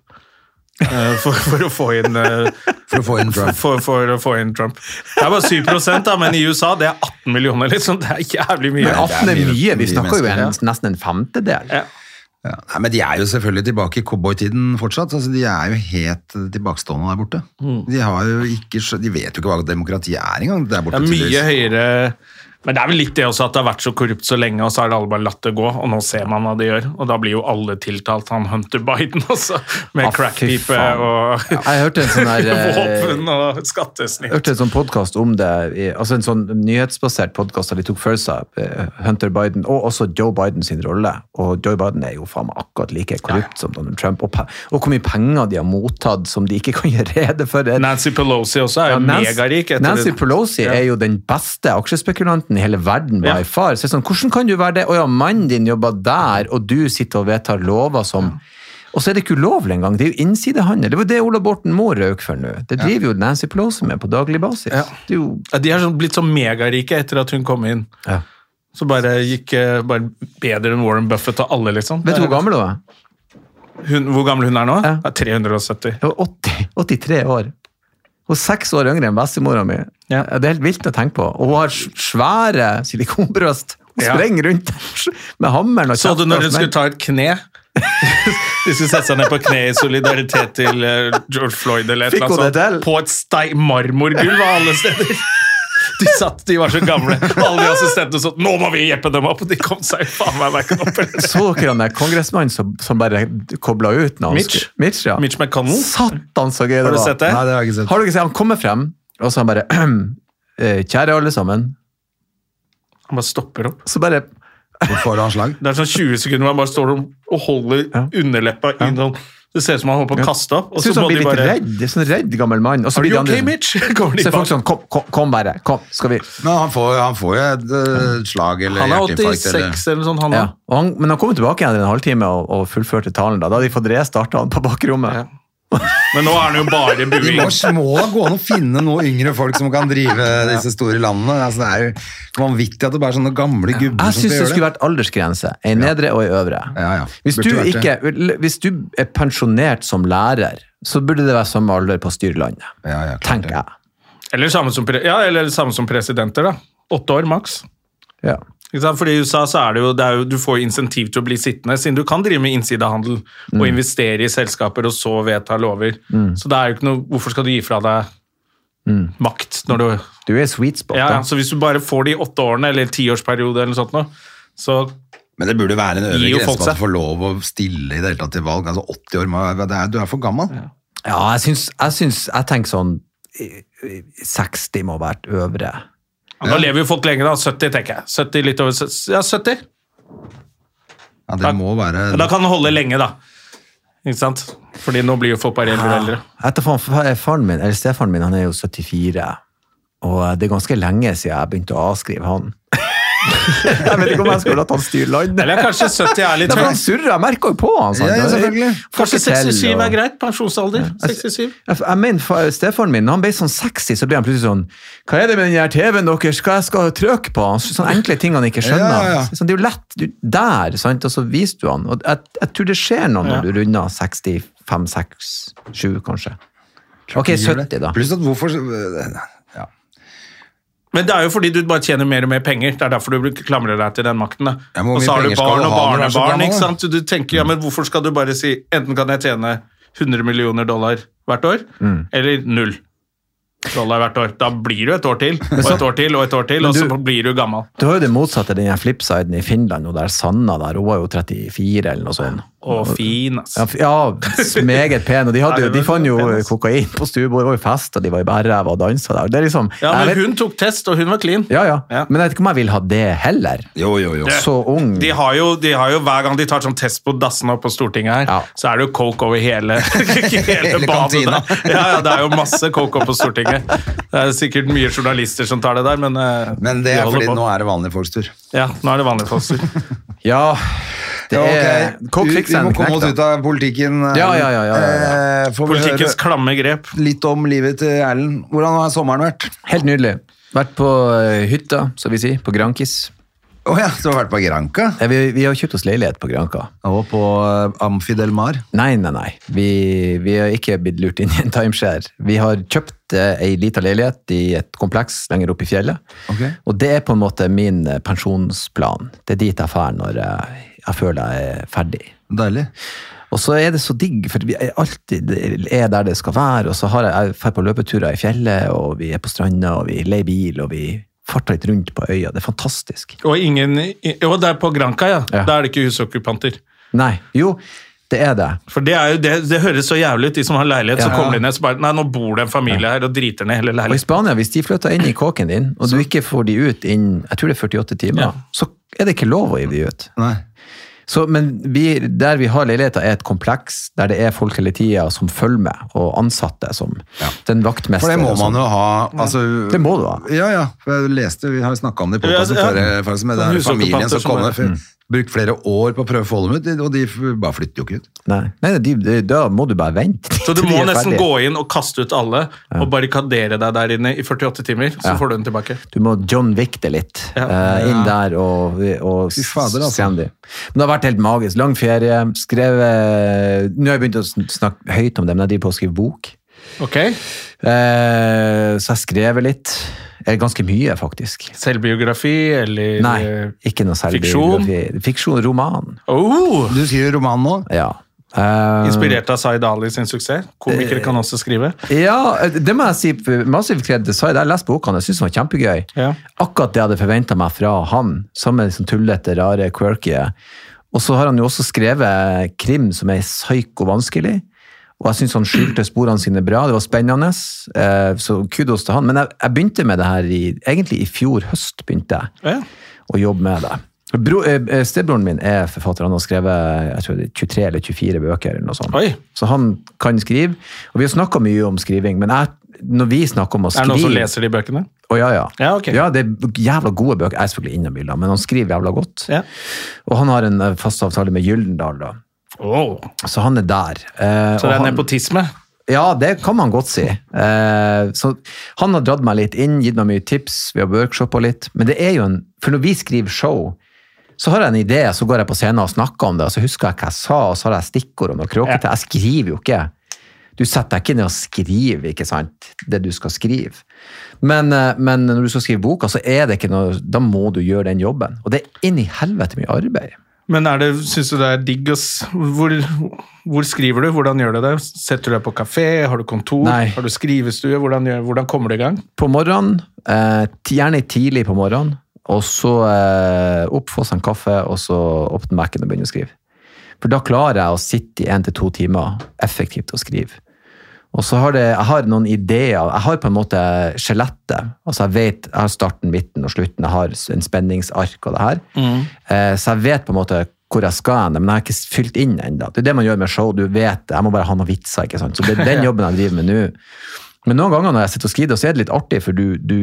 [SPEAKER 2] Eh, For, for å få inn eh,
[SPEAKER 1] For å få inn Trump.
[SPEAKER 2] for, for å få inn Trump. Det er bare 7 da, men i USA det er 18 millioner, liksom. Det er jævlig mye.
[SPEAKER 3] Men 18 er
[SPEAKER 1] mye-
[SPEAKER 3] mye.
[SPEAKER 1] mye
[SPEAKER 3] Vi snakker jo
[SPEAKER 1] mennesker,
[SPEAKER 3] en, nesten en femtedel.
[SPEAKER 2] Ja.
[SPEAKER 1] Ja. Nei, men de er jo selvfølgelig tilbake i cowboytiden fortsatt. Altså, de er jo helt eh, tilbakestående der
[SPEAKER 2] Mm.
[SPEAKER 1] borte. De, har jo ikke, skjø- de vet jo ikke hva demokrati er engang. Der
[SPEAKER 2] Det
[SPEAKER 1] borte,
[SPEAKER 2] er mye
[SPEAKER 1] tydeligvis.
[SPEAKER 2] høyere Men det er vel litt det også at det har vært så korrupt så lenge, og så har alle bare latt det gå, og nå ser man hva de gjør. Og da blir jo alle tiltalt, han Hunter Biden også, med
[SPEAKER 3] Ah, fy
[SPEAKER 2] crackpipe
[SPEAKER 3] faen.
[SPEAKER 2] og
[SPEAKER 3] Ja, Jeg hørte en sånn
[SPEAKER 2] *laughs*
[SPEAKER 3] her eh,
[SPEAKER 2] våpen og
[SPEAKER 3] Jeg
[SPEAKER 2] skattesnitt.
[SPEAKER 3] hørte en sånn podcast om det, i- altså en sånn nyhetsbasert podcast der de tok for seg eh, Hunter Biden, og også Joe Biden sin rolle. Og Joe Biden er jo faen meg akkurat like korrupt som Donald Trump, og, pe- og hvor mye penger de har mottatt som de ikke kan *laughs* gjøre rede for.
[SPEAKER 2] Nancy Pelosi også er
[SPEAKER 3] Ja,
[SPEAKER 2] jo
[SPEAKER 3] Nancy-
[SPEAKER 2] megarik. etter
[SPEAKER 3] Nancy
[SPEAKER 2] det.
[SPEAKER 3] Pelosi
[SPEAKER 2] Ja.
[SPEAKER 3] er jo den beste aksjespekulanten i hele verden by
[SPEAKER 2] Ja.
[SPEAKER 3] far. Så det er sånn, hvordan kan du være det? Å ja, mannen din jobber der, og du sitter og vedtar lover som Og så er det ikke ulovlig engang. Det er jo innsidehandel. Det var det Ola Borten Moe røk for nå. Det driver jo Nancy Pelosi med på daglig basis.
[SPEAKER 2] Ja.
[SPEAKER 3] Det er jo
[SPEAKER 2] Ja, De er sånn, blitt så megarike etter at hun kom inn.
[SPEAKER 3] Ja.
[SPEAKER 2] Så bare gikk eh, bare bedre enn Warren Buffett og alle, liksom.
[SPEAKER 3] Vet du hvor gammel hun er?
[SPEAKER 2] Hun, hvor gammel hun er nå?
[SPEAKER 3] Ja.
[SPEAKER 2] Ja. 370.
[SPEAKER 3] Hun er 80, 83 år. Hun er seks år yngre enn bestemora mi.
[SPEAKER 2] Ja.
[SPEAKER 3] Det er helt vilt å tenke på. Og hun har s- svære silikonbrøst. Hun
[SPEAKER 2] Ja.
[SPEAKER 3] sprenger rundt *laughs* med hammeren. og
[SPEAKER 2] Så du
[SPEAKER 3] kjefter
[SPEAKER 2] når
[SPEAKER 3] og
[SPEAKER 2] hun skulle
[SPEAKER 3] smeller.
[SPEAKER 2] ta et kne? *laughs* De skulle sette seg ned på kne i solidaritet til eh, George Floyd eller et
[SPEAKER 3] Fikk
[SPEAKER 2] eller annet
[SPEAKER 3] hun det til?
[SPEAKER 2] sånt. På et stein marmorgulv av alle steder. De satt, de var så gamle. Alle de assistentene sånn Nå må vi hjeppe dem opp! Og de kom seg faen meg verken opp eller ned.
[SPEAKER 3] Så dere han der kongressmannen som, som bare kobla ut? Når han
[SPEAKER 2] Mitch?
[SPEAKER 3] skulle- Mitch, ja.
[SPEAKER 2] Mitch McConnell?
[SPEAKER 3] Satan, så gøy det
[SPEAKER 2] Har
[SPEAKER 3] var.
[SPEAKER 2] du sett det?
[SPEAKER 1] Nei, det har jeg ikke sett.
[SPEAKER 3] Har du ikke sett? Han kommer frem, og så han bare eh, Kjære alle sammen.
[SPEAKER 2] Han bare stopper opp.
[SPEAKER 3] Så bare
[SPEAKER 1] Hvor får du anslag?
[SPEAKER 2] Det er sånn 20 sekunder hvor han bare står og holder underleppa inn sånn. Det ser ut som han holder på å kaste opp. Og
[SPEAKER 3] Syns
[SPEAKER 2] så
[SPEAKER 3] han
[SPEAKER 2] må
[SPEAKER 3] blir
[SPEAKER 2] de
[SPEAKER 3] litt
[SPEAKER 2] bare
[SPEAKER 3] redd. Sånn redd gammel mann. Og så
[SPEAKER 2] Are
[SPEAKER 3] blir de
[SPEAKER 2] you
[SPEAKER 3] andre sånn-
[SPEAKER 2] okay, Mitch? Kommer de
[SPEAKER 3] Så er folk
[SPEAKER 2] bak.
[SPEAKER 3] sånn Kom, kom, kom bare. Kom, skal vi
[SPEAKER 1] Men han får, han får jo et eh, slag eller
[SPEAKER 2] Mm. Han er
[SPEAKER 1] hjerteinfarkt.
[SPEAKER 2] 86
[SPEAKER 1] Eller.
[SPEAKER 2] eller noe sånt, han
[SPEAKER 3] ja.
[SPEAKER 2] òg.
[SPEAKER 3] og han, Men han kom jo tilbake igjen etter en halvtime og, og fullførte talen. Da Da hadde de fått restarta han på bakrommet.
[SPEAKER 2] Ja. Men nå er han jo bare
[SPEAKER 1] De
[SPEAKER 2] buing.
[SPEAKER 1] må, må gå an å finne noen yngre folk som kan drive disse store landene. Altså, det er jo vanvittig at det bare er sånne gamle gubber
[SPEAKER 3] Jeg
[SPEAKER 1] som
[SPEAKER 3] syns det
[SPEAKER 1] skal
[SPEAKER 3] skulle
[SPEAKER 1] gjøre det.
[SPEAKER 3] vært aldersgrense. Ei nedre og ei øvre.
[SPEAKER 1] Ja, ja.
[SPEAKER 3] Hvis
[SPEAKER 1] Burde
[SPEAKER 3] du,
[SPEAKER 1] vært
[SPEAKER 3] ikke, hvis du er pensjonert som lærer, så burde det være samme alder på å styre landet.
[SPEAKER 1] Ja, ja, klart
[SPEAKER 3] tenker
[SPEAKER 1] det.
[SPEAKER 3] jeg.
[SPEAKER 2] Eller samme som, pre- ja, eller samme som presidenter, da. Åtte år maks.
[SPEAKER 3] Ja.
[SPEAKER 2] Ikke sant? Fordi I USA så er det, jo, det er jo, du får jo insentiv til å bli sittende, siden du kan drive med innsidehandel og investere i selskaper og så vedta lover. Så det er jo ikke noe, hvorfor skal du gi fra deg makt når du
[SPEAKER 3] Du er sweet spot.
[SPEAKER 2] Mm. ja, ja,
[SPEAKER 3] da.
[SPEAKER 2] Så hvis du bare får de åtte årene eller tiårsperiode eller noe sånt, nå, så
[SPEAKER 1] Men det burde være en øvre
[SPEAKER 2] Gir jo
[SPEAKER 1] grense
[SPEAKER 2] folk
[SPEAKER 1] på at
[SPEAKER 2] seg.
[SPEAKER 1] du får lov å stille i det hele tatt til valg. Altså 80 år, må- det er, du er for gammel.
[SPEAKER 3] Ja, jeg syns, jeg syns Jeg tenker sånn eh, eh, 60 må være et øvre.
[SPEAKER 2] ja, Nå lever jo folk lenger, da. 70, tenker jeg. 70, litt over, sø- ja, 70.
[SPEAKER 1] Ja, det må være
[SPEAKER 2] Men da kan den holde lenge, da. Ikke sant? Fordi nå blir jo folk bare eldre og eldre.
[SPEAKER 3] Etter faen, fa- faren min, eller Stefaren min, han er jo 74, og eh, det er ganske lenge siden jeg begynte å avskrive han. *laughs* jeg vet ikke om jeg skulle latt han styre landet.
[SPEAKER 2] Eller kanskje 70 er sånn litt
[SPEAKER 3] Nei, for han
[SPEAKER 2] høyt.
[SPEAKER 3] surrer, jeg merker jo på han. sant?
[SPEAKER 1] Ja, ja, selvfølgelig.
[SPEAKER 3] Får
[SPEAKER 2] Kanskje
[SPEAKER 3] ikke til,
[SPEAKER 2] 67
[SPEAKER 3] og-
[SPEAKER 2] er greit? Pensjonsalder?
[SPEAKER 1] altså-
[SPEAKER 2] 67?
[SPEAKER 3] Jeg, jeg mener, fa- Stefaren min, når han ble sånn sexy, så ble han plutselig sånn Hva er det med den her TV-en deres? Hva jeg skal trykke på? Han- Sånne enkle ting han ikke skjønner.
[SPEAKER 1] Ja, ja, ja.
[SPEAKER 3] Sånn, det er jo lett. Du, der, sant? Og så viser du han. Og jeg, jeg tror det skjer noe når du runder 65-67, kanskje. Ok, 70, da.
[SPEAKER 1] Pluss at hvorfor ja.
[SPEAKER 2] Men det er jo fordi du bare tjener mer og mer penger. Det er derfor du klamrer deg til den makten. da.
[SPEAKER 1] Ja, men hvor
[SPEAKER 2] og
[SPEAKER 1] mye
[SPEAKER 2] så har du
[SPEAKER 1] penger skal
[SPEAKER 2] barn
[SPEAKER 1] du
[SPEAKER 2] og
[SPEAKER 1] ha når du er så
[SPEAKER 2] barnebarn.
[SPEAKER 1] gammel,
[SPEAKER 2] ikke
[SPEAKER 1] da?
[SPEAKER 2] sant? Du tenker ja, men hvorfor skal du bare si enten kan jeg tjene 100 millioner dollar hvert år,
[SPEAKER 1] Mm.
[SPEAKER 2] eller null dollar hvert år. Da blir du et år til, og et år til, og et år til, og
[SPEAKER 3] du-
[SPEAKER 2] så blir du gammel.
[SPEAKER 3] Du har jo det motsatte, den her flipsiden i Finland, hun der Sanna der, hun var jo 34 eller noe sånt.
[SPEAKER 2] Og fin,
[SPEAKER 3] Ja,
[SPEAKER 2] altså.
[SPEAKER 3] f- ja meget pen. Og de, hadde, jo- de fant jo kokain på stuebordet, det var jo fest, og de var i bærræva og dansa der. Det er liksom
[SPEAKER 2] Ja,
[SPEAKER 3] jeg vet-
[SPEAKER 2] men hun tok test, og hun var clean.
[SPEAKER 3] Ja, ja.
[SPEAKER 2] Ja.
[SPEAKER 3] Men jeg vet ikke om jeg vil ha det heller.
[SPEAKER 1] Jo, jo, jo.
[SPEAKER 3] Så ung.
[SPEAKER 2] De har, jo, de har jo Hver gang de tar sånn test på dassene oppe på Stortinget her,
[SPEAKER 3] Ja.
[SPEAKER 2] så er det jo coke over hele *laughs* Hele, badet
[SPEAKER 1] Hele kantina.
[SPEAKER 2] der. Ja, ja, det er jo masse coke oppe på Stortinget. Det er sikkert mye journalister som tar det der, men, eh,
[SPEAKER 1] Men det
[SPEAKER 2] de
[SPEAKER 1] er
[SPEAKER 2] holder
[SPEAKER 1] fordi
[SPEAKER 2] på.
[SPEAKER 1] nå er det vanlige folks tur.
[SPEAKER 2] Ja, nå er det vanlige poster.
[SPEAKER 1] *laughs*
[SPEAKER 3] Ja, det
[SPEAKER 1] Ja, ok.
[SPEAKER 3] er Coke
[SPEAKER 1] Vi- Vi
[SPEAKER 3] fikser en
[SPEAKER 1] må komme
[SPEAKER 3] knekk,
[SPEAKER 1] oss
[SPEAKER 3] da.
[SPEAKER 1] ut av politikken. eh,
[SPEAKER 3] Ja, ja, ja, ja, ja.
[SPEAKER 1] eh, Får vi
[SPEAKER 2] Politikkens
[SPEAKER 1] høre
[SPEAKER 2] klamme grep.
[SPEAKER 1] litt om livet til Erlend. Hvordan har sommeren vært?
[SPEAKER 3] Helt nydelig. Vært på eh, hytta, som vi sier, på Grankis.
[SPEAKER 1] Å ja, du har vært på Granca?
[SPEAKER 3] Eh, Vi, vi har kjøpt oss leilighet på Granka.
[SPEAKER 1] Og på eh, Amphi del Mar.
[SPEAKER 3] Nei, nei, nei. Vi, vi har ikke blitt lurt inn i en timeshare. Vi har kjøpt eh, ei lita leilighet i et kompleks lenger oppe i fjellet.
[SPEAKER 1] Ok.
[SPEAKER 3] Og det er på en måte min eh, pensjonsplan. Det er dit jeg drar når jeg, jeg føler jeg er ferdig.
[SPEAKER 1] Deilig.
[SPEAKER 3] Og så er det så digg, for vi er alltid er der det skal være, og så har jeg, jeg fer på løpeturer i fjellet, og vi er på stranda, og vi leier bil, og vi farta litt rundt på øya. Det er fantastisk.
[SPEAKER 2] Og ingen i- Jo, det er på Granca, ja.
[SPEAKER 3] Ja.
[SPEAKER 2] Da er det ikke husokkupanter.
[SPEAKER 3] Nei, jo, det er det.
[SPEAKER 2] For det, er jo, det, det høres så jævlig ut, de som har leilighet, så
[SPEAKER 3] Ja.
[SPEAKER 2] kommer de ned så bare Nei, nå bor det en familie her og driter ned hele
[SPEAKER 3] Og i
[SPEAKER 2] leiligheten.
[SPEAKER 3] Spania, hvis de flytter inn i kåken din, og du ikke får de ut innen jeg tror det er 48 timer,
[SPEAKER 2] Ja.
[SPEAKER 3] så er det ikke lov å gi de ut.
[SPEAKER 1] Nei.
[SPEAKER 3] Så, men vi, der vi har leiligheter, er et kompleks der det er folk hele tida som følger med, og ansatte som den vaktmester.
[SPEAKER 1] For det må
[SPEAKER 3] og sånn.
[SPEAKER 1] man jo ha. Altså,
[SPEAKER 3] Det må du ha.
[SPEAKER 1] Ja, ja. For jeg leste, vi har jo snakka om det i podkasten
[SPEAKER 2] Ja, ja.
[SPEAKER 1] før. eh, faktisk, men Det
[SPEAKER 2] Sånn
[SPEAKER 1] er familien
[SPEAKER 2] husokkupanter
[SPEAKER 1] som
[SPEAKER 2] som
[SPEAKER 1] kommer.
[SPEAKER 2] er-
[SPEAKER 1] for- Brukt flere år på å prøve å få dem ut, og de f- bare flytter jo ikke ut.
[SPEAKER 3] Nei, nei de, de, da må du bare vente.
[SPEAKER 2] Så du
[SPEAKER 3] til de
[SPEAKER 2] må
[SPEAKER 3] er
[SPEAKER 2] nesten
[SPEAKER 3] ferdige.
[SPEAKER 2] gå inn og kaste ut alle og barrikadere deg der inne i 48 timer, så
[SPEAKER 3] Ja.
[SPEAKER 2] får du den tilbake.
[SPEAKER 3] Du må John Wick det litt.
[SPEAKER 2] Ja.
[SPEAKER 3] eh, inn der og, og
[SPEAKER 1] Fy fader, altså.
[SPEAKER 3] se om de. Men det har vært helt magisk. Lang ferie. Skrevet Nå har jeg begynt å sn- snakke høyt om dem. Jeg driver på å skrive bok.
[SPEAKER 2] Ok?
[SPEAKER 3] Eh, så jeg skrev litt. Eh, Ganske mye, faktisk.
[SPEAKER 2] Selvbiografi eller eh,
[SPEAKER 3] Nei, ikke noe særlig.
[SPEAKER 2] Fiksjon?
[SPEAKER 3] biografi. Fiksjon, roman.
[SPEAKER 2] Oh!
[SPEAKER 1] Du skriver roman nå?
[SPEAKER 3] Ja. Eh,
[SPEAKER 2] Inspirert av Zaid Ali sin suksess. Komikere kan også skrive.
[SPEAKER 3] ja, eh, det må jeg si. Massive Cred Design, jeg leste boka, jeg syntes den var kjempegøy.
[SPEAKER 2] Ja.
[SPEAKER 3] Akkurat det jeg hadde forventa meg fra han. Samme liksom tullete, rare, quirky. Og så har han jo også skrevet krim som er psyko vanskelig. Og jeg syns han skjulte sporene sine bra. Det var spennende. Eh, Så kudos til han. Men jeg, jeg begynte med det her i, egentlig i fjor høst. begynte jeg.
[SPEAKER 2] Ja.
[SPEAKER 3] og jobbe med det. Bro, eh, eh, stebroren min er forfatter. Han har skrevet jeg tror det er 23 eller 24 bøker. eller noe sånt.
[SPEAKER 2] Oi.
[SPEAKER 3] Så han kan skrive. Og vi har snakka mye om skriving, men jeg, når vi snakker om
[SPEAKER 2] Er
[SPEAKER 3] å
[SPEAKER 2] det
[SPEAKER 3] skrive
[SPEAKER 2] noen som leser de bøkene?
[SPEAKER 3] Å, ja, ja.
[SPEAKER 2] Ja, ok.
[SPEAKER 3] det er jævla gode bøker. Jeg er selvfølgelig inhabil, da, men han skriver jævla godt.
[SPEAKER 2] Ja.
[SPEAKER 3] Og han har en eh, fast avtale med Gyldendal, da.
[SPEAKER 2] Oh.
[SPEAKER 3] så han er der. Eh,
[SPEAKER 2] Så det
[SPEAKER 3] og
[SPEAKER 2] er
[SPEAKER 3] han-
[SPEAKER 2] nepotisme?
[SPEAKER 3] ja, det kan man godt si. Eh, så han har dratt meg litt inn, gitt meg mye tips, vi har workshoppa litt. Men det er jo en For når vi skriver show, så har jeg en idé, så går jeg på scenen og snakker om det, og så husker jeg hva jeg sa, og så har jeg stikkord og noe kråkete. Jeg skriver jo ikke. Du setter deg ikke ned og skriver ikke sant? det du skal skrive. Men, eh, men når du skal skrive boka, så er det ikke noe, da må du gjøre den jobben. Og det er inn i helvete mye arbeid.
[SPEAKER 2] Men er det, syns du det er digg å s- hvor, hvor skriver du? Hvordan gjør du det? Setter du deg på kafé? Har du kontor?
[SPEAKER 3] Nei.
[SPEAKER 2] Har du skrivestue? Hvordan, gjør, hvordan kommer du i gang?
[SPEAKER 3] på morgenen, eh, ti- gjerne tidlig på morgenen, og så eh, opp, få seg en kaffe, og så åpne Mac-en og begynne å skrive. For da klarer jeg å sitte i en til to timer effektivt og skrive. Og så har det, jeg har noen ideer, jeg har på en måte skjelettet. Altså jeg vet, jeg har starten, midten og slutten, jeg har en spenningsark og det her. Eh, så jeg vet på en måte hvor jeg skal hen, men jeg har ikke fylt inn enda. Det er det man gjør med show, du vet, det. jeg må bare ha noen vitser, ikke sant? Så det er den jobben jeg driver med nå. Men noen ganger når jeg sitter og skriver, det, så er det litt artig, for du, du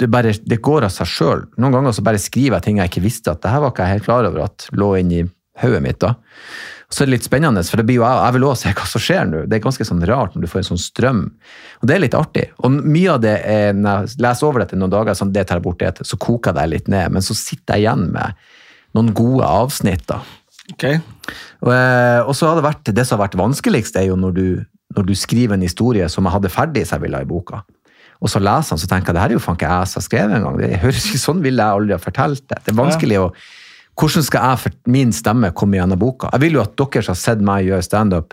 [SPEAKER 3] det, bare, det går av seg sjøl. Noen ganger så bare skriver jeg ting jeg ikke visste at det her var ikke jeg helt klar over at lå inni hodet mitt. da. Så er det litt spennende, for det blir jo, jeg vil òg se hva som skjer nå. Det er ganske sånn rart når du får en sånn strøm. Og det er litt artig. Og mye av det er, når jeg leser over dette noen dager, sånn, det tar jeg bort, det, så koker jeg det litt ned. Men så sitter jeg igjen med noen gode avsnitt. da.
[SPEAKER 2] Ok.
[SPEAKER 3] Og, eh, og så har det vært, det som har vært vanskeligst, er jo når du, når du skriver en historie som jeg hadde ferdig som jeg ville ha i boka. Og så leser han, så tenker jeg, det her er jo faen ikke jeg som har skrevet engang. Det høres ikke sånn ville jeg aldri ha fortalt det. Det er vanskelig å Hvordan skal jeg for min stemme komme gjennom boka? Jeg vil jo at dere som har sett meg gjøre standup,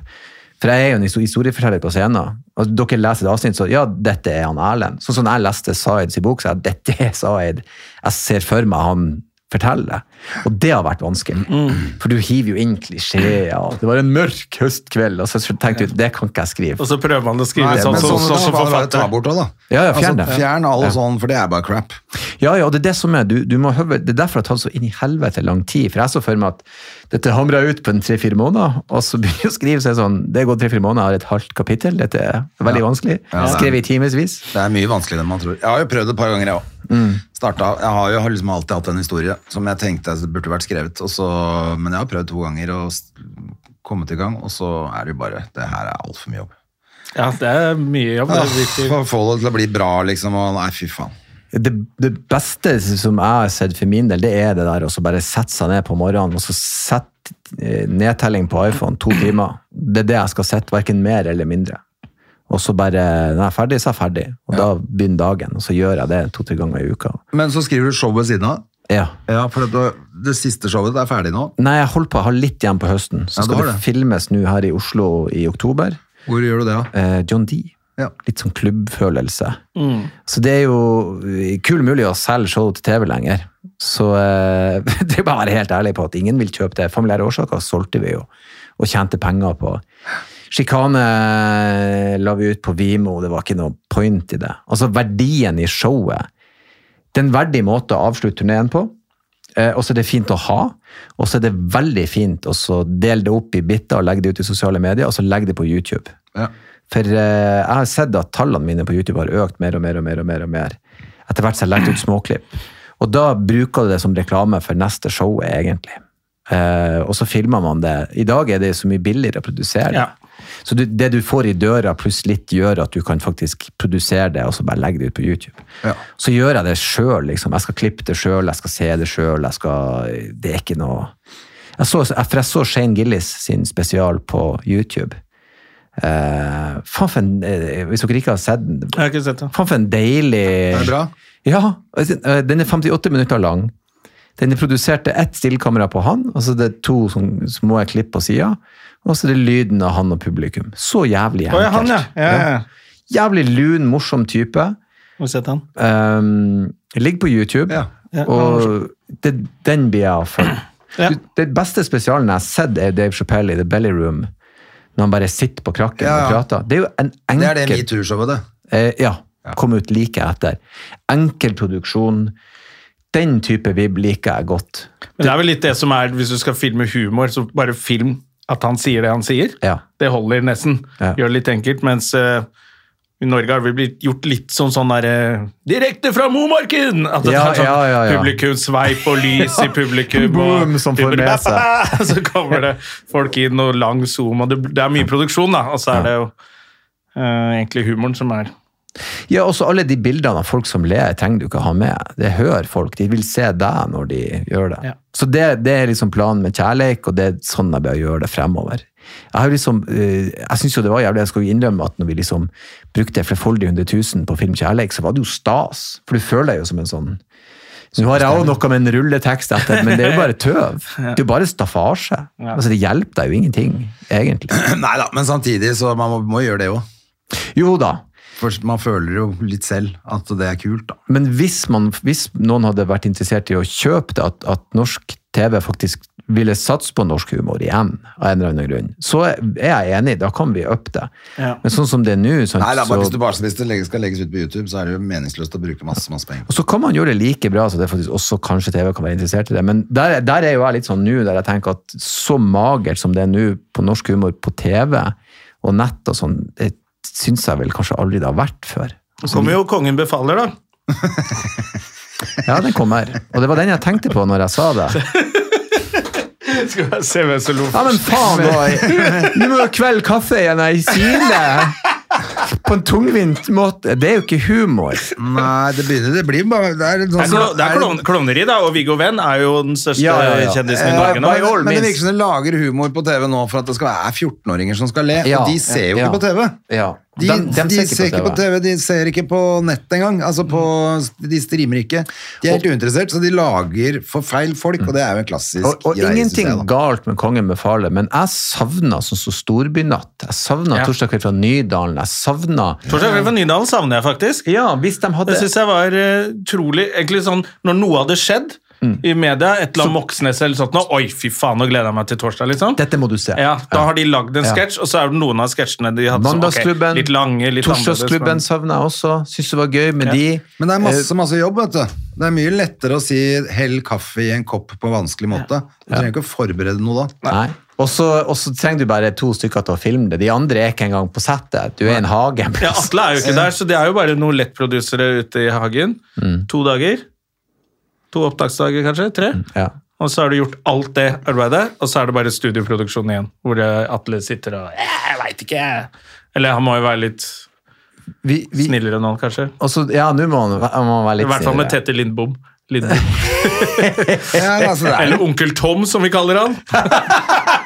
[SPEAKER 3] for jeg er jo en histo- historieforteller på scenen. Og dere leser et avsnitt, så ja, dette er han Erlend. Sånn som når jeg leste Zaids bok, så er jeg, dette er Zaid. Jeg ser for meg han forteller. Og det har vært vanskelig.
[SPEAKER 1] Mm.
[SPEAKER 3] For du hiver jo inn klisjeer. og Det var en mørk høstkveld, og så tenkte du det kan ikke jeg skrive.
[SPEAKER 2] Og så prøver man å skrive
[SPEAKER 1] Nei,
[SPEAKER 2] sånn
[SPEAKER 1] men
[SPEAKER 2] som
[SPEAKER 1] sånn,
[SPEAKER 2] sånn,
[SPEAKER 1] sånn,
[SPEAKER 2] som
[SPEAKER 1] ta
[SPEAKER 2] forfatter.
[SPEAKER 1] bort også, da.
[SPEAKER 3] Ja, ja, fjern det.
[SPEAKER 1] altså, fjern all sånn, for det er bare crap.
[SPEAKER 3] Ja, ja, og det er det som er. Du, du må høve, det er derfor det har tatt så inn i helvete lang tid. For jeg så for meg at dette hamra ut på en tre-fire måneder, og så begynner jeg å skrive så er det sånn Det går tre-fire måneder, jeg har et halvt kapittel. Dette er veldig vanskelig.
[SPEAKER 1] Ja, det er-
[SPEAKER 3] Skrevet i timevis.
[SPEAKER 1] Det er mye vanskeligere enn man tror. Jeg har jo prøvd et par ganger, jeg òg.
[SPEAKER 3] Mm.
[SPEAKER 1] Jeg har jo liksom alltid hatt en historie som jeg tenkte burde vært skrevet, og så, men jeg har prøvd to ganger og s- kommet i gang, og så er det jo bare Det her er altfor mye jobb.
[SPEAKER 2] Ja, det er mye jobb. Det
[SPEAKER 1] Ja,
[SPEAKER 2] virker.
[SPEAKER 1] for å få det til å bli bra, liksom. Og nei, fy faen.
[SPEAKER 3] Det, det beste som jeg har sett for min del, det er det der å så bare sette seg ned på morgenen og så sette eh, nedtelling på iPhone to timer. Det er det jeg skal sette, verken mer eller mindre. Og så bare Når jeg er ferdig, så er jeg ferdig. Og da begynner dagen, og så gjør jeg det to-tre ganger i uka.
[SPEAKER 1] Men så skriver du show ved siden av.
[SPEAKER 3] Ja.
[SPEAKER 1] Ja, for det, det siste showet det er ferdig nå.
[SPEAKER 3] Nei, jeg holder på, jeg har litt igjen på høsten. Så
[SPEAKER 1] Ja, du
[SPEAKER 3] skal
[SPEAKER 1] har
[SPEAKER 3] det
[SPEAKER 1] det.
[SPEAKER 3] filmes nå her i Oslo i oktober.
[SPEAKER 1] Hvor gjør du det, da?
[SPEAKER 3] Eh, John D.
[SPEAKER 1] Ja.
[SPEAKER 3] Litt sånn klubbfølelse. Så det er jo eh, kul mulig å selge show til TV lenger. Så eh, *laughs* det er bare å være helt ærlig på at ingen vil kjøpe det. Familiære årsaker solgte vi jo, og tjente penger på. Sjikane eh, la vi ut på Vimo, det var ikke noe point i det. Altså verdien i showet. Det er en verdig måte å avslutte turneen på. Eh, og så er det fint å ha, og så er det veldig fint å så dele det opp i biter og legge det ut i sosiale medier, og så legge det på YouTube.
[SPEAKER 1] Ja.
[SPEAKER 3] For eh, jeg har sett at tallene mine på YouTube har økt mer og mer og mer. og mer og mer Etter hvert som jeg har lagt ut småklipp. Og da bruker du det som reklame for neste show, egentlig. Eh, og så filmer man det. I dag er det så mye billigere å produsere det.
[SPEAKER 2] Ja.
[SPEAKER 3] Så du, det du får i døra pluss litt gjør at du kan faktisk produsere det og så bare legge det ut på YouTube.
[SPEAKER 1] Ja.
[SPEAKER 3] Så gjør jeg det sjøl, liksom. Jeg skal klippe det sjøl, jeg skal se det sjøl, jeg skal Det er ikke noe jeg så, jeg- For jeg så Shane Gillis sin spesial på YouTube. Eh, faen for en eh, Hvis dere ikke har sett den
[SPEAKER 2] Jeg har ikke sett det.
[SPEAKER 3] Faen for en deilig
[SPEAKER 1] Er det bra?
[SPEAKER 3] Ja. altså, eh, Den er 58 minutter lang. Den er produsert til ett stillkamera på han, og så det er to sånn små klipp på sida. Og så er det lyden av han og publikum. Så jævlig
[SPEAKER 2] Å, ja, han, ja.
[SPEAKER 3] enkelt.
[SPEAKER 2] ja, ja, ja.
[SPEAKER 3] Jævlig lun, morsom type.
[SPEAKER 2] Har du sett han?
[SPEAKER 3] Um, ligger på YouTube,
[SPEAKER 1] Ja.
[SPEAKER 2] Ja,
[SPEAKER 3] og det, den blir jeg av for.
[SPEAKER 2] *clears throat* Ja.
[SPEAKER 3] Du, Den beste spesialen jeg har sett, er Dave Chappelle i The Belly Room. Når han bare sitter på krakken
[SPEAKER 1] Ja,
[SPEAKER 3] og
[SPEAKER 1] ja.
[SPEAKER 3] prater. Det er jo en enkel
[SPEAKER 1] Det er det metoo-showet, det. *clears throat*
[SPEAKER 3] Eh, ja. Kom ut like etter. Enkel produksjon. Den type vib liker jeg godt.
[SPEAKER 2] Men det er vel litt det som er, hvis du skal filme humor, så bare film at han sier det han sier.
[SPEAKER 3] Ja.
[SPEAKER 2] Det holder nesten.
[SPEAKER 3] Ja.
[SPEAKER 2] Gjør det litt enkelt, mens eh, i Norge har vi blitt gjort litt sånn sånn der eh, direkte fra Momarken! At det
[SPEAKER 3] Ja,
[SPEAKER 2] er sånn
[SPEAKER 3] ja, ja, ja.
[SPEAKER 2] publikumsveip og lys
[SPEAKER 3] *laughs*
[SPEAKER 2] i publikum.
[SPEAKER 3] Boom,
[SPEAKER 2] og,
[SPEAKER 3] som får med seg.
[SPEAKER 2] *laughs* Så kommer det folk inn og lang zoom, og det, det er mye produksjon, da. Og så er det jo eh, egentlig humoren som er
[SPEAKER 3] Ja, også alle de bildene av folk som ler, trenger du ikke ha med. Det hører folk. De vil se deg når de gjør det.
[SPEAKER 2] Ja.
[SPEAKER 3] Så det, det er liksom planen med kjærleik, og det er sånn jeg bør gjøre det fremover. Jeg har jo liksom, eh, jeg syns jo det var jævlig, jeg skal jo innrømme at når vi liksom brukte flerfoldige hundre tusen på film kjærleik, så var det jo stas. For du føler deg jo som en sånn så Nå har jeg òg noe med en rulletekst etter, men det er jo bare tøv. Det er jo bare staffasje. Altså, det hjelper deg jo ingenting, egentlig.
[SPEAKER 1] Nei da, men samtidig så man må, må gjøre det òg.
[SPEAKER 3] Jo da,
[SPEAKER 1] For man føler jo litt selv at det er kult, da.
[SPEAKER 3] Men hvis, man, hvis noen hadde vært interessert i å kjøpe det, at, at norsk TV faktisk ville satse på norsk humor igjen, av en eller annen grunn, så er jeg enig, da kan vi uppe det.
[SPEAKER 2] Ja.
[SPEAKER 3] Men sånn som det er nå sant,
[SPEAKER 1] Nei da, bare hvis, du
[SPEAKER 3] så,
[SPEAKER 1] bare, hvis det legges- skal legges ut på YouTube, så er det jo meningsløst å bruke masse, masse penger.
[SPEAKER 3] og så kan man gjøre det like bra, så det er faktisk også kanskje TV kan være interessert i det. Men der, der er jo jeg litt sånn nå, der jeg tenker at så magert som det er nå på norsk humor på TV og nett og sånn, det syns jeg vel kanskje aldri det har vært før.
[SPEAKER 2] Så kommer jo Kongen befaler, da.
[SPEAKER 3] Ja, den kommer. Og det var den jeg tenkte på når jeg sa det.
[SPEAKER 2] Skal vi se hvem som lo
[SPEAKER 3] Ja, men faen nå- Nå må jo kveld kaffe igjen i sile. På en tungvint måte. Det er jo ikke humor.
[SPEAKER 1] Nei, det begynner Det blir bare Det er,
[SPEAKER 2] Det
[SPEAKER 1] sånn- Eh,
[SPEAKER 2] er, klo- det er klovn- klovneri, da, og Viggo Venn er jo den største
[SPEAKER 3] altså, Ja, ja, ja.
[SPEAKER 2] kjendisen i
[SPEAKER 3] Eh,
[SPEAKER 2] Norge nå.
[SPEAKER 3] by all
[SPEAKER 1] men det
[SPEAKER 3] means.
[SPEAKER 1] virker som det lager humor på TV nå for at det skal være 14-åringer som skal le,
[SPEAKER 3] Ja.
[SPEAKER 1] og de ser jo
[SPEAKER 3] Ja.
[SPEAKER 1] ikke på TV.
[SPEAKER 3] Ja.
[SPEAKER 1] De, de, ser ikke på TV, de ser ikke på nett engang. Altså på, de streamer ikke. De er helt uinteressert, så de lager for feil folk, og det er jo en klassisk
[SPEAKER 3] Og, og
[SPEAKER 1] greie, synes jeg, da.
[SPEAKER 3] ingenting galt med Kongen befaler, men jeg savna sånn som storbynatt. Jeg savna
[SPEAKER 2] Ja.
[SPEAKER 3] Torsdag kveld fra Nydalen. Jeg savna
[SPEAKER 2] Torsdag kveld fra Nydalen savner jeg faktisk.
[SPEAKER 3] Ja, hvis de hadde
[SPEAKER 2] Det syns jeg var eh, utrolig Egentlig sånn når noe hadde skjedd
[SPEAKER 3] Mm.
[SPEAKER 2] i media, et eller annet Moxnes eller sånt nå, Oi, fy faen, nå gleder jeg meg til torsdag, liksom.
[SPEAKER 3] Dette må du se.
[SPEAKER 2] Ja, Da har de lagd en
[SPEAKER 3] Ja.
[SPEAKER 2] sketsj, og så er det noen av sketsjene de hadde som, ok,
[SPEAKER 3] Mandagsklubben,
[SPEAKER 2] litt lange, litt
[SPEAKER 3] Torsdagsklubben
[SPEAKER 2] annerledes.
[SPEAKER 3] savna jeg også. Syns det var gøy med de.
[SPEAKER 1] Men det er
[SPEAKER 2] Eh,
[SPEAKER 1] masse, masse jobb, vet du. Det er mye lettere å si 'hell kaffe i en kopp' på en vanskelig måte. Du trenger ikke å forberede noe da.
[SPEAKER 3] Nei. Og så og så trenger du bare to stykker til å filme det. De andre er ikke engang på settet. Du er i en hage. en
[SPEAKER 2] Men, ja,
[SPEAKER 3] plass.
[SPEAKER 2] Atle er jo ikke der, så det er jo bare noen lettprodusere ute i hagen.
[SPEAKER 3] Mm.
[SPEAKER 2] To dager. To opptaksdager, kanskje? Tre?
[SPEAKER 3] Ja.
[SPEAKER 2] Og så har du gjort alt det arbeidet, og så er det bare studioproduksjon igjen, hvor eh, Atle sitter og «Eh, Jeg veit ikke, jeg». Eller han må jo være litt
[SPEAKER 3] Vi, vi,
[SPEAKER 2] snillere nå, kanskje.
[SPEAKER 3] også, ja, nå må han, han må være
[SPEAKER 2] I
[SPEAKER 3] litt
[SPEAKER 2] hvert fall med
[SPEAKER 3] snillere.
[SPEAKER 2] Tete Lindbom.
[SPEAKER 3] *laughs*
[SPEAKER 2] Lindbom.
[SPEAKER 1] Ja, altså, det
[SPEAKER 2] *laughs*
[SPEAKER 1] er
[SPEAKER 2] Eller Onkel Tom, som vi kaller han. *laughs*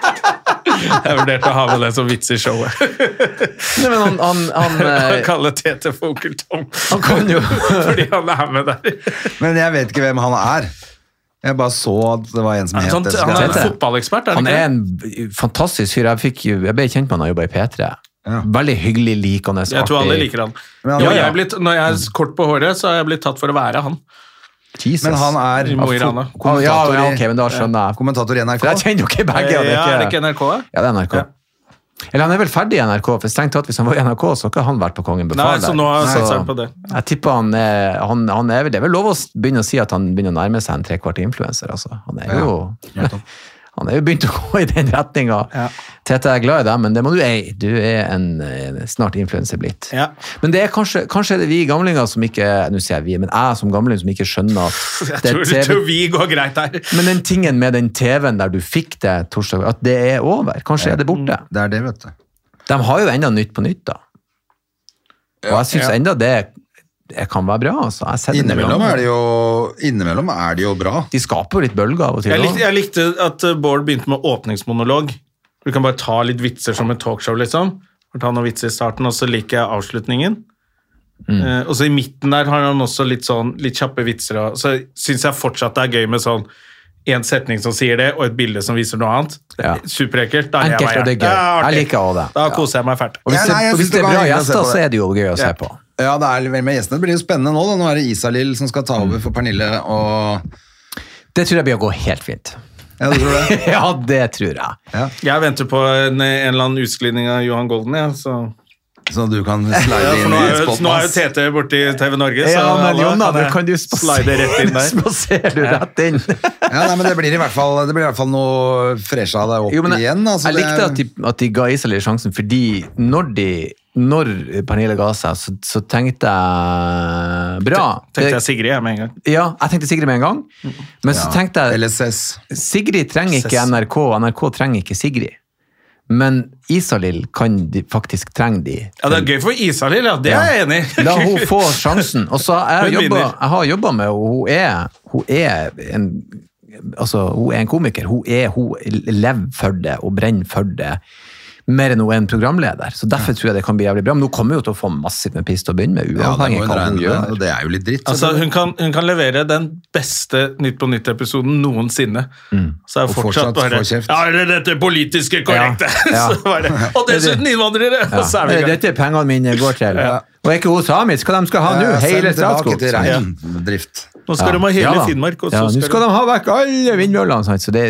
[SPEAKER 2] Jeg vurderte å ha med det som vits i showet.
[SPEAKER 3] Nei, men han, han,
[SPEAKER 2] *laughs*
[SPEAKER 3] han,
[SPEAKER 2] Å
[SPEAKER 3] eh,
[SPEAKER 2] kalle Tete for Onkel Tom.
[SPEAKER 3] han kan jo
[SPEAKER 2] *laughs* Fordi han er med der.
[SPEAKER 1] Men jeg vet ikke hvem han er. Jeg bare så at det var en som het
[SPEAKER 2] Sånn,
[SPEAKER 1] det.
[SPEAKER 2] han er
[SPEAKER 1] så
[SPEAKER 2] en
[SPEAKER 1] jeg-
[SPEAKER 3] Tete.
[SPEAKER 2] fotballekspert, er
[SPEAKER 3] Han
[SPEAKER 2] han
[SPEAKER 3] er
[SPEAKER 2] ikke?
[SPEAKER 3] en fantastisk fyr. Jeg, fikk, jo- jeg ble kjent med han da jeg jobba i P3. Veldig hyggelig, likende,
[SPEAKER 2] Jeg tror alle liker han.
[SPEAKER 1] Men han-
[SPEAKER 2] ja, jeg
[SPEAKER 1] ja.
[SPEAKER 2] er blitt, når jeg er kort på håret, så er jeg blitt tatt for å være han.
[SPEAKER 3] Jesus.
[SPEAKER 1] Men han er
[SPEAKER 2] I Mo i Rana.
[SPEAKER 3] Ah, ja,
[SPEAKER 1] kommentator
[SPEAKER 3] ja,
[SPEAKER 1] i-
[SPEAKER 3] ok, men da skjønner jeg.
[SPEAKER 1] kommentator i
[SPEAKER 3] For jeg
[SPEAKER 1] NRK.
[SPEAKER 3] kjenner jo ikke begge.
[SPEAKER 2] Ja,
[SPEAKER 3] og det
[SPEAKER 2] er det ikke NRK? da?
[SPEAKER 3] Ja, det er NRK.
[SPEAKER 2] Ja.
[SPEAKER 3] Eller han er vel ferdig i NRK, for strengt tatt hvis han var i NRK, så har ikke han vært på Kongen
[SPEAKER 2] Nei,
[SPEAKER 3] befaler.
[SPEAKER 2] så nå
[SPEAKER 3] Så
[SPEAKER 2] satser han på det.
[SPEAKER 3] Jeg tipper han, er- han, han er vel Det er vel lov å s- begynne å si at han begynner å nærme seg en trekvart influenser, altså. Han er jo Han er jo begynt å gå i den retninga. Tete er glad i deg, men det må du eie. Du er en eh, snart influenser blitt.
[SPEAKER 2] Ja.
[SPEAKER 3] Men det er kanskje, kanskje er det vi gamlinger som ikke Nå sier jeg vi, men jeg som gamling som ikke skjønner
[SPEAKER 2] *laughs* Jeg
[SPEAKER 3] at
[SPEAKER 2] tror,
[SPEAKER 3] TV
[SPEAKER 2] tror vi går greit her.
[SPEAKER 3] Men den tingen med den TV-en der du fikk det torsdag, at det er over. Kanskje er det borte.
[SPEAKER 2] Mm.
[SPEAKER 1] Det er det, vet du.
[SPEAKER 3] De har jo enda Nytt på Nytt, da. Og jeg syns enda det, det kan være bra. Altså. Jeg ser det
[SPEAKER 1] Innimellom
[SPEAKER 3] iblant.
[SPEAKER 1] er det jo, innimellom er det jo bra.
[SPEAKER 3] De skaper jo litt bølger av og til.
[SPEAKER 2] Jeg likte,
[SPEAKER 3] også.
[SPEAKER 2] jeg likte at eh, Bård begynte med åpningsmonolog. Du kan bare ta litt vitser som et talkshow, liksom. Og Ta noen vitser i starten, og så liker jeg avslutningen.
[SPEAKER 3] Mm.
[SPEAKER 2] Eh, og så i midten der har han også litt sånn litt kjappe vitser. Og så syns jeg fortsatt det er gøy med sånn en setning som sier det, og et bilde som viser noe annet.
[SPEAKER 3] Ja.
[SPEAKER 2] Superekkelt. Da er jeg
[SPEAKER 3] Enkelt,
[SPEAKER 2] bare
[SPEAKER 3] og det er gøy.
[SPEAKER 2] Ja, artig.
[SPEAKER 3] Jeg liker også det.
[SPEAKER 2] Da
[SPEAKER 3] Ja.
[SPEAKER 2] koser jeg meg fælt.
[SPEAKER 3] Og hvis,
[SPEAKER 1] Ja, nei, jeg
[SPEAKER 3] det, og
[SPEAKER 1] synes
[SPEAKER 3] hvis det
[SPEAKER 1] det
[SPEAKER 3] er
[SPEAKER 1] var
[SPEAKER 3] bra
[SPEAKER 1] hyggelig å se
[SPEAKER 3] gjester,
[SPEAKER 1] på
[SPEAKER 3] så
[SPEAKER 1] det.
[SPEAKER 3] er det jo gøy å se
[SPEAKER 2] Ja.
[SPEAKER 3] på.
[SPEAKER 1] Ja, det er vel med gjestene. Det blir jo spennende nå. Da. Nå er det Isalill som skal ta over for Pernille og
[SPEAKER 3] Det tror jeg blir å gå helt fint. *laughs*
[SPEAKER 1] Ja, du tror
[SPEAKER 2] *laughs*
[SPEAKER 1] det?
[SPEAKER 3] Ja, det tror jeg.
[SPEAKER 2] Jeg venter på en, en eller annen utglidning av Johan Golden, jeg. Ja, så
[SPEAKER 1] Så du kan
[SPEAKER 2] ja,
[SPEAKER 1] slide
[SPEAKER 2] for
[SPEAKER 1] inn
[SPEAKER 2] nå
[SPEAKER 1] i
[SPEAKER 2] er jo,
[SPEAKER 1] spotten
[SPEAKER 2] nå er jo
[SPEAKER 1] hans.
[SPEAKER 2] Tete borti TV Norge, så
[SPEAKER 3] Ja, men
[SPEAKER 2] alle
[SPEAKER 3] Jonna,
[SPEAKER 2] jeg
[SPEAKER 3] nå kan du
[SPEAKER 2] slide rett inn der.
[SPEAKER 3] *laughs* spaserer du rett inn.
[SPEAKER 1] *laughs* Ja, nei, men det blir i hvert fall, det blir i hvert fall noe fresha deg opp
[SPEAKER 3] Jo, men jeg,
[SPEAKER 1] igjen. Altså,
[SPEAKER 3] jeg
[SPEAKER 1] det
[SPEAKER 3] likte
[SPEAKER 1] er-
[SPEAKER 3] at de, at de ga Isalill sjansen, fordi når, de, når Pernille ga seg, så, så tenkte jeg bra.
[SPEAKER 2] Tenkte jeg Sigrid jeg, med en gang.
[SPEAKER 3] ja, jeg tenkte Sigrid med en gang, men så tenkte jeg
[SPEAKER 1] LSS.
[SPEAKER 3] Sigrid trenger ikke
[SPEAKER 2] Ses.
[SPEAKER 3] NRK, og NRK trenger ikke Sigrid. Men Isalill kan de, faktisk trenge de.
[SPEAKER 2] Ja, Det er gøy for Isalill, ja. Det er jeg enig i.
[SPEAKER 3] La
[SPEAKER 2] *laughs*
[SPEAKER 3] hun få sjansen. Og så har jeg
[SPEAKER 2] Hun
[SPEAKER 3] jobba-
[SPEAKER 2] vinner.
[SPEAKER 3] jeg har jobba med henne, og hun er, hun er en Altså, hun er en komiker. Hun, er, hun lever for det og brenner for det mer enn hun er en programleder. Så derfor tror jeg det kan bli jævlig bra. Men hun kommer jo til å få massivt med piss til å begynne med,
[SPEAKER 1] Ja, det
[SPEAKER 3] uavhengig
[SPEAKER 1] må hun
[SPEAKER 3] av hva hun
[SPEAKER 1] regne med,
[SPEAKER 3] gjør.
[SPEAKER 1] og det er jo litt dritt.
[SPEAKER 2] Altså, hun, kan, hun kan levere den beste Nytt på Nytt-episoden noensinne.
[SPEAKER 3] Mm.
[SPEAKER 2] Så er
[SPEAKER 1] Og
[SPEAKER 2] hun fortsatt
[SPEAKER 1] fortsatt
[SPEAKER 2] bare
[SPEAKER 1] får kjeft.
[SPEAKER 2] Ja, eller dette politiske korrekte!
[SPEAKER 3] Ja.
[SPEAKER 2] *laughs* Så bare, og dessuten innvandrere! Og så er vi i
[SPEAKER 3] Ja.
[SPEAKER 2] gang.
[SPEAKER 3] Eh, Dette er pengene mine går
[SPEAKER 2] *laughs*
[SPEAKER 3] til. Og er ikke hun samisk? Hva de skal ha nå?
[SPEAKER 1] Ja, send
[SPEAKER 3] Hele
[SPEAKER 1] tilbake
[SPEAKER 3] Statskog?
[SPEAKER 1] til
[SPEAKER 3] sant?
[SPEAKER 1] reindrift.
[SPEAKER 2] Nå skal de ha hele Finnmark, og så
[SPEAKER 3] ja, nå
[SPEAKER 2] skal,
[SPEAKER 3] skal
[SPEAKER 2] de
[SPEAKER 3] de ha vekk alle vindmøllene. Sant? Så det,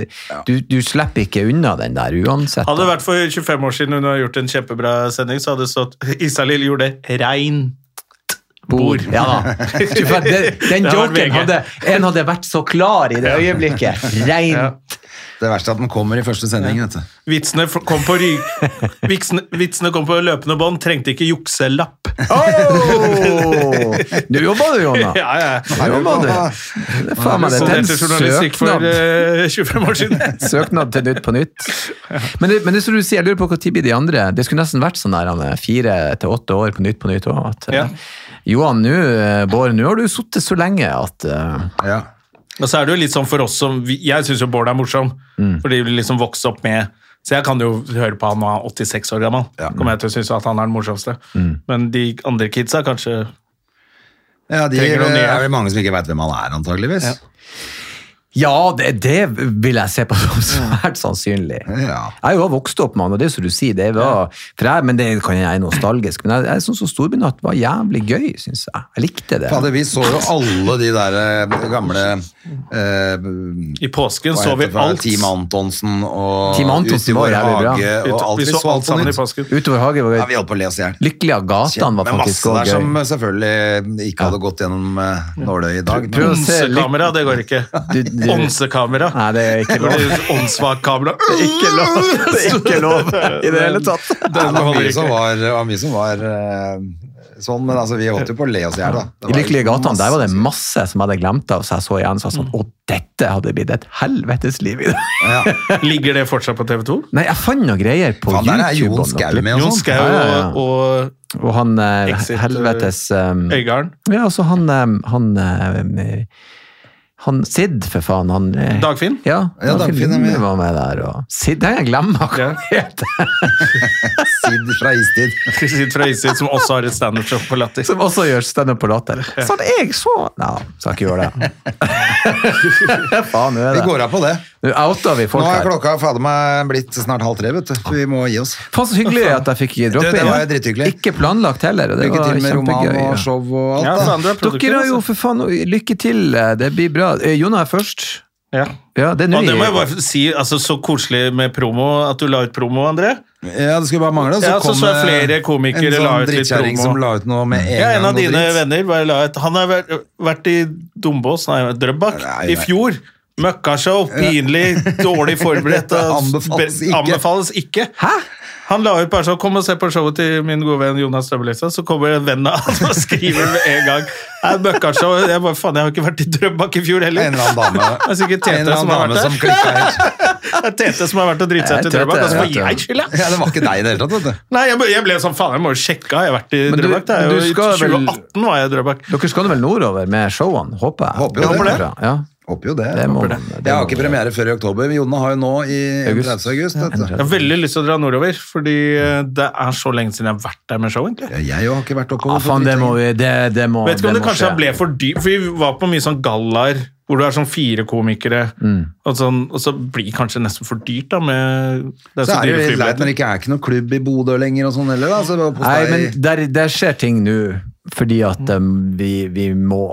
[SPEAKER 3] du, du slipper ikke unna den der uansett.
[SPEAKER 2] Hadde det vært for 25 år siden hun har gjort en kjempebra sending, så hadde det stått Isalill gjorde rein. bord.
[SPEAKER 3] Ja, da. Du, for den, den
[SPEAKER 2] *laughs* Det hadde vært
[SPEAKER 3] joken
[SPEAKER 2] VG.
[SPEAKER 3] hadde En hadde vært så klar i det øyeblikket. Rein.
[SPEAKER 1] Det verste er at den kommer i første sending, vet du.
[SPEAKER 2] Vitsene f- kom på, ry
[SPEAKER 1] *laughs*
[SPEAKER 2] vitsene, vitsene kom på løpende bånd, trengte ikke jukselapp.
[SPEAKER 3] Åh! Nå jobber du, Jonna.
[SPEAKER 2] *laughs* Ja, ja.
[SPEAKER 3] Nå jobber du. Det er faen meg det. Det
[SPEAKER 2] Sonderte
[SPEAKER 3] er en
[SPEAKER 2] journalistikk for
[SPEAKER 3] søknad.
[SPEAKER 2] eh, 25 år
[SPEAKER 1] *laughs*
[SPEAKER 2] siden.
[SPEAKER 3] Søknad til Nytt på Nytt. Men det, men det som du sier, jeg lurer på hva tid blir de andre. Det skulle nesten vært sånn der han er fire til åtte år på Nytt på Nytt òg. At eh,
[SPEAKER 2] Ja.
[SPEAKER 3] Johan, nå, eh, Bård, nå har du sittet så lenge at eh,
[SPEAKER 1] Ja.
[SPEAKER 2] Og så er det jo litt sånn for oss som vi, Jeg syns jo Bård er morsom,
[SPEAKER 1] Mm.
[SPEAKER 2] fordi vi liksom vokste opp med Så jeg kan jo høre på han når han er 86 år gammel. Kommer jeg til å synes at han er den morsomste.
[SPEAKER 1] Mm.
[SPEAKER 2] Men de andre kidsa kanskje
[SPEAKER 1] ja, de
[SPEAKER 2] Trenger noen nye.
[SPEAKER 1] er vel mange som ikke veit hvem han er, antageligvis.
[SPEAKER 3] Ja, det, det vil jeg se på som *laughs* svært sannsynlig.
[SPEAKER 1] Ja.
[SPEAKER 3] Jeg er jo vokst opp med han, og det er som du sier, det var for jeg, men det kan jeg er nostalgisk. Men jeg, jeg syns Storbynatt var jævlig gøy, syns jeg. Jeg likte det.
[SPEAKER 1] Fader, vi så jo alle de der eh, gamle eh,
[SPEAKER 2] I påsken
[SPEAKER 1] hva
[SPEAKER 2] så
[SPEAKER 1] heter
[SPEAKER 2] vi
[SPEAKER 1] det for noe?
[SPEAKER 2] alt.
[SPEAKER 1] Team Antonsen og
[SPEAKER 3] Team Antonsen
[SPEAKER 1] Ut i
[SPEAKER 3] var
[SPEAKER 1] vår
[SPEAKER 3] jævlig bra.
[SPEAKER 1] hage
[SPEAKER 2] Ut-
[SPEAKER 1] og alt.
[SPEAKER 2] vi så alt sammen i påsken.
[SPEAKER 3] Utover hage var
[SPEAKER 1] Ja, vi
[SPEAKER 3] gøy.
[SPEAKER 1] holdt på å le oss i hjel.
[SPEAKER 3] Lykkelig av gatene var
[SPEAKER 1] Men masse
[SPEAKER 3] faktisk òg
[SPEAKER 1] der
[SPEAKER 3] gøy.
[SPEAKER 1] som eh, selvfølgelig ikke hadde gått gjennom eh, nåløyet i dag.
[SPEAKER 3] Prøv å se litt-
[SPEAKER 2] Onsekamera, det går ikke.
[SPEAKER 3] Du- du-
[SPEAKER 2] Onsekamera.
[SPEAKER 3] Nei, det er ikke sånn.
[SPEAKER 2] Hvor
[SPEAKER 3] lov.
[SPEAKER 2] det er *laughs* Åndssvakt kamera.
[SPEAKER 3] Det er ikke *laughs* lov, det er ikke lov i det hele tatt.
[SPEAKER 1] Ja,
[SPEAKER 2] Den
[SPEAKER 1] *laughs* det var
[SPEAKER 2] holder
[SPEAKER 1] mye som
[SPEAKER 2] ikke.
[SPEAKER 1] var, det var, mye som var eh, sånn, men altså, vi holdt jo på å le oss i hjel. da. Det
[SPEAKER 3] I
[SPEAKER 1] var liksom
[SPEAKER 3] Lykkelige gatene der var det
[SPEAKER 1] masse-
[SPEAKER 3] masse som jeg hadde glemt av, så jeg så igjen så jeg sånn Å, dette hadde blitt et helvetes liv i dag.
[SPEAKER 1] Ja.
[SPEAKER 2] uh, Ligger det fortsatt på TV 2?
[SPEAKER 3] Nei, jeg fant noen greier på
[SPEAKER 1] Faen, der er
[SPEAKER 3] YouTube.
[SPEAKER 1] Jon
[SPEAKER 3] og noe
[SPEAKER 1] Skau
[SPEAKER 3] klipp.
[SPEAKER 1] med og
[SPEAKER 2] Jon
[SPEAKER 1] sånn.
[SPEAKER 2] Skau
[SPEAKER 3] Ja, ja, ja.
[SPEAKER 2] og, og
[SPEAKER 3] Og han eh,
[SPEAKER 2] Exit,
[SPEAKER 3] helvetes eh,
[SPEAKER 2] Øygarden.
[SPEAKER 3] Ja, altså han eh, Han, eh, han Sid, for faen. Han, eh,
[SPEAKER 2] Dagfinn?
[SPEAKER 3] *laughs* Ja,
[SPEAKER 1] Ja, Dagfinn er med.
[SPEAKER 3] var med der. Og Sid, det har jeg glemt hva han heter.
[SPEAKER 1] Sid fra
[SPEAKER 3] *laughs*
[SPEAKER 1] Istid.
[SPEAKER 2] Kristin fra Isid, som også har et standup-show på Latter.
[SPEAKER 3] Som også gjør standup på latter. Så at jeg så Nei, skal ikke gjøre det. *laughs* faen, nå er
[SPEAKER 1] Vi *laughs*
[SPEAKER 3] det.
[SPEAKER 1] går av på det.
[SPEAKER 3] Nå outa vi folk
[SPEAKER 1] Nå er
[SPEAKER 3] her.
[SPEAKER 1] klokka fader meg blitt snart halv tre, vet du. Vi må gi oss.
[SPEAKER 3] Faen så hyggelig at jeg fikk
[SPEAKER 1] Du,
[SPEAKER 3] droppe
[SPEAKER 1] det
[SPEAKER 3] inn.
[SPEAKER 1] var jo drithyggelig.
[SPEAKER 3] Ikke planlagt heller. og Det
[SPEAKER 1] Lykke
[SPEAKER 3] var
[SPEAKER 1] til med roman
[SPEAKER 3] kjempegøy.
[SPEAKER 1] og
[SPEAKER 3] ja.
[SPEAKER 1] show og alt.
[SPEAKER 2] Ja,
[SPEAKER 1] da.
[SPEAKER 2] faen, du er produktiv.
[SPEAKER 3] Dere har jo
[SPEAKER 2] altså.
[SPEAKER 3] for faen Lykke til, det blir bra. Eh, Jonah er først.
[SPEAKER 2] ja.
[SPEAKER 3] Ja, det er nå
[SPEAKER 2] Og det må jeg
[SPEAKER 3] vi-
[SPEAKER 2] bare si, altså Så koselig med promo, at du la ut promo, André.
[SPEAKER 1] Ja, det skulle bare mangle.
[SPEAKER 2] Ja, så
[SPEAKER 1] kom
[SPEAKER 2] så jeg
[SPEAKER 1] det
[SPEAKER 2] flere komikere
[SPEAKER 1] en
[SPEAKER 2] la
[SPEAKER 1] sånn
[SPEAKER 2] ut litt
[SPEAKER 1] drittkjerring
[SPEAKER 2] promo.
[SPEAKER 1] som la ut noe med en
[SPEAKER 2] Ja, en
[SPEAKER 1] gang
[SPEAKER 2] av
[SPEAKER 1] noe
[SPEAKER 2] dine
[SPEAKER 1] dritt.
[SPEAKER 2] venner bare la ut Han har vært, vært i Dombås, nei, Drøbak,
[SPEAKER 1] Nei, nei.
[SPEAKER 2] i fjor. Møkkashow, pinlig, dårlig
[SPEAKER 3] *laughs*
[SPEAKER 2] forberedt. og
[SPEAKER 1] Anbefales
[SPEAKER 2] spe-
[SPEAKER 1] ikke.
[SPEAKER 2] anbefales ikke. Han la ut bare sånn Kom og se på showet til min gode venn Jonas Støbelistad. Så kommer en venn av han og skriver med en gang Nei, Møkkashow Jeg bare faen, jeg har ikke vært i Drøbak i fjor
[SPEAKER 1] En
[SPEAKER 2] heller.
[SPEAKER 1] eller annen
[SPEAKER 2] Det
[SPEAKER 1] dame.
[SPEAKER 2] er sikkert
[SPEAKER 1] En eller
[SPEAKER 2] Tete som har
[SPEAKER 1] annen dame
[SPEAKER 2] vært
[SPEAKER 1] som
[SPEAKER 2] der.
[SPEAKER 1] klikka helt.
[SPEAKER 2] *laughs* Det er Tete som har vært og driti seg ut i
[SPEAKER 3] Tete,
[SPEAKER 2] Drøbak, og så får
[SPEAKER 3] ja.
[SPEAKER 2] jeg skylda!
[SPEAKER 1] Ja, det var ikke deg i det hele tatt, vet du.
[SPEAKER 2] Nei, jeg ble, jeg ble sånn faen, jeg må jo sjekke. Jeg har vært i
[SPEAKER 3] Men du-
[SPEAKER 2] Drøbak. Det er
[SPEAKER 3] du
[SPEAKER 2] jo i
[SPEAKER 3] skal vel-
[SPEAKER 2] 2018 var jeg i Drøbak.
[SPEAKER 3] Dere skal vel nordover med showene, håper jeg.
[SPEAKER 1] Håper jo det.
[SPEAKER 3] Håper dere, Ja,
[SPEAKER 1] Håper jo det.
[SPEAKER 3] det må, det
[SPEAKER 1] Jeg har
[SPEAKER 3] må-
[SPEAKER 1] ikke premiere før i oktober. men Jonna har jo nå i
[SPEAKER 3] August.
[SPEAKER 1] 30. august. Vet du.
[SPEAKER 2] Jeg har veldig lyst til å dra nordover, fordi eh, det er så lenge siden jeg har vært der med show. egentlig.
[SPEAKER 1] Ja, Jeg jo har ikke vært
[SPEAKER 3] Ja,
[SPEAKER 1] oppover.
[SPEAKER 3] faen, det må vi Det, det må
[SPEAKER 2] Vet ikke om
[SPEAKER 3] det
[SPEAKER 2] det
[SPEAKER 3] må
[SPEAKER 2] kanskje
[SPEAKER 3] skje.
[SPEAKER 2] ble for dyrt, for vi var på mye sånn gallaer hvor du er sånn fire komikere,
[SPEAKER 1] Mm.
[SPEAKER 2] og, sånn, og så blir det kanskje nesten for dyrt da med det er
[SPEAKER 1] Så
[SPEAKER 2] så
[SPEAKER 1] er det
[SPEAKER 2] dyre
[SPEAKER 1] jo litt leit når det
[SPEAKER 2] flybilletter.
[SPEAKER 1] ikke er ikke noe klubb i Bodø lenger og sånn heller, da. Så det var på
[SPEAKER 3] Nei,
[SPEAKER 1] steg-
[SPEAKER 3] men der, der skjer ting nå fordi at
[SPEAKER 1] Mm.
[SPEAKER 3] um, vi, vi må.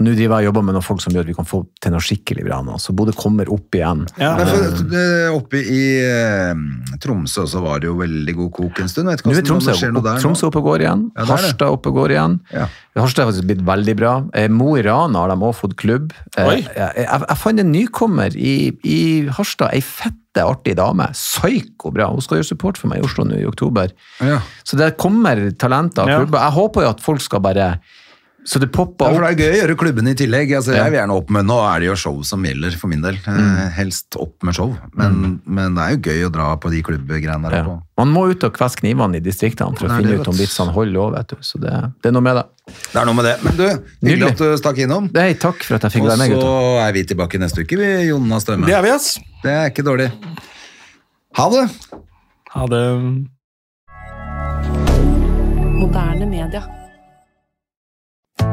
[SPEAKER 3] Og nå driver jeg og jobber med noen folk som gjør at vi kan få til noe skikkelig bra nå. Så Bodø kommer opp igjen. eh,
[SPEAKER 2] Ja.
[SPEAKER 1] Men for, det- oppe i eh, Tromsø så var det jo veldig god kok en stund. Vet ikke
[SPEAKER 3] Nå er
[SPEAKER 1] hvordan- om
[SPEAKER 3] Tromsø,
[SPEAKER 1] det skjer noe der nå.
[SPEAKER 3] Tromsø oppe og går igjen.
[SPEAKER 1] Ja, det er det.
[SPEAKER 3] Harstad oppe og går igjen.
[SPEAKER 1] Ja.
[SPEAKER 3] Harstad har faktisk blitt veldig bra. Eh, Mo i Rana har de også fått klubb. Eh,
[SPEAKER 2] Oi.
[SPEAKER 3] Jeg, jeg, jeg fant en nykommer i, i Harstad, ei fette artig dame. Psyko bra. Hun skal gjøre support for meg i Oslo nå i oktober.
[SPEAKER 1] Ja.
[SPEAKER 3] Så der kommer talenter og
[SPEAKER 2] Ja.
[SPEAKER 3] klubber. Jeg håper jo at folk skal bare Så det popper
[SPEAKER 1] Ja, for
[SPEAKER 3] opp.
[SPEAKER 1] det er gøy å gjøre klubben i tillegg. Altså,
[SPEAKER 3] Ja. Mm.
[SPEAKER 1] jeg vil gjerne opp med, Nå er det jo show som gjelder, for min del. Eh, helst opp med show. Men, men det er jo gøy å dra på de klubbgreiene der
[SPEAKER 3] Ja.
[SPEAKER 1] oppe.
[SPEAKER 3] Man må ut og kveske knivene i distriktene for å
[SPEAKER 1] Nei, det
[SPEAKER 3] finne
[SPEAKER 1] er
[SPEAKER 3] ut om
[SPEAKER 1] godt.
[SPEAKER 3] vitsene holder òg, vet du. Så det, det er noe med det.
[SPEAKER 1] Det er noe med det. Men du, hyggelig
[SPEAKER 3] Nydelig.
[SPEAKER 1] at du stakk innom.
[SPEAKER 3] Nei, takk for at jeg fikk
[SPEAKER 1] Og
[SPEAKER 3] være med,
[SPEAKER 1] så
[SPEAKER 3] gutta.
[SPEAKER 1] er vi tilbake neste uke, vi, Jonna Stømme.
[SPEAKER 2] Det er vi, ass.
[SPEAKER 1] Det er ikke dårlig. Ha det!
[SPEAKER 2] Ha det.
[SPEAKER 4] Moderne media.